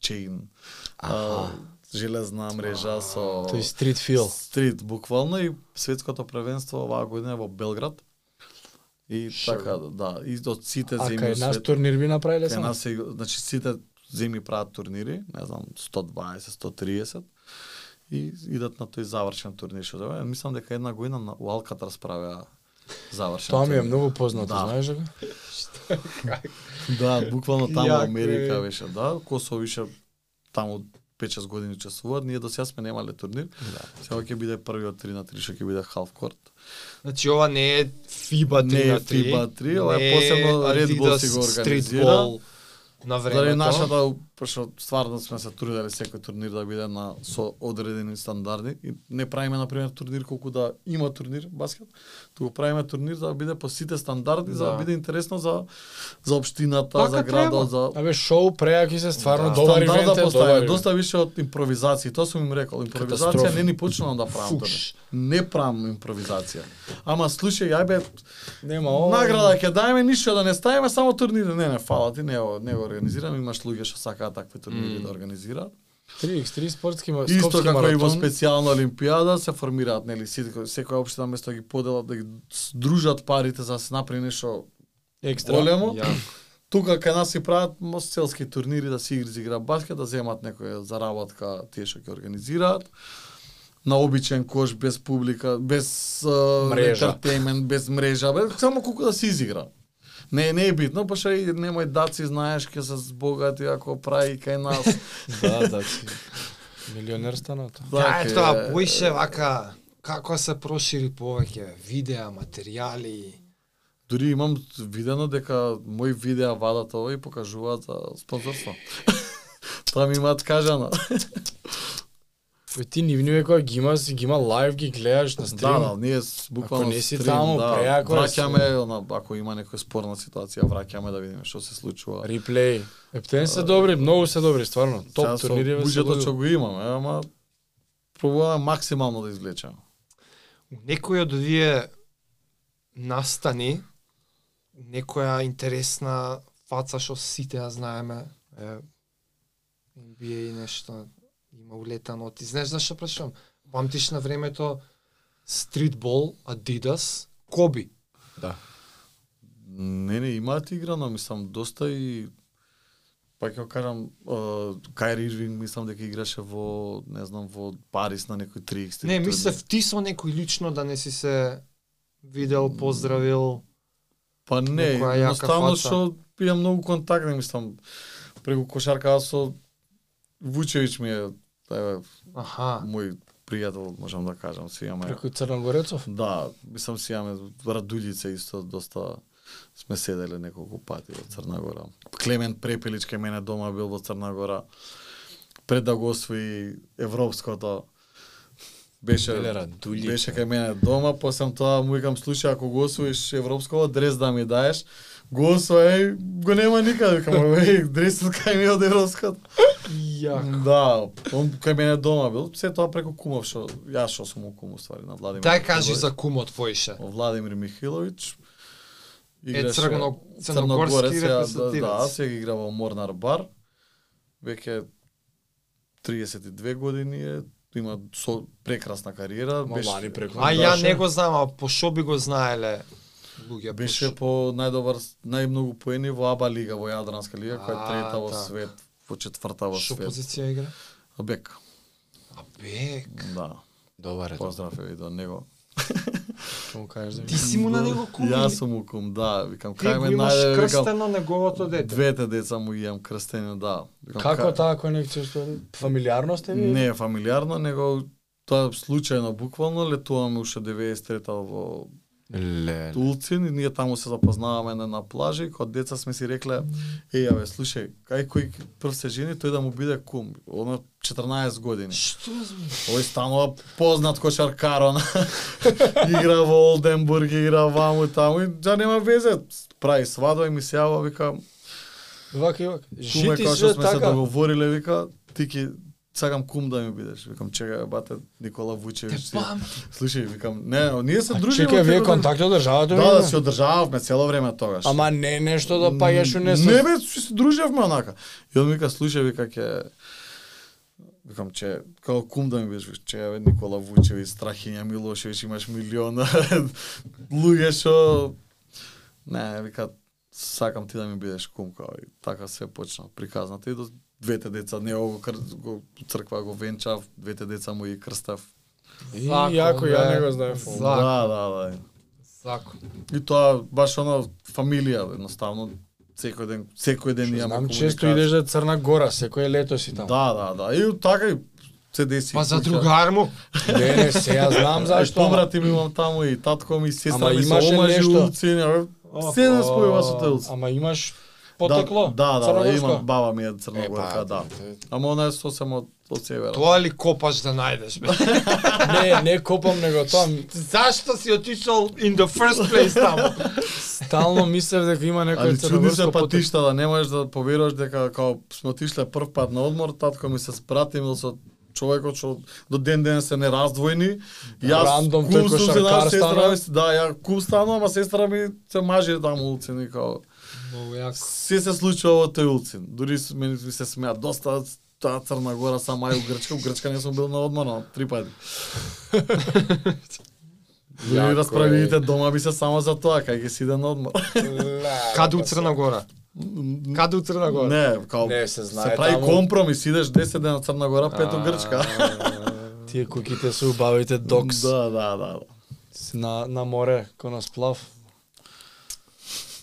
[SPEAKER 2] чейн. а, Железна мрежа со
[SPEAKER 1] Тој стрит фил.
[SPEAKER 2] стрит буквално и светското првенство оваа година е во Белград. И
[SPEAKER 3] Шо?
[SPEAKER 2] така да, и од сите
[SPEAKER 1] А
[SPEAKER 2] земји
[SPEAKER 1] кај
[SPEAKER 2] у
[SPEAKER 1] нас
[SPEAKER 2] светот-
[SPEAKER 1] турнир би направиле
[SPEAKER 2] Кај
[SPEAKER 1] само?
[SPEAKER 2] нас е, значи сите земји прават турнири, не знам, 120, 130 и идат на тој завршен турнир што да мислам дека една година на у Алкатрас правеа завршен.
[SPEAKER 1] Тоа ми е
[SPEAKER 2] турнир.
[SPEAKER 1] многу познато,
[SPEAKER 2] Да.
[SPEAKER 1] знаеш ли? го?
[SPEAKER 2] Да, буквално таму
[SPEAKER 3] Јако е.
[SPEAKER 2] Америка беше, да, Косово више таму 5-6 години часуваат, ние до сега сме немале турнир. Да. Сега ќе биде првиот 3 на 3 што ќе биде half court.
[SPEAKER 3] Значи ова не е FIBA 3
[SPEAKER 2] Не е
[SPEAKER 3] на 3.
[SPEAKER 2] FIBA 3, ова е
[SPEAKER 3] не
[SPEAKER 2] посебно Red Bull
[SPEAKER 3] Adidas
[SPEAKER 2] си го
[SPEAKER 3] Street
[SPEAKER 2] организира.
[SPEAKER 3] Ball На
[SPEAKER 2] Заради
[SPEAKER 3] времето.
[SPEAKER 2] нашата, пошто стварно сме се трудели секој турнир да биде на со одредени стандарди и не правиме на пример турнир колку да има турнир баскет, туку правиме турнир за да биде по сите стандарди, за да
[SPEAKER 3] Да.
[SPEAKER 2] биде интересно за за општината,
[SPEAKER 3] Така
[SPEAKER 2] за градот,
[SPEAKER 3] треба.
[SPEAKER 2] за
[SPEAKER 1] Абе шоу преаки се стварно
[SPEAKER 3] Да.
[SPEAKER 1] добар
[SPEAKER 2] стандард
[SPEAKER 1] ивент
[SPEAKER 2] да
[SPEAKER 1] е,
[SPEAKER 2] поставиме,
[SPEAKER 1] добар. ивент.
[SPEAKER 2] доста више од импровизација. Тоа сум им рекол, импровизација
[SPEAKER 1] Катастрофа.
[SPEAKER 2] не ни почнувам да правам тоа.
[SPEAKER 3] Фуш.
[SPEAKER 2] Не правам импровизација. Ама слушај, ја бе,
[SPEAKER 1] Нема ова.
[SPEAKER 2] награда ќе даеме, ништо да не ставиме, само турнири. Не, не, фала ти, не, го- не го организирам, имаш луѓе што сакаат такви турнири да организираат.
[SPEAKER 1] 3x3 спортски ма-
[SPEAKER 2] Исто
[SPEAKER 1] скопски
[SPEAKER 2] како и во
[SPEAKER 1] маратон.
[SPEAKER 2] специјална олимпијада се формираат нели сите секоја општина место да ги поделат да ги сдружат парите за да се направи нешто
[SPEAKER 1] Екстра.
[SPEAKER 2] големо.
[SPEAKER 3] Ја,
[SPEAKER 2] Тука кај нас се прават мо- селски турнири да се игри за игра баскет, да земат некоја заработка тие што ќе организираат. На обичен кош без публика, без
[SPEAKER 1] Мрежа.
[SPEAKER 2] ентертејмент, без мрежа, бе, само колку да се изигра. Не, не е битно, па што и немој даци, знаеш, ќе се збогати ако прави кај нас.
[SPEAKER 1] Да, да. си. Милионер стана тоа.
[SPEAKER 3] Така е тоа,
[SPEAKER 2] е.
[SPEAKER 3] поише вака како се прошири повеќе видеа, материјали.
[SPEAKER 2] Дури имам видено дека мои видеа вадат ова и покажуваат за спонзорство. Тоа ми имаат кажано.
[SPEAKER 1] Бе, ти нивниве кога ги има, си ги има лайв, ги гледаш на стрим.
[SPEAKER 2] Да, да, ние с- буквално
[SPEAKER 1] Ако не си
[SPEAKER 2] стрим,
[SPEAKER 1] таму,
[SPEAKER 2] да,
[SPEAKER 1] преако е
[SPEAKER 2] враќаме, она, ако има некоја спорна ситуација, враќаме да видиме што се случува.
[SPEAKER 1] Реплей. Ептен се добри, многу се добри, стварно.
[SPEAKER 2] Сега
[SPEAKER 1] Топ
[SPEAKER 2] со
[SPEAKER 1] турнири бе, се
[SPEAKER 2] буџетот
[SPEAKER 1] луѓе.
[SPEAKER 2] што го имаме, ама пробуваме максимално да извлечеме.
[SPEAKER 3] У некој од овие настани некоја интересна фаца што сите ја знаеме. Е, NBA и нешто има улетано. Ти знаеш зашто прашувам? Памтиш на времето стритбол, Adidas, Коби.
[SPEAKER 1] Да.
[SPEAKER 2] Не, не, имаат играно, мислам, доста и па ќе го кажам, е, Кайри Ирвинг мислам дека играше во, не знам, во Париз на некој 3x3.
[SPEAKER 3] Не,
[SPEAKER 2] турнир.
[SPEAKER 3] мислев ти со некој лично да не си се видел, поздравил.
[SPEAKER 2] Па не,
[SPEAKER 3] Некоја јака
[SPEAKER 2] едноставно
[SPEAKER 3] фаца.
[SPEAKER 2] што имам многу контакт, не мислам, преку кошарка аз со Вучевич ми е еве,
[SPEAKER 3] Аха.
[SPEAKER 2] мој пријател, можам да кажам, си имаме.
[SPEAKER 1] Преку Црногорецов.
[SPEAKER 2] Да, мислам си имаме Радулица исто доста сме седеле неколку пати во Црна Гора. Клемент Препелич кај мене дома бил во Црна Гора. Пред да го освои европското беше
[SPEAKER 1] Беле Радулица.
[SPEAKER 2] беше кај мене дома, посам тоа му викам слушај ако го освоиш европското дрес да ми даеш. Го освои, го нема никаде, викам, еј, дресот кај ми е од европското.
[SPEAKER 3] Ја.
[SPEAKER 2] Да, он кај мене дома бил, се тоа преку кумов што јас што сум му кум уствари на Владимир.
[SPEAKER 3] Дај кажи
[SPEAKER 2] Михаилович.
[SPEAKER 3] за кумот твоише.
[SPEAKER 2] Владимир Михилович.
[SPEAKER 3] Е, цргно,
[SPEAKER 2] Црногорец,
[SPEAKER 3] црногорски
[SPEAKER 2] ја- Да, да,
[SPEAKER 3] репрезентативец.
[SPEAKER 2] сега игра во Морнар бар. Веќе 32 години е, има со прекрасна кариера,
[SPEAKER 1] Ма, лани прекрасна.
[SPEAKER 3] А ја
[SPEAKER 2] Беше-
[SPEAKER 3] не го знам, а по шо би го знаеле луѓе?
[SPEAKER 2] Беше по најдобар, најмногу поени во АБА лига, во Јадранска лига, која е
[SPEAKER 3] А,
[SPEAKER 2] трета во
[SPEAKER 3] така.
[SPEAKER 2] свет, во четврта во
[SPEAKER 3] шо
[SPEAKER 2] свет.
[SPEAKER 3] позиција игра?
[SPEAKER 2] Бек.
[SPEAKER 3] А бек.
[SPEAKER 2] Да,
[SPEAKER 1] Добар е тоа.
[SPEAKER 2] поздрав е и до него.
[SPEAKER 1] Ќе му кажеш да
[SPEAKER 3] Ти си му на него кум.
[SPEAKER 2] Јас сум му кум, да, викам,
[SPEAKER 3] Ти
[SPEAKER 2] кај
[SPEAKER 3] го
[SPEAKER 2] ме
[SPEAKER 3] имаш
[SPEAKER 2] најде, викам,
[SPEAKER 3] крстено неговото дете.
[SPEAKER 2] двете деца му имам крстени, да. Викам,
[SPEAKER 1] Како
[SPEAKER 2] кај-
[SPEAKER 1] таа конекција што фамилиарност е?
[SPEAKER 2] Не е фамилиарно, него тоа случајно буквално летуваме уште 93-та во
[SPEAKER 1] Ле.
[SPEAKER 2] Улцин и ние таму се запознаваме на, на плажа и кога деца сме си рекле еј абе слушај кај кој прв се жени тој да му биде кум оно 14 години
[SPEAKER 3] Што да зме?
[SPEAKER 2] Ој станува познат кошаркар, она. игра во Олденбург, игра ваму и таму и да нема везе. Прави свадба и ми се јава вика,
[SPEAKER 1] Вака и вака.
[SPEAKER 2] куме
[SPEAKER 1] Жити
[SPEAKER 2] како што
[SPEAKER 1] се
[SPEAKER 2] сме се
[SPEAKER 1] така.
[SPEAKER 2] договориле вика, ти ки сакам кум да ми бидеш. Викам чекај бе, бате Никола Вучевиќ. си. Слушај, викам, не, ние се дружиме.
[SPEAKER 1] Чекај,
[SPEAKER 2] од
[SPEAKER 1] вие
[SPEAKER 2] некој ден.
[SPEAKER 1] контакт одржавате?
[SPEAKER 2] Да, да, се одржававме цело време тогаш.
[SPEAKER 1] Ама не нешто да паѓаш у несвест.
[SPEAKER 2] Не бе, си се дружевме онака. И он ми вика, слушај, вика, ќе... Викам, че, као кум да ми беш, вика, че, бе, Никола Вучевиќ, Страхиња Милошевиќ, имаш милиона луѓе што... Не, вика, сакам ти да ми бидеш кум, као, и така се почна, приказната и до двете деца, не го, кр... го црква го венчав, двете деца му и крстав.
[SPEAKER 1] И јако, ја не го знаев.
[SPEAKER 3] За- Зако.
[SPEAKER 2] Да, да, да.
[SPEAKER 3] Сако.
[SPEAKER 2] И тоа баш оно фамилија бе, едноставно секој ден секој ден имаме
[SPEAKER 1] Знам,
[SPEAKER 2] комуникација.
[SPEAKER 1] често идеш да Црна Гора, секое лето си таму.
[SPEAKER 2] Да, да, да. И така и се деси.
[SPEAKER 3] Па за другар му.
[SPEAKER 1] Не, не, се ја знам
[SPEAKER 2] Зашто?
[SPEAKER 1] зашто. ама-
[SPEAKER 2] Побрати ми имам таму и татко ми и сестра
[SPEAKER 1] Ама
[SPEAKER 2] ми се
[SPEAKER 1] имаше
[SPEAKER 2] омажи
[SPEAKER 1] нешто.
[SPEAKER 2] у Цинер. Се не спојува со тој Луцин.
[SPEAKER 1] Ама имаш потекло?
[SPEAKER 2] Да, да, да, да,
[SPEAKER 1] Црногорско?
[SPEAKER 2] имам баба ми е
[SPEAKER 1] Е, па,
[SPEAKER 2] црногорка, да. Ама она е сосем од од север.
[SPEAKER 3] Тоа ли копаш да најдеш, бе?
[SPEAKER 1] Не, не копам него тоа. м-
[SPEAKER 3] Зашто си отишол in the first place таму?
[SPEAKER 1] Стално мислев дека има некој
[SPEAKER 2] Али чудни се
[SPEAKER 1] црногорско потекло.
[SPEAKER 2] патишта, да не можеш да поверуваш дека као сме отишле прв пат на одмор, татко ми се спратимил со човекот што до ден ден се нераздвојни. Јас
[SPEAKER 1] Рандом
[SPEAKER 2] кум
[SPEAKER 1] тој
[SPEAKER 2] сум си,
[SPEAKER 1] кошаркар
[SPEAKER 2] да, сестра
[SPEAKER 1] стана.
[SPEAKER 2] ми, си- да, ја кум станам, а сестра ми се мажи таму улцин и као
[SPEAKER 3] Многу јако.
[SPEAKER 2] се се случува во тој улцин. Дури с- мене ми се смеа доста таа Црна Гора сама е у Грчка, у Грчка не сум бил на одмор, но три пати.
[SPEAKER 1] Јако
[SPEAKER 2] Дури
[SPEAKER 1] е.
[SPEAKER 2] расправиите дома би се само за тоа, кај ќе си иде на одмор.
[SPEAKER 3] Каде у Црна Гора? Каде у Црна Гора?
[SPEAKER 2] Не, као
[SPEAKER 1] Не, се знае
[SPEAKER 2] Се прави
[SPEAKER 1] таму.
[SPEAKER 2] компромис, идеш 10 дена Црна Гора, 5 у Грчка.
[SPEAKER 1] Тие куките се убавите докс
[SPEAKER 2] Да, да, да, да.
[SPEAKER 1] на, на море, кон на сплав.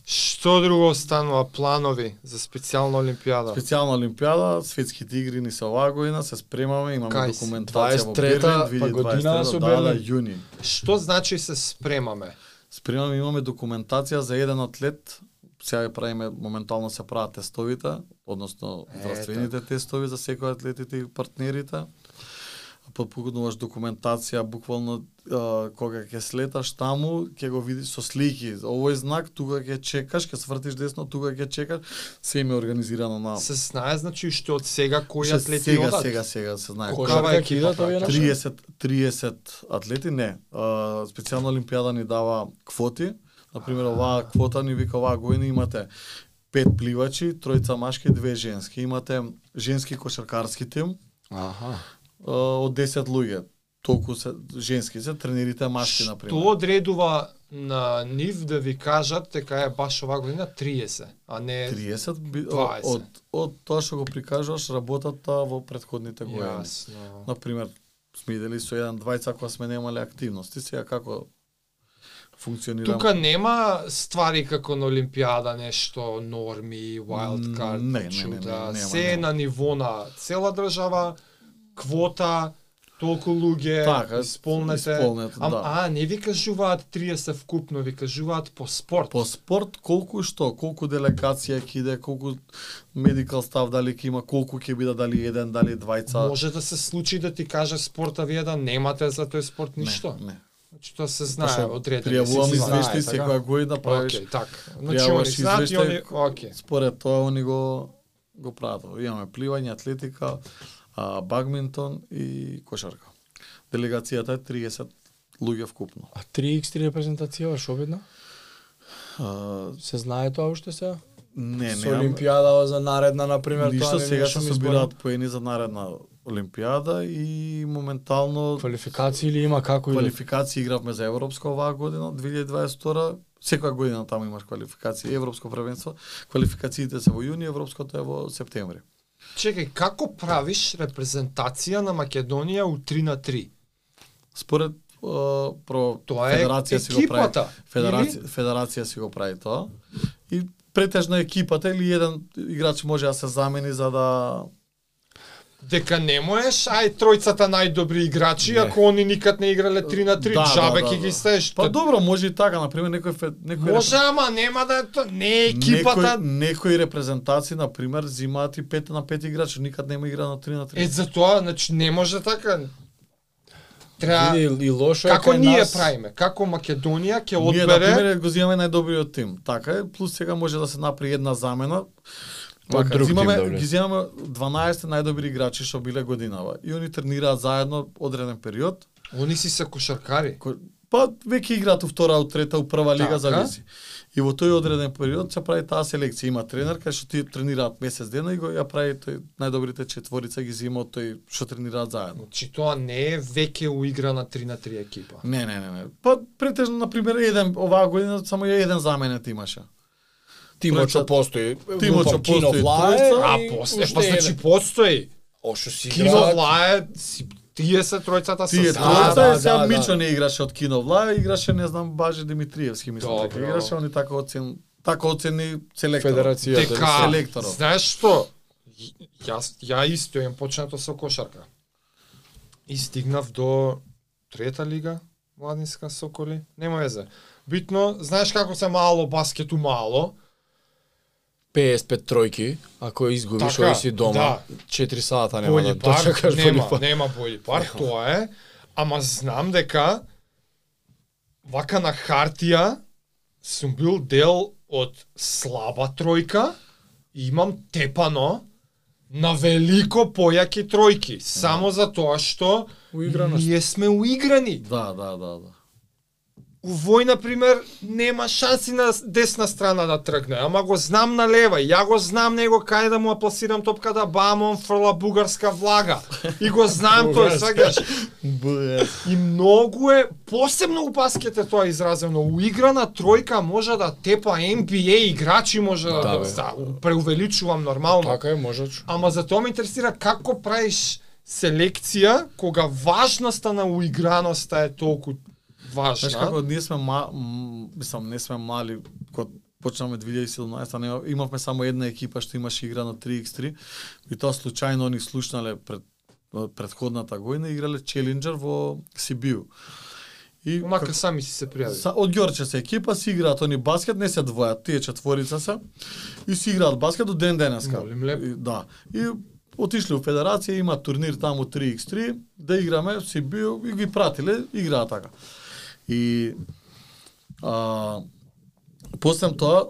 [SPEAKER 3] Што друго останува планови за специјална олимпијада?
[SPEAKER 2] Специјална олимпијада, светските игри ни се оваа година, се спремаме, имаме
[SPEAKER 3] Кај си?
[SPEAKER 2] документација во
[SPEAKER 1] 23-та,
[SPEAKER 2] Берлин,
[SPEAKER 1] па
[SPEAKER 2] 2023
[SPEAKER 1] година со
[SPEAKER 2] да, да,
[SPEAKER 1] Берлин.
[SPEAKER 2] јуни.
[SPEAKER 3] Што значи се спремаме?
[SPEAKER 2] Спремаме, имаме документација за еден атлет, сега ја правиме, моментално се прават тестовите, односно
[SPEAKER 3] Е, така.
[SPEAKER 2] здравствените тестови за секој атлетите и партнерите. Подпукнуваш документација, буквално а, кога ќе слеташ таму, ќе го видиш со слики. Овој знак, тука ќе чекаш, ќе свртиш десно, тука ќе чекаш. Се им е организирано на...
[SPEAKER 3] Се знае значи што од сега кои
[SPEAKER 2] Ше-
[SPEAKER 3] атлети
[SPEAKER 2] сега,
[SPEAKER 3] одат?
[SPEAKER 2] сега, сега се знае.
[SPEAKER 3] Кој-
[SPEAKER 1] Кошарка
[SPEAKER 3] Каква
[SPEAKER 1] ќе
[SPEAKER 3] екипа
[SPEAKER 1] идат овие
[SPEAKER 3] праќаш?
[SPEAKER 1] наши?
[SPEAKER 2] 30 30 атлети не. А, специјална олимпијада ни дава квоти. На пример оваа квота ни вика оваа година имате пет пливачи, тројца машки, две женски. Имате женски кошаркарски тим
[SPEAKER 1] Аха.
[SPEAKER 2] а, од 10 луѓе. Толку се женски се, тренерите машки на пример.
[SPEAKER 3] Што одредува на нив да ви кажат дека е баш оваа година 30, а не
[SPEAKER 2] 30 би,
[SPEAKER 3] 20.
[SPEAKER 2] од, од, од тоа што го прикажуваш работата во предходните години.
[SPEAKER 3] Јасно.
[SPEAKER 2] на пример, сме идели со еден двајца кога сме немале активности, сега како функционира?
[SPEAKER 3] Тука нема ствари како на Олимпијада, нешто норми, wildcard,
[SPEAKER 2] Не, не, не,
[SPEAKER 3] чуда.
[SPEAKER 2] не, нема,
[SPEAKER 3] Се е
[SPEAKER 2] нема.
[SPEAKER 3] на ниво на цела држава, квота, толку луѓе,
[SPEAKER 2] Така,
[SPEAKER 3] исполнете.
[SPEAKER 2] исполнете,
[SPEAKER 3] а,
[SPEAKER 2] да.
[SPEAKER 3] а, не ви кажуваат 30 вкупно, ви кажуваат по спорт.
[SPEAKER 2] По спорт колку што, колку делегација ќе иде, колку медикал став дали ќе има, колку ќе биде дали еден, дали двајца.
[SPEAKER 3] Може да се случи да ти каже спорта ви е да немате за тој спорт
[SPEAKER 2] Не,
[SPEAKER 3] ништо.
[SPEAKER 2] Не.
[SPEAKER 3] Значи тоа се знае
[SPEAKER 2] Пошто
[SPEAKER 3] одредено.
[SPEAKER 2] Пријавувам
[SPEAKER 3] се знае.
[SPEAKER 2] извештај
[SPEAKER 1] така.
[SPEAKER 2] секоја година правиш.
[SPEAKER 3] Океј, така. Значи
[SPEAKER 2] Пријавуваш
[SPEAKER 3] они знаат и они,
[SPEAKER 2] извештај.
[SPEAKER 3] океј.
[SPEAKER 2] Според тоа они го го прават. Имаме пливање, атлетика, а, багминтон и кошарка. Делегацијата е 30 луѓе вкупно.
[SPEAKER 1] А 3x3 репрезентација што обидна?
[SPEAKER 2] А,
[SPEAKER 1] Се знае тоа уште сега?
[SPEAKER 2] не,
[SPEAKER 1] Со
[SPEAKER 2] не.
[SPEAKER 1] Олимпијада за наредна на пример
[SPEAKER 2] Ништо
[SPEAKER 1] тоа не
[SPEAKER 2] сега
[SPEAKER 1] беше
[SPEAKER 2] се
[SPEAKER 1] ми
[SPEAKER 2] собираат
[SPEAKER 1] зборам.
[SPEAKER 2] поени за наредна олимпијада и моментално
[SPEAKER 1] квалификации или има
[SPEAKER 3] да-
[SPEAKER 1] како да- или
[SPEAKER 2] квалификации игравме за европско оваа година 2022 секоја година таму имаш квалификации европско првенство квалификациите се во јуни европското е во септември
[SPEAKER 3] Чекај, како правиш репрезентација на Македонија у 3 на 3?
[SPEAKER 2] Според а, прво
[SPEAKER 3] Тоа е
[SPEAKER 2] федерација си го прави.
[SPEAKER 3] екипата.
[SPEAKER 2] Федерација, федерација си го прави тоа. И претежно екипата или еден играч може да се замени за да
[SPEAKER 3] Дека не можеш, ај тројцата најдобри играчи,
[SPEAKER 2] Не.
[SPEAKER 3] ако они никад не играле 3 на 3,
[SPEAKER 2] Да, да,
[SPEAKER 3] джабе
[SPEAKER 2] да,
[SPEAKER 3] ќе
[SPEAKER 2] да.
[SPEAKER 3] ги стаеш.
[SPEAKER 2] Па добро, може и така, на пример некој фе- некој
[SPEAKER 3] Може, ама нема да е тоа. Не е екипата.
[SPEAKER 2] Некој, некои репрезентации, на пример, зимаат и 5 на 5 играчи, никад нема игра на 3 на 3.
[SPEAKER 3] Е, за тоа, значи, не може така. Треба...
[SPEAKER 1] И, и лошо е
[SPEAKER 3] Како
[SPEAKER 1] кај
[SPEAKER 3] ние
[SPEAKER 1] нас-
[SPEAKER 3] правиме? Како Македонија ќе
[SPEAKER 2] Ние, на
[SPEAKER 3] одбере...
[SPEAKER 2] пример, го земаме најдобриот тим. Така е, плюс сега може да се направи една замена.
[SPEAKER 1] Од
[SPEAKER 2] Така,
[SPEAKER 1] друг тим
[SPEAKER 2] земаме,
[SPEAKER 1] да влезе.
[SPEAKER 2] ги земаме 12 најдобри играчи што биле годинава. И они тренираат заедно одреден период.
[SPEAKER 3] Они си се кошаркари.
[SPEAKER 2] Ко- Па веќе играат у втора, у трета, у прва лига,
[SPEAKER 3] Така.
[SPEAKER 2] зависи. И во тој одреден период се прави таа селекција. Има тренер кај што ти тренираат месец дена и го ја прави тој најдобрите четворица ги зима од тој што тренираат заедно.
[SPEAKER 3] Значи, тоа не е веќе уигра на 3 на 3 екипа.
[SPEAKER 2] Не, не, не, не. Па претежно на пример еден оваа година само ја еден заменет имаше.
[SPEAKER 1] Тимот што
[SPEAKER 2] Пречат-
[SPEAKER 1] постои.
[SPEAKER 2] Тимот што
[SPEAKER 1] Лупам,
[SPEAKER 2] постои,
[SPEAKER 1] Кино влае,
[SPEAKER 2] тројца,
[SPEAKER 3] А
[SPEAKER 1] и
[SPEAKER 3] после,
[SPEAKER 1] уште
[SPEAKER 3] па
[SPEAKER 1] еден.
[SPEAKER 3] значи постои.
[SPEAKER 1] Ошо си
[SPEAKER 3] Кино
[SPEAKER 1] играат.
[SPEAKER 3] влае, си, тие се тројцата
[SPEAKER 2] Тие
[SPEAKER 3] се
[SPEAKER 2] да,
[SPEAKER 1] тројца
[SPEAKER 2] тројца
[SPEAKER 1] да,
[SPEAKER 2] да, сега
[SPEAKER 1] да,
[SPEAKER 2] Мичо
[SPEAKER 1] да.
[SPEAKER 2] не играше од Кино Влаја, играше не знам Баже Димитриевски мислам дека
[SPEAKER 3] Добро.
[SPEAKER 2] играше, они така оцен така оцени селектор.
[SPEAKER 1] Федерацијата.
[SPEAKER 3] Дека,
[SPEAKER 2] да, селекторот.
[SPEAKER 3] Така, знаеш што? Ја- Јас ја исто имам почнато со кошарка. И стигнав до трета лига, младинска Соколи, нема везе. Битно, знаеш како се мало баскету мало.
[SPEAKER 1] 55 тројки, ако ја изгубиш,
[SPEAKER 3] Така,
[SPEAKER 1] ој си дома. 4 сата нема
[SPEAKER 3] Бољи
[SPEAKER 1] да
[SPEAKER 3] пар,
[SPEAKER 1] дочекаш
[SPEAKER 3] нема,
[SPEAKER 1] бољи пар.
[SPEAKER 3] нема бољи пар, тоа е. Ама знам дека вака на хартија сум бил дел од слаба тројка и имам тепано на велико појаки тројки, само за тоа што
[SPEAKER 1] Уиграност.
[SPEAKER 3] ние сме уиграни.
[SPEAKER 2] Да, да, да, да.
[SPEAKER 3] У вој, на пример, нема шанси на десна страна да тргне, ама го знам на лева, ја го знам него кај да му ја пласирам топка да бам, он фрла бугарска влага. И го знам тој, сакаш. И многу е, посебно у баскет е тоа изразено, уиграна тројка може да тепа NBA играчи може да,
[SPEAKER 1] Да,
[SPEAKER 3] да,
[SPEAKER 1] бе.
[SPEAKER 3] да преувеличувам нормално.
[SPEAKER 1] Така е, можеш.
[SPEAKER 3] Ама за тоа ме интересира како правиш селекција кога важноста на уиграноста е толку важна.
[SPEAKER 2] Знаеш како ние сме ма, м, мислам не сме мали кога почнаме 2017 нема, имавме само една екипа што имаше игра на 3x3 и тоа случајно они слушнале пред предходната година играле челенџер во Сибиу. И
[SPEAKER 3] Мака сами си се пријави.
[SPEAKER 2] Са, од Ѓорче се екипа, си играат они баскет, не се двојат, тие четворица се. И си играат баскет до ден денеска.
[SPEAKER 3] Молим лепо.
[SPEAKER 2] И, да. И отишле у федерација, има турнир таму 3x3, да играме, си бил и ги пратиле, играа така. И а, после тоа,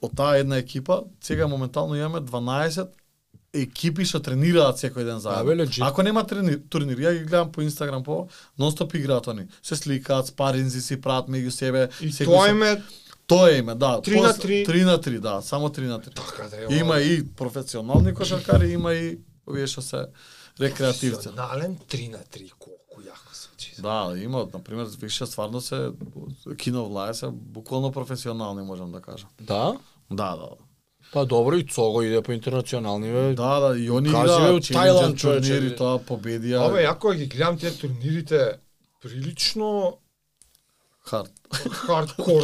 [SPEAKER 2] од таа една екипа, сега моментално имаме 12 екипи што тренираат секој ден
[SPEAKER 1] Абе,
[SPEAKER 2] заедно.
[SPEAKER 1] legit.
[SPEAKER 2] Ако нема трени, турнир, ја ги гледам по Инстаграм, по нонстоп играат они. Се сликаат, спаринзи си прават меѓу себе.
[SPEAKER 3] И
[SPEAKER 2] секој
[SPEAKER 3] тоа
[SPEAKER 2] се-
[SPEAKER 3] им е
[SPEAKER 2] Тоа име, да.
[SPEAKER 3] Три на
[SPEAKER 2] После-
[SPEAKER 3] три.
[SPEAKER 2] Три на три, да, само три на три.
[SPEAKER 3] така да е.
[SPEAKER 2] Има и професионални кошаркари, има и овие што се рекреативци.
[SPEAKER 3] Нален 3 на 3 колку јако звучи.
[SPEAKER 2] Да, има, на пример, више стварно се кино влае се буквално професионални, можам да кажам.
[SPEAKER 1] Да?
[SPEAKER 2] Да, да.
[SPEAKER 1] Па добро и Цого иде по интернационални бе.
[SPEAKER 2] Да, да, и они
[SPEAKER 1] Кажи, бе, у
[SPEAKER 2] играат
[SPEAKER 1] Тајланд,
[SPEAKER 2] Тајланд
[SPEAKER 1] човече,
[SPEAKER 2] турнири,
[SPEAKER 1] бе.
[SPEAKER 2] тоа
[SPEAKER 1] Да.
[SPEAKER 2] победија.
[SPEAKER 3] Абе, јако ги гледам тие турнирите прилично
[SPEAKER 2] хард.
[SPEAKER 3] хардкор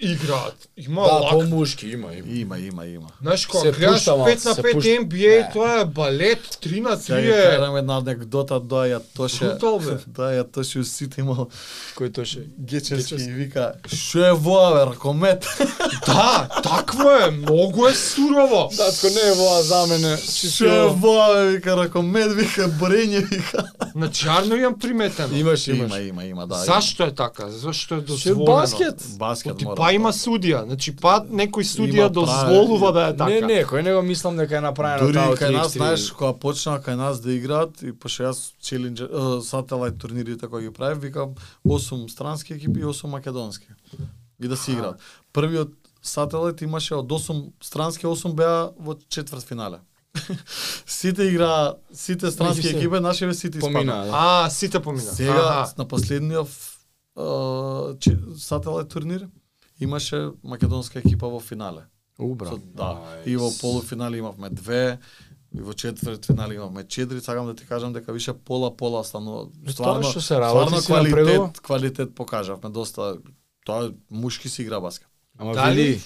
[SPEAKER 3] играат. Има
[SPEAKER 1] Да,
[SPEAKER 3] лак.
[SPEAKER 1] по мушки има, има.
[SPEAKER 2] Има, има, има.
[SPEAKER 3] Знаеш,
[SPEAKER 1] се
[SPEAKER 3] кога гледаш
[SPEAKER 1] пушта, ма,
[SPEAKER 3] 5 на
[SPEAKER 1] се
[SPEAKER 3] 5
[SPEAKER 1] пушта.
[SPEAKER 3] NBA, тоа е балет 3 на
[SPEAKER 2] Сега ја
[SPEAKER 3] 3 е.
[SPEAKER 2] кажам една анекдота, доа ја тоше.
[SPEAKER 3] Брутал, бе.
[SPEAKER 2] Доа ја тоше у сите имал
[SPEAKER 1] Кој тоше?
[SPEAKER 2] гечески и вика, што е воа, бе, ркомет?
[SPEAKER 3] Да, такво е, многу е сурово.
[SPEAKER 1] Татко не е воа за мене.
[SPEAKER 2] Што е воа, бе, вика, ркомет, вика, брење, вика.
[SPEAKER 3] Значи, арно имам приметено.
[SPEAKER 1] Имаш,
[SPEAKER 2] Има,
[SPEAKER 1] имаш.
[SPEAKER 2] има, има, да.
[SPEAKER 3] Зашто е така? Зашто е
[SPEAKER 1] Ше
[SPEAKER 3] дозволено?
[SPEAKER 1] баскет.
[SPEAKER 2] има. Баскет
[SPEAKER 3] Оти
[SPEAKER 2] мора. да
[SPEAKER 3] па има судија, значи па некој судија
[SPEAKER 2] право.
[SPEAKER 3] дозволува да е така.
[SPEAKER 1] Не, не, кој него мислам дека е направено
[SPEAKER 2] Дури
[SPEAKER 1] таа
[SPEAKER 2] и
[SPEAKER 1] од
[SPEAKER 2] кај нас,
[SPEAKER 1] 3x3.
[SPEAKER 2] знаеш, кога почнаа кај нас да играат, и пошто јас челенџер, э, сателайт турнирите кои ги правев, викам 8 странски екипи и 8 македонски. И да се играат. Првиот сателайт имаше од 8 странски, 8 беа во четвртфинале. сите игра, сите странски
[SPEAKER 1] Меѓу се.
[SPEAKER 2] екипи, нашиве сите испадна.
[SPEAKER 1] помина. да.
[SPEAKER 3] А, сите помина.
[SPEAKER 2] Сега
[SPEAKER 3] Аха.
[SPEAKER 2] на последниот э, че- сателайт турнир имаше македонска екипа во финале.
[SPEAKER 1] У, брат.
[SPEAKER 2] Со- Да. И во полуфинали имавме две, И во четврт финал имавме 4, сакам да ти кажам дека више пола-пола станува.
[SPEAKER 1] тоа
[SPEAKER 2] Стварно,
[SPEAKER 1] што се работи,
[SPEAKER 2] стварно
[SPEAKER 1] си напредува.
[SPEAKER 2] квалитет, квалитет покажавме доста. Тоа мушки си игра баскет.
[SPEAKER 1] Ама
[SPEAKER 3] Дали-
[SPEAKER 1] вели,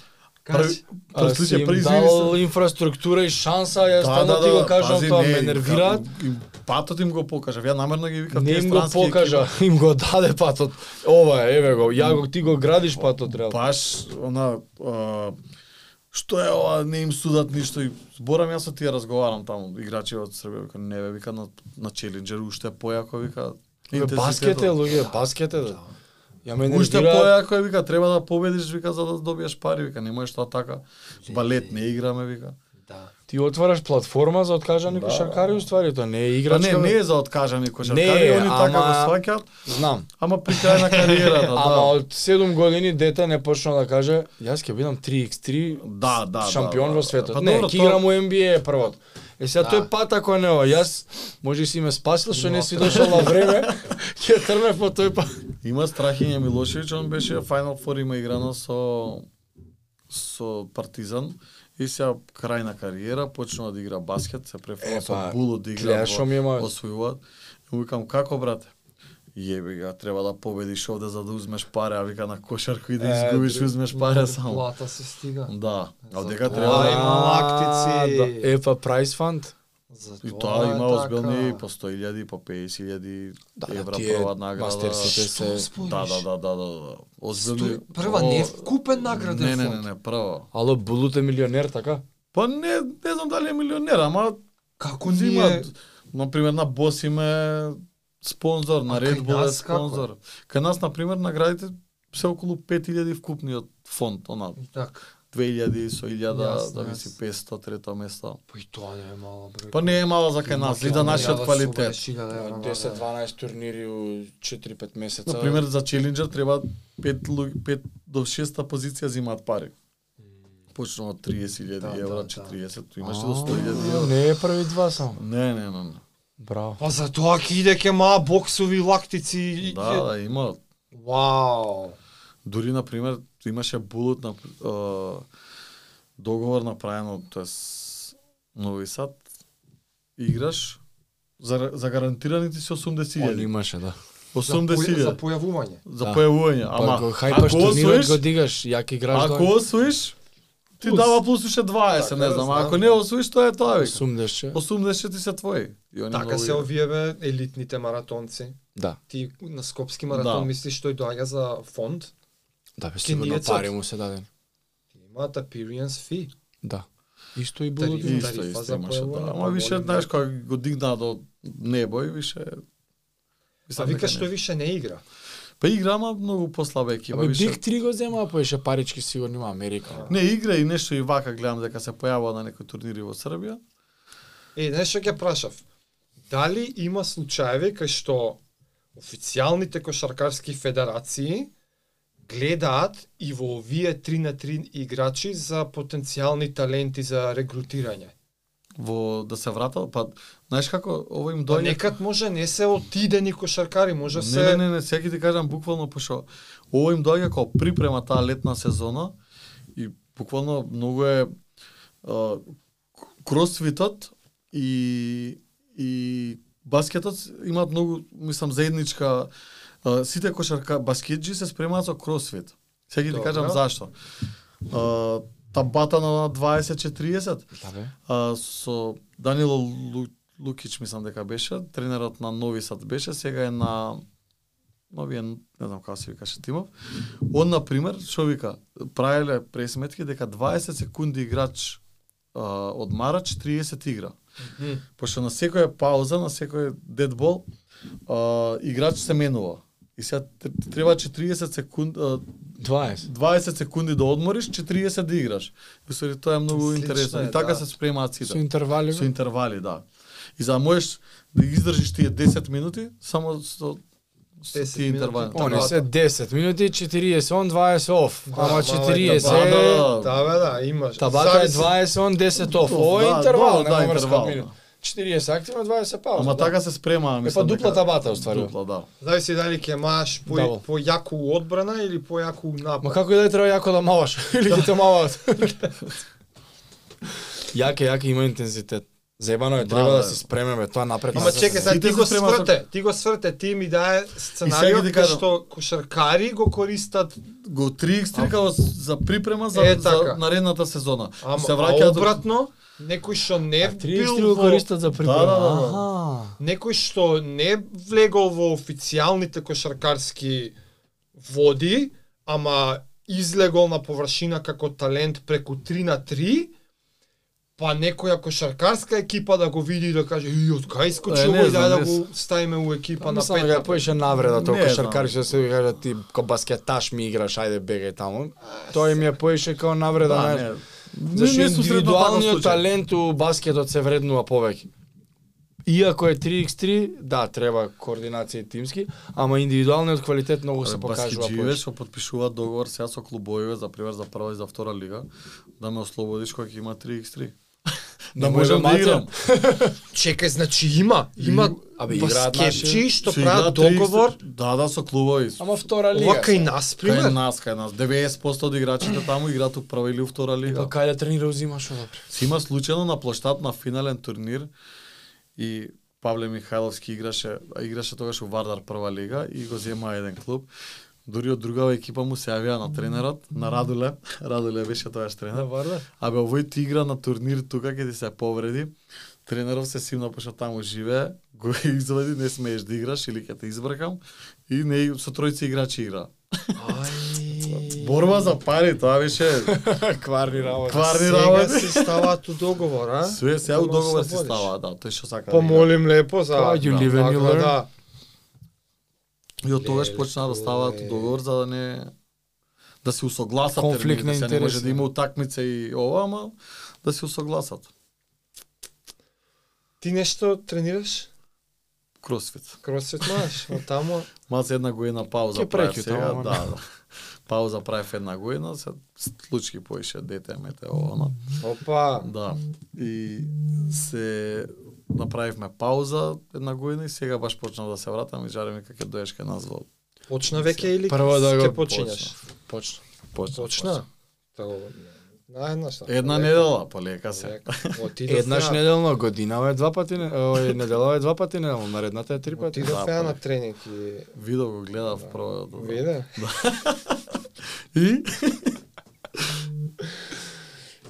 [SPEAKER 2] Први-
[SPEAKER 1] а,
[SPEAKER 2] први
[SPEAKER 1] си
[SPEAKER 2] случај,
[SPEAKER 1] им
[SPEAKER 2] први
[SPEAKER 1] дал
[SPEAKER 2] Па, извини се. Да,
[SPEAKER 1] инфраструктура и шанса, јас стално ти го кажам
[SPEAKER 2] пази,
[SPEAKER 1] тоа,
[SPEAKER 2] не,
[SPEAKER 1] ме нервираат.
[SPEAKER 2] како- им- Патот им го покажав, ја намерно ги викам
[SPEAKER 1] Не
[SPEAKER 2] тие
[SPEAKER 1] им го
[SPEAKER 2] странски
[SPEAKER 1] покажа, им го даде патот. Ова е, еве го, ја го ти го градиш патот
[SPEAKER 2] екипи.
[SPEAKER 1] реално.
[SPEAKER 2] Баш, она, а, што е ова, не им судат ништо. И зборам, јас со тие разговарам таму, играчи од Србија, вика, не бе, вика, на, на челенџер уште е појако, вика,
[SPEAKER 1] Бе,
[SPEAKER 2] интензитетот.
[SPEAKER 1] Баскет е, луѓе, баскет е. да. Ја ме
[SPEAKER 2] Уште
[SPEAKER 1] нервира.
[SPEAKER 2] појако е, вика, треба да победиш, вика, за да добиеш пари, вика, не можеш тоа така. Балет не играме, вика.
[SPEAKER 3] Да.
[SPEAKER 1] Ти отвараш платформа за откажани кошаркари, уствари тоа не е
[SPEAKER 2] Да. Па не,
[SPEAKER 1] играчка.
[SPEAKER 2] не
[SPEAKER 1] бе.
[SPEAKER 2] е за откажани кошаркари,
[SPEAKER 1] Не,
[SPEAKER 2] они така
[SPEAKER 1] ама-
[SPEAKER 2] го сваќаат,
[SPEAKER 1] Знам.
[SPEAKER 2] ама при крај на кариерата, да.
[SPEAKER 1] Ама од 7 години дете не почна да каже јас ќе бидам 3x3
[SPEAKER 2] Да, да,
[SPEAKER 1] шампион
[SPEAKER 2] да, да,
[SPEAKER 1] во
[SPEAKER 2] да.
[SPEAKER 1] светот.
[SPEAKER 2] Па
[SPEAKER 1] не,
[SPEAKER 2] добро,
[SPEAKER 1] ќе
[SPEAKER 2] тоа-
[SPEAKER 1] играм у NBA првот. Е сега
[SPEAKER 3] Да.
[SPEAKER 1] тој пат ако не ова, јас може и си ме спасил што не си дошол на време, ќе тргнав по тој пат.
[SPEAKER 2] Има Страхиња Милошевиќ, он беше Final Four има играно со со Партизан и сега крај на кариера почнува да игра баскет, се префала
[SPEAKER 1] Е,
[SPEAKER 2] со
[SPEAKER 1] па,
[SPEAKER 2] Було да игра,
[SPEAKER 1] гледаш што ми е мојот.
[SPEAKER 2] освојуваат. И му викам како брате? Јеби га, треба да победиш овде за да узмеш пари, а вика на кошарку и да
[SPEAKER 1] Е,
[SPEAKER 2] изгубиш,
[SPEAKER 1] друг-
[SPEAKER 2] uzmеш пари само.
[SPEAKER 3] Плата се стига.
[SPEAKER 2] Да, а
[SPEAKER 3] За
[SPEAKER 2] дека
[SPEAKER 3] тоа
[SPEAKER 2] треба да
[SPEAKER 3] е има
[SPEAKER 1] А,
[SPEAKER 3] лактици.
[SPEAKER 1] да. Е па Price Fund.
[SPEAKER 3] За
[SPEAKER 2] И тоа
[SPEAKER 3] е
[SPEAKER 2] има
[SPEAKER 3] така.
[SPEAKER 2] озбилни по 100.000, по 50.000
[SPEAKER 1] Да, да,
[SPEAKER 2] евра
[SPEAKER 1] тие
[SPEAKER 2] прва награда.
[SPEAKER 1] мастерсите
[SPEAKER 2] Што
[SPEAKER 1] се-
[SPEAKER 3] спориш?
[SPEAKER 2] Да, да, да, да, да, да. Озбилни.
[SPEAKER 3] Стој- прва не е вкупен награден
[SPEAKER 2] Не, не, не,
[SPEAKER 3] фонд.
[SPEAKER 2] не, прва.
[SPEAKER 1] Ало Булут е милионер така?
[SPEAKER 2] Па не, не знам дали е милионер, ама
[SPEAKER 3] Како
[SPEAKER 2] има
[SPEAKER 3] ние
[SPEAKER 2] на пример на Бос име спонзор, на
[SPEAKER 3] А
[SPEAKER 2] Red
[SPEAKER 3] кај
[SPEAKER 2] Bull е
[SPEAKER 3] нас како е?
[SPEAKER 2] спонзор. Кај нас на пример наградите се околу 5000 вкупниот фонд, она
[SPEAKER 3] И така.
[SPEAKER 2] 2000 со 1000,
[SPEAKER 3] Јасно,
[SPEAKER 2] да виси 500 трето место.
[SPEAKER 3] Па и тоа не е мала бројка.
[SPEAKER 2] Па не е мала за кај нас, и да нашиот квалитет.
[SPEAKER 1] 10-12 турнири у 4-5 месеца.
[SPEAKER 2] На пример за челенџер треба 5 5 до 6 позиција земаат пари. Почнува од 30.000
[SPEAKER 3] Да, да,
[SPEAKER 2] евро,
[SPEAKER 3] да.
[SPEAKER 2] 40, имаш до 100.000
[SPEAKER 1] А,
[SPEAKER 2] евро.
[SPEAKER 1] Не е први два само.
[SPEAKER 2] Не, не, не, не.
[SPEAKER 1] Браво.
[SPEAKER 3] Па за тоа ќе иде ке маа боксови лактици. и-
[SPEAKER 2] Да, да, има
[SPEAKER 3] Вау.
[SPEAKER 2] Дури на пример имаше булот на е, договор направено, тоест Нови Сад играш за за гарантираните си 80.000.
[SPEAKER 1] имаше, да.
[SPEAKER 3] За пој- За Па
[SPEAKER 2] 80.000
[SPEAKER 3] појавување.
[SPEAKER 2] за
[SPEAKER 1] Да.
[SPEAKER 2] појавување,
[SPEAKER 1] Ама,
[SPEAKER 2] ама
[SPEAKER 1] го хајпаш
[SPEAKER 2] ако
[SPEAKER 1] турнирот
[SPEAKER 2] освоиш,
[SPEAKER 1] го дигаш, јак играш
[SPEAKER 2] ако
[SPEAKER 1] до
[SPEAKER 2] освоиш ти
[SPEAKER 3] Плюс.
[SPEAKER 2] дава плюс уште 20, не
[SPEAKER 3] Така,
[SPEAKER 2] знам,
[SPEAKER 3] знам.
[SPEAKER 2] ако не освоиш тоа е тоа вика.
[SPEAKER 1] 80.
[SPEAKER 2] 80 ти се твои. И они
[SPEAKER 3] Така
[SPEAKER 2] многу
[SPEAKER 3] се
[SPEAKER 2] играат.
[SPEAKER 3] овие бе елитните маратонци.
[SPEAKER 1] Да.
[SPEAKER 3] Ти на скопски маратон
[SPEAKER 2] Да.
[SPEAKER 3] мислиш тој доаѓа за фонд?
[SPEAKER 1] Да, бе,
[SPEAKER 3] Кениецот.
[SPEAKER 1] му се даден.
[SPEAKER 3] Имаат appearance fee.
[SPEAKER 1] Да. Исто и
[SPEAKER 3] Тари-
[SPEAKER 1] било.
[SPEAKER 2] И
[SPEAKER 1] ти.
[SPEAKER 2] Исто,
[SPEAKER 3] тарифа
[SPEAKER 2] исто
[SPEAKER 3] за
[SPEAKER 2] имаше, да.
[SPEAKER 3] појавување,
[SPEAKER 2] Ама више,
[SPEAKER 3] помоли,
[SPEAKER 2] знаеш,
[SPEAKER 3] да.
[SPEAKER 2] кога го дигнаа до небо и више...
[SPEAKER 3] Са
[SPEAKER 2] Мислам, дека
[SPEAKER 3] вика
[SPEAKER 2] не.
[SPEAKER 3] што више не игра.
[SPEAKER 2] Па игра, ама многу послаба екипа.
[SPEAKER 1] Абе,
[SPEAKER 2] Више...
[SPEAKER 1] Биг 3 го земаа, поеше парички сигурно има Америка.
[SPEAKER 2] Не игра и нешто и вака гледам дека се појавува на некои турнири во Србија.
[SPEAKER 3] Е, знаеш што ќе прашав? Дали има случаеви кај што официјалните кошаркарски федерации гледаат и во овие 3 на 3 играчи за потенцијални таленти за регрутирање?
[SPEAKER 2] Во да се вратат, па знаеш како ово
[SPEAKER 1] Да,
[SPEAKER 2] им
[SPEAKER 3] Па
[SPEAKER 2] дојде.
[SPEAKER 3] некад може не се отидени кошаркари, може се...
[SPEAKER 2] Не, не, не, не, сега ќе ти кажам буквално пошо. Ово им доаѓа како припрема таа летна сезона и буквално многу е а, кросфитот и и баскетот имаат многу, мислам, заедничка а, сите кошарка баскетџи се спремаат со кросфит. Сега ќе ти
[SPEAKER 3] Добро.
[SPEAKER 2] кажам зашто. А, табата на 20-40
[SPEAKER 1] Да, бе.
[SPEAKER 2] а, со Данило Лу, Лукич мислам дека беше, тренерот на Нови Сад беше, сега е на новиен, не знам како се викаше тимов. Он на пример, што вика, правеле пресметки дека 20 секунди играч а, од Марач 30 игра.
[SPEAKER 3] Мгм.
[SPEAKER 2] Пошто на секоја пауза, на секој дедбол, а, играч се менува. И сега тр- треба 40 секунд, а,
[SPEAKER 1] 20.
[SPEAKER 2] 20 секунди да одмориш, 40 да играш. И сори, тоа е многу
[SPEAKER 3] Слично
[SPEAKER 2] интересно.
[SPEAKER 3] е,
[SPEAKER 2] И така
[SPEAKER 3] да.
[SPEAKER 2] се спремаат
[SPEAKER 1] Со
[SPEAKER 2] сите.
[SPEAKER 1] интервали.
[SPEAKER 2] Со
[SPEAKER 1] бе.
[SPEAKER 2] интервали, да. И за да можеш да ги издржиш тие 10 минути, само со, со
[SPEAKER 3] 10
[SPEAKER 2] тие
[SPEAKER 3] минути.
[SPEAKER 2] интервали.
[SPEAKER 3] О,
[SPEAKER 1] Они се 10 минути, 40, он 20 оф. Ама
[SPEAKER 3] мала
[SPEAKER 1] 40
[SPEAKER 2] Да, да, да.
[SPEAKER 1] е...
[SPEAKER 3] Да, бе, да, имаш.
[SPEAKER 1] Табака е
[SPEAKER 3] Зависи.
[SPEAKER 1] 20, он 10 оф.
[SPEAKER 2] Да,
[SPEAKER 1] Ово е
[SPEAKER 2] да,
[SPEAKER 1] интервал,
[SPEAKER 2] да,
[SPEAKER 1] не мрска
[SPEAKER 2] интервал, да.
[SPEAKER 1] минут. 40 активно, 20 пауза.
[SPEAKER 2] Ама
[SPEAKER 1] да.
[SPEAKER 2] така се спрема,
[SPEAKER 1] Е па
[SPEAKER 2] мислам.
[SPEAKER 1] дупла
[SPEAKER 2] дека-
[SPEAKER 1] табата, уствари.
[SPEAKER 2] Дупла, да.
[SPEAKER 3] Зависи дали ќе маш по,
[SPEAKER 1] Дабл.
[SPEAKER 3] појаку одбрана или појаку напад.
[SPEAKER 1] Ма како и да е, треба јако да маваш или ќе те маваат. јаке, јаке има интензитет. Заебано е,
[SPEAKER 2] Да,
[SPEAKER 1] треба да,
[SPEAKER 2] да.
[SPEAKER 1] си спремеме тоа напред. Да,
[SPEAKER 3] Ама
[SPEAKER 1] назад,
[SPEAKER 3] чекай,
[SPEAKER 1] назад.
[SPEAKER 3] сега ти
[SPEAKER 2] Сите се
[SPEAKER 3] го
[SPEAKER 2] спремат
[SPEAKER 3] сврте, ти го сврте, ти ми даде
[SPEAKER 2] сега
[SPEAKER 3] сценарио
[SPEAKER 2] ги ти
[SPEAKER 3] кај
[SPEAKER 2] кажам.
[SPEAKER 3] што кошаркари го користат
[SPEAKER 2] Го триикстрикао за припрема за,
[SPEAKER 3] Е,
[SPEAKER 2] за
[SPEAKER 3] така.
[SPEAKER 2] наредната сезона.
[SPEAKER 3] Ама
[SPEAKER 2] се
[SPEAKER 3] се
[SPEAKER 2] враќаат до-
[SPEAKER 3] обратно, некој што не
[SPEAKER 1] А, три
[SPEAKER 3] бил
[SPEAKER 1] екстри го
[SPEAKER 3] во-
[SPEAKER 1] користат за припрема.
[SPEAKER 2] Да, да, да, да.
[SPEAKER 1] Аха.
[SPEAKER 3] некој што не влегол во официјалните кошаркарски води, ама излегол на површина како талент преку 3 на 3, па некоја кошаркарска екипа да го види и да каже, и од кај
[SPEAKER 2] Е,
[SPEAKER 3] искочил
[SPEAKER 2] не
[SPEAKER 3] и
[SPEAKER 2] знам,
[SPEAKER 3] да
[SPEAKER 2] не
[SPEAKER 3] го ставиме у екипа
[SPEAKER 1] Па
[SPEAKER 3] на
[SPEAKER 1] на
[SPEAKER 3] пет.
[SPEAKER 1] само
[SPEAKER 3] на
[SPEAKER 1] ја
[SPEAKER 3] пет».
[SPEAKER 1] поише навреда
[SPEAKER 2] Не да.
[SPEAKER 1] тоа
[SPEAKER 2] знам.
[SPEAKER 1] шаркари што се кажа ти ко баскеташ ми играш, ајде бегај таму. Тоа им ја поише како навреда,
[SPEAKER 2] Да,
[SPEAKER 1] знаеш.
[SPEAKER 2] не.
[SPEAKER 1] Зашто
[SPEAKER 2] Не, не сусредно парно
[SPEAKER 1] индивидуалниот
[SPEAKER 2] случај.
[SPEAKER 1] талент у баскетот се вреднува повеќе. Иако е 3x3, да, треба координација и тимски, ама индивидуалниот квалитет многу се покажува
[SPEAKER 2] Баскетџиеве
[SPEAKER 1] повеќе.
[SPEAKER 2] што потпишуваат договор сега со клубовиве за пример за прва и за втора лига да ме ослободиш кога ќе има 3x3.
[SPEAKER 1] Не
[SPEAKER 2] да
[SPEAKER 1] може
[SPEAKER 2] можам да
[SPEAKER 1] мацам.
[SPEAKER 2] играм.
[SPEAKER 3] Чекај, значи има, има
[SPEAKER 1] Абе, играат
[SPEAKER 3] баскетчи
[SPEAKER 1] наши.
[SPEAKER 3] што
[SPEAKER 2] Се игра
[SPEAKER 3] прават
[SPEAKER 2] 3x3.
[SPEAKER 3] договор,
[SPEAKER 2] Да, да, со клубови.
[SPEAKER 1] Ама втора лига.
[SPEAKER 3] ова кај нас,
[SPEAKER 2] Кај
[SPEAKER 3] пример.
[SPEAKER 2] нас, кај нас. 90% од играчите таму играат у прва или у втора лига.
[SPEAKER 1] Па
[SPEAKER 3] Така.
[SPEAKER 1] кај да тренира узимаш одапре.
[SPEAKER 2] Се има случајно на плоштад на финален турнир и Павле Михајловски играше, а играше тогаш у Вардар прва лига и го зема еден клуб. Дури од другава екипа му се јавиа на тренерот, на Радуле. Радуле беше тогаш тренер.
[SPEAKER 1] варда.
[SPEAKER 2] Абе, овој ти игра на турнир тука ќе ти се повреди. Тренеров се симна пошто таму живее, го извади, не смееш да играш или ќе те избркам и не со тројци играчи игра.
[SPEAKER 3] Ај.
[SPEAKER 2] Борба за пари, тоа беше
[SPEAKER 1] Кварни работи.
[SPEAKER 2] кварни
[SPEAKER 3] Сега
[SPEAKER 2] работи.
[SPEAKER 3] се да ставаат у договор, а?
[SPEAKER 2] Све се у
[SPEAKER 3] Ама
[SPEAKER 2] договор се
[SPEAKER 3] ослободиш.
[SPEAKER 2] става, да, тој што сака. да
[SPEAKER 3] Помолим лепо за...
[SPEAKER 1] Па, you live and you
[SPEAKER 3] Така,
[SPEAKER 1] learn.
[SPEAKER 3] Да,
[SPEAKER 2] игра. И од тогаш
[SPEAKER 3] Леле,
[SPEAKER 2] почнаа да ставаат
[SPEAKER 3] леле.
[SPEAKER 2] договор за да не да се усогласат
[SPEAKER 1] Конфликт на
[SPEAKER 2] термини, да се не може
[SPEAKER 1] интереси.
[SPEAKER 2] да има утакмица и ова, ама да се усогласат.
[SPEAKER 3] Ти нешто тренираш?
[SPEAKER 2] Кросфит.
[SPEAKER 3] Кросфит маш, од таму.
[SPEAKER 2] Маса една година пауза
[SPEAKER 1] Ќе
[SPEAKER 2] прави
[SPEAKER 1] прекју
[SPEAKER 2] сега,
[SPEAKER 1] тоа, ама.
[SPEAKER 2] да, да. Пауза правев една година, се случки поише дете мете ова, она.
[SPEAKER 3] Опа.
[SPEAKER 2] Да. И се направивме пауза една година и сега баш почнав да се вратам и жаре ми како доеш кај нас во
[SPEAKER 3] Почна веќе или
[SPEAKER 1] Прво да
[SPEAKER 3] ќе
[SPEAKER 1] го
[SPEAKER 3] почињаш?
[SPEAKER 1] Почна.
[SPEAKER 2] почна.
[SPEAKER 3] Почна. Така го. На една шта.
[SPEAKER 2] Една недела полека се.
[SPEAKER 3] Отидов
[SPEAKER 1] Еднаш
[SPEAKER 3] ја-
[SPEAKER 1] неделно, годинава е два пати, не- ој, неделава е два пати, неделно, наредната е три пати.
[SPEAKER 3] Отидов
[SPEAKER 2] Да,
[SPEAKER 3] ја
[SPEAKER 2] па.
[SPEAKER 3] на тренинг и
[SPEAKER 2] Видов го гледав прво.
[SPEAKER 3] виде.
[SPEAKER 2] И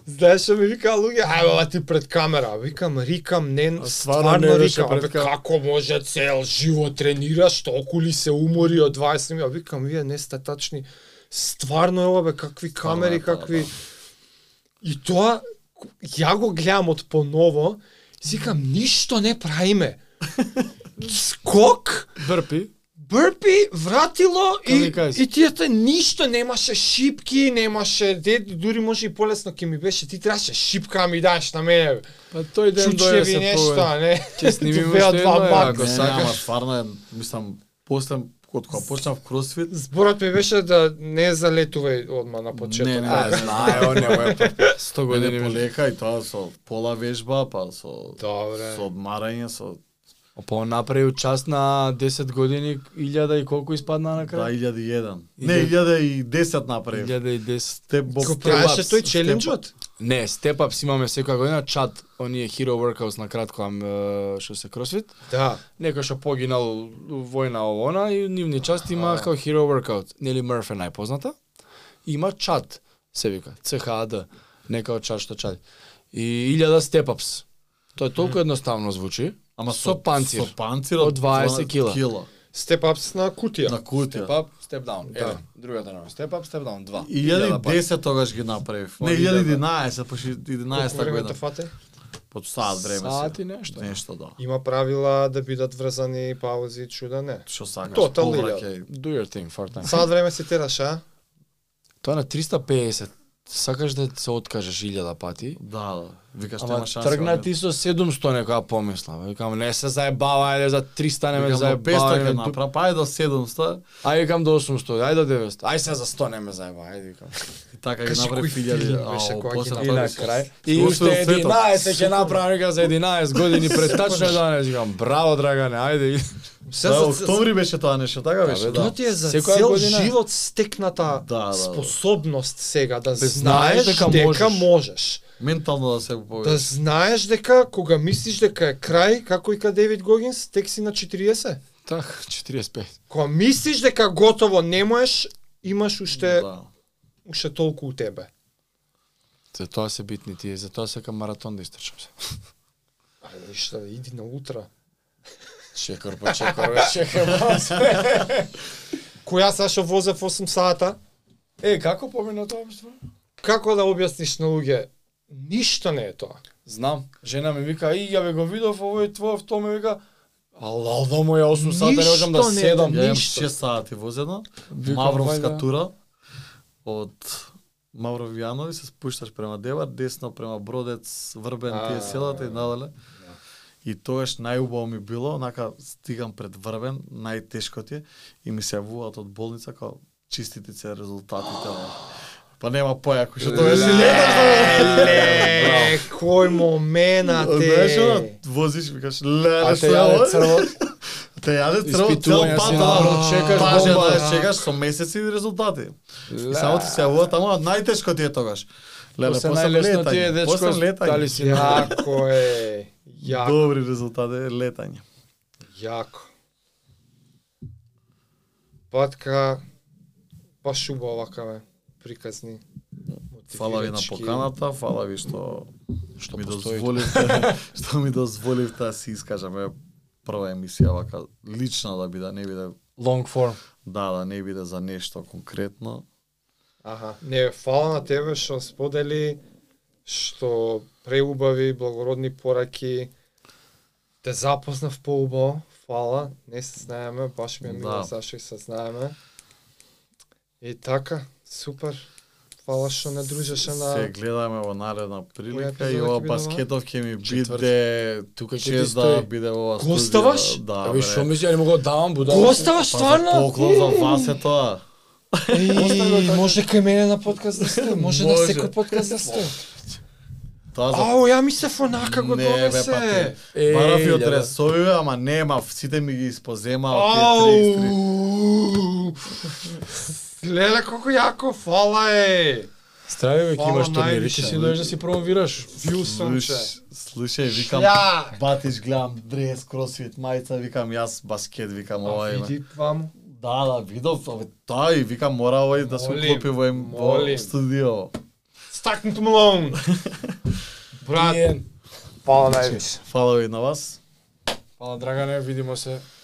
[SPEAKER 3] Знаеш што ми викаа луѓе, ај ова ти пред камера, викам, рикам, не,
[SPEAKER 1] А
[SPEAKER 3] стварно,
[SPEAKER 1] стварно не беше
[SPEAKER 3] рикам,
[SPEAKER 1] пред
[SPEAKER 3] абе,
[SPEAKER 1] камера.
[SPEAKER 3] како може цел живот тренираш, толку ли се умори од 20 минути, А викам, вие не сте тачни, стварно е ова, бе, какви
[SPEAKER 2] Стварно е
[SPEAKER 3] камери,
[SPEAKER 2] тоа,
[SPEAKER 3] какви...
[SPEAKER 2] да.
[SPEAKER 3] И тоа, ја го гледам од поново, и си викам, ништо не правиме. Скок,
[SPEAKER 1] Брпи.
[SPEAKER 3] Бърпи вратило и,
[SPEAKER 1] Камиказ.
[SPEAKER 3] и тијата ништо немаше шипки, немаше де, дури може и полесно ќе ми беше, ти траше шипка а ми даш на мене. бе.
[SPEAKER 1] Па тој ден дое
[SPEAKER 3] Чучеви
[SPEAKER 1] се пое.
[SPEAKER 3] нешто, не.
[SPEAKER 1] Ќе снимиме
[SPEAKER 3] Беа
[SPEAKER 1] уште
[SPEAKER 3] два
[SPEAKER 1] едно, е,
[SPEAKER 3] бака.
[SPEAKER 1] ако
[SPEAKER 2] не, ама
[SPEAKER 1] сакаш.
[SPEAKER 2] стварно е, мислам, после од кога почнав кросфит,
[SPEAKER 3] Зборот ми беше да не залетувај одма на почеток.
[SPEAKER 2] Не, не,
[SPEAKER 1] А, знае, он е мој папа. 100 години
[SPEAKER 2] Мене
[SPEAKER 1] ми.
[SPEAKER 2] полека и тоа со пола вежба, па со
[SPEAKER 3] Добре.
[SPEAKER 2] со одмарање, со
[SPEAKER 1] Па он направи част на 10 години, 1000 и колку испадна на крај?
[SPEAKER 2] 2001.
[SPEAKER 1] И
[SPEAKER 2] Не,
[SPEAKER 1] де-
[SPEAKER 2] 1010 направив.
[SPEAKER 1] 1010.
[SPEAKER 2] Степ боб.
[SPEAKER 3] Го правеше тој челенџот?
[SPEAKER 1] Не, степапс имаме секоја година, чат, оние hero workouts на кратко, ам, е, што се кросфит.
[SPEAKER 3] Да.
[SPEAKER 1] Некој што погинал војна овона и нивни части има
[SPEAKER 2] Аха.
[SPEAKER 1] као hero workout. Нели Мърф е најпозната. Има чат, се вика, CHAD, некао чат што чат. И 1000 степапс. Тоа толку едноставно звучи.
[SPEAKER 2] Ама со,
[SPEAKER 1] со панцир.
[SPEAKER 2] Со панцир
[SPEAKER 1] Од 20 кила. па,
[SPEAKER 2] кила.
[SPEAKER 3] Степ апс на кутија.
[SPEAKER 2] На кутија.
[SPEAKER 1] up, step down.
[SPEAKER 2] Да.
[SPEAKER 1] Еве, другата нова. Step up, step down. Два.
[SPEAKER 2] 1010 тогаш ги направив. Не,
[SPEAKER 1] Они да, да.
[SPEAKER 2] 1011, па ши-
[SPEAKER 3] Колку
[SPEAKER 2] 11
[SPEAKER 3] време те
[SPEAKER 2] година.
[SPEAKER 3] фате?
[SPEAKER 2] Под саат време
[SPEAKER 1] Саат
[SPEAKER 2] се.
[SPEAKER 1] и нешто.
[SPEAKER 2] Нешто да.
[SPEAKER 3] Има правила да бидат врзани паузи и чуда, не.
[SPEAKER 2] Што сакаш.
[SPEAKER 3] Тотал
[SPEAKER 2] повраќај.
[SPEAKER 1] Do your thing, for time.
[SPEAKER 3] Сад време се тераш, а?
[SPEAKER 1] Тоа на 350. Сакаш да се откажеш 1000 пати.
[SPEAKER 2] Да, да. Викаш
[SPEAKER 1] Ама
[SPEAKER 2] нема шанси.
[SPEAKER 1] тргна ти со 700 некоја помисла. бе. Викам, не се заебава, ајде за 300 не ме
[SPEAKER 2] за 500 ќе
[SPEAKER 1] заебава.
[SPEAKER 2] направи, па ајде до 700
[SPEAKER 1] Ај викам до 800, ај до 900. Ај се за 100 не ме заебава, ајде викам.
[SPEAKER 2] и така ги
[SPEAKER 3] Кажи
[SPEAKER 2] направи
[SPEAKER 3] кој филм беше
[SPEAKER 2] 1000.
[SPEAKER 3] кој
[SPEAKER 2] Ао,
[SPEAKER 3] ги
[SPEAKER 2] после
[SPEAKER 3] направи?
[SPEAKER 1] И
[SPEAKER 2] направи
[SPEAKER 1] на
[SPEAKER 2] со-
[SPEAKER 1] крај.
[SPEAKER 2] со
[SPEAKER 1] И уште
[SPEAKER 2] освоил светот.
[SPEAKER 1] 11 ќе направи вика за 11 години пред тачно 11. Викам, браво Драгане, ајде.
[SPEAKER 2] Се
[SPEAKER 3] се-
[SPEAKER 2] Да, октомври беше тоа нешто, така
[SPEAKER 1] Да,
[SPEAKER 2] беше.
[SPEAKER 1] бе, да.
[SPEAKER 3] Тоа ти е за
[SPEAKER 1] Секоја
[SPEAKER 3] цел
[SPEAKER 1] година-
[SPEAKER 3] живот стекната
[SPEAKER 2] Да, да, да.
[SPEAKER 3] способност сега да
[SPEAKER 1] знаеш
[SPEAKER 3] знаеш дека,
[SPEAKER 1] дека
[SPEAKER 3] дека
[SPEAKER 1] можеш.
[SPEAKER 3] можеш.
[SPEAKER 2] Ментално да се го
[SPEAKER 3] Да
[SPEAKER 2] повеќе.
[SPEAKER 3] знаеш дека кога мислиш дека е крај, како и ка Девид Гогинс, тек си на 40.
[SPEAKER 1] Так, 45.
[SPEAKER 3] Кога мислиш дека готово не можеш, имаш уште
[SPEAKER 2] Да.
[SPEAKER 3] уште толку у тебе.
[SPEAKER 1] За тоа се битни тие, за тоа сакам маратон да истрчам се.
[SPEAKER 3] Ајде ништа, иди на утра.
[SPEAKER 1] Чекор по чекор, бе, чекор.
[SPEAKER 3] Која Сашо возев 8 сата?
[SPEAKER 1] Е, како помина тоа обштво?
[SPEAKER 3] Како да објасниш на луѓе? Ништо не е тоа.
[SPEAKER 1] Знам, жена ми вика, и ја бе го видов овој твој, тоа ми вика, Алал да му ја 8 сата, не можам да
[SPEAKER 3] Ништо не е,
[SPEAKER 1] седам.
[SPEAKER 2] Ја имам
[SPEAKER 3] ништо.
[SPEAKER 2] 6 сати возено,
[SPEAKER 1] Викам,
[SPEAKER 2] Мавровска
[SPEAKER 1] вајда.
[SPEAKER 2] тура од Мавров Јанови се спушташ према Девар, десно према Бродец, Врбен,
[SPEAKER 3] А.
[SPEAKER 2] тие селата и надале. И тогаш најубаво ми било, нака стигам пред Врбен, најтешко ти е, и ми се јавуваат од болница као чистите се резултатите. ама. Па нема појако, што тоа беше
[SPEAKER 3] Леле, кој момент
[SPEAKER 2] Знаеш, оно,
[SPEAKER 3] е.
[SPEAKER 2] возиш, викаш, леле,
[SPEAKER 1] А те
[SPEAKER 2] што е
[SPEAKER 1] јаде
[SPEAKER 2] ово?
[SPEAKER 1] црво,
[SPEAKER 2] Те јаде црво, цел да.
[SPEAKER 1] Испитувања
[SPEAKER 2] пат,
[SPEAKER 1] си на
[SPEAKER 2] ама,
[SPEAKER 1] рот, чекаш
[SPEAKER 2] паже,
[SPEAKER 1] бомба.
[SPEAKER 2] знаеш, чекаш со месеци резултати. И само ти се јавува таму, а најтешко ти е тогаш. Леле,
[SPEAKER 1] После
[SPEAKER 2] после
[SPEAKER 1] најлесно ти е,
[SPEAKER 2] летање,
[SPEAKER 1] дечко,
[SPEAKER 2] после
[SPEAKER 1] дали
[SPEAKER 2] летање.
[SPEAKER 1] си на...
[SPEAKER 3] Јако е. Јако,
[SPEAKER 2] Добри резултати, е летање.
[SPEAKER 3] јако. Патка, баш убаво вака бе, приказни.
[SPEAKER 2] Фала ви на
[SPEAKER 3] мотивирачки.
[SPEAKER 2] поканата, фала ви што што ми
[SPEAKER 1] постои.
[SPEAKER 2] дозволивте, што ми дозволивте да се искажам. Е, прва емисија вака лична да биде, не биде
[SPEAKER 1] Long form.
[SPEAKER 2] да, да не биде за нешто конкретно.
[SPEAKER 3] Аха, не, фала на тебе што сподели, што преубави, благородни пораки, те запознав поубаво, фала, не се знаеме, баш ми е мило
[SPEAKER 2] Да.
[SPEAKER 3] да. зашто и се знаеме. И така, супер, фала што не дружеше
[SPEAKER 2] Се
[SPEAKER 3] на...
[SPEAKER 2] гледаме во наредна
[SPEAKER 3] Која
[SPEAKER 2] прилика
[SPEAKER 3] епизода
[SPEAKER 2] и
[SPEAKER 3] ќе
[SPEAKER 2] ова
[SPEAKER 3] биде ова?
[SPEAKER 2] баскетов ќе ми
[SPEAKER 1] Четврт.
[SPEAKER 2] биде
[SPEAKER 1] Тука ќе ти
[SPEAKER 2] чест да
[SPEAKER 1] стои.
[SPEAKER 2] биде во ова студија.
[SPEAKER 3] Гоставаш?
[SPEAKER 2] Да,
[SPEAKER 1] Абе,
[SPEAKER 2] бре.
[SPEAKER 1] што мислиш, ја не мога да давам будала.
[SPEAKER 3] Гоставаш
[SPEAKER 2] Па за поклон за вас е тоа.
[SPEAKER 3] И, може кај мене на подкаст да сте, може, на
[SPEAKER 2] така. Може.
[SPEAKER 3] секој подкаст да сте.
[SPEAKER 2] Тоа за
[SPEAKER 3] Ау, ја ми се фонака го
[SPEAKER 2] Не, бе, па
[SPEAKER 3] донесе.
[SPEAKER 2] ти.
[SPEAKER 1] Е,
[SPEAKER 2] Бараф и
[SPEAKER 1] ја,
[SPEAKER 2] од
[SPEAKER 1] да.
[SPEAKER 2] ресовиве, ама нема, сите ми ги испоземаа тие Па три екстри.
[SPEAKER 3] Ау! Леле колку јако, фала е.
[SPEAKER 1] Здраве, бе, ќе
[SPEAKER 3] Фала
[SPEAKER 1] имаш турнири, ќе
[SPEAKER 3] највише.
[SPEAKER 1] си дојдеш да си промовираш.
[SPEAKER 3] Вил сонче.
[SPEAKER 2] Слуш- Слушај, викам,
[SPEAKER 3] Шљак!
[SPEAKER 2] батиш, гледам дрес, кросфит, мајца, викам, јас баскет, викам, ова е.
[SPEAKER 3] Види вам.
[SPEAKER 2] Да, да, видов, абе, тоа и викам, мора овој да се
[SPEAKER 3] Молим,
[SPEAKER 2] уклопи во, им- во
[SPEAKER 3] молим.
[SPEAKER 2] студио.
[SPEAKER 3] Стакнут Малоун. Брат,
[SPEAKER 1] Тиен.
[SPEAKER 3] фала највише.
[SPEAKER 2] Фала ви на вас.
[SPEAKER 1] Фала, Драгане, видимо се.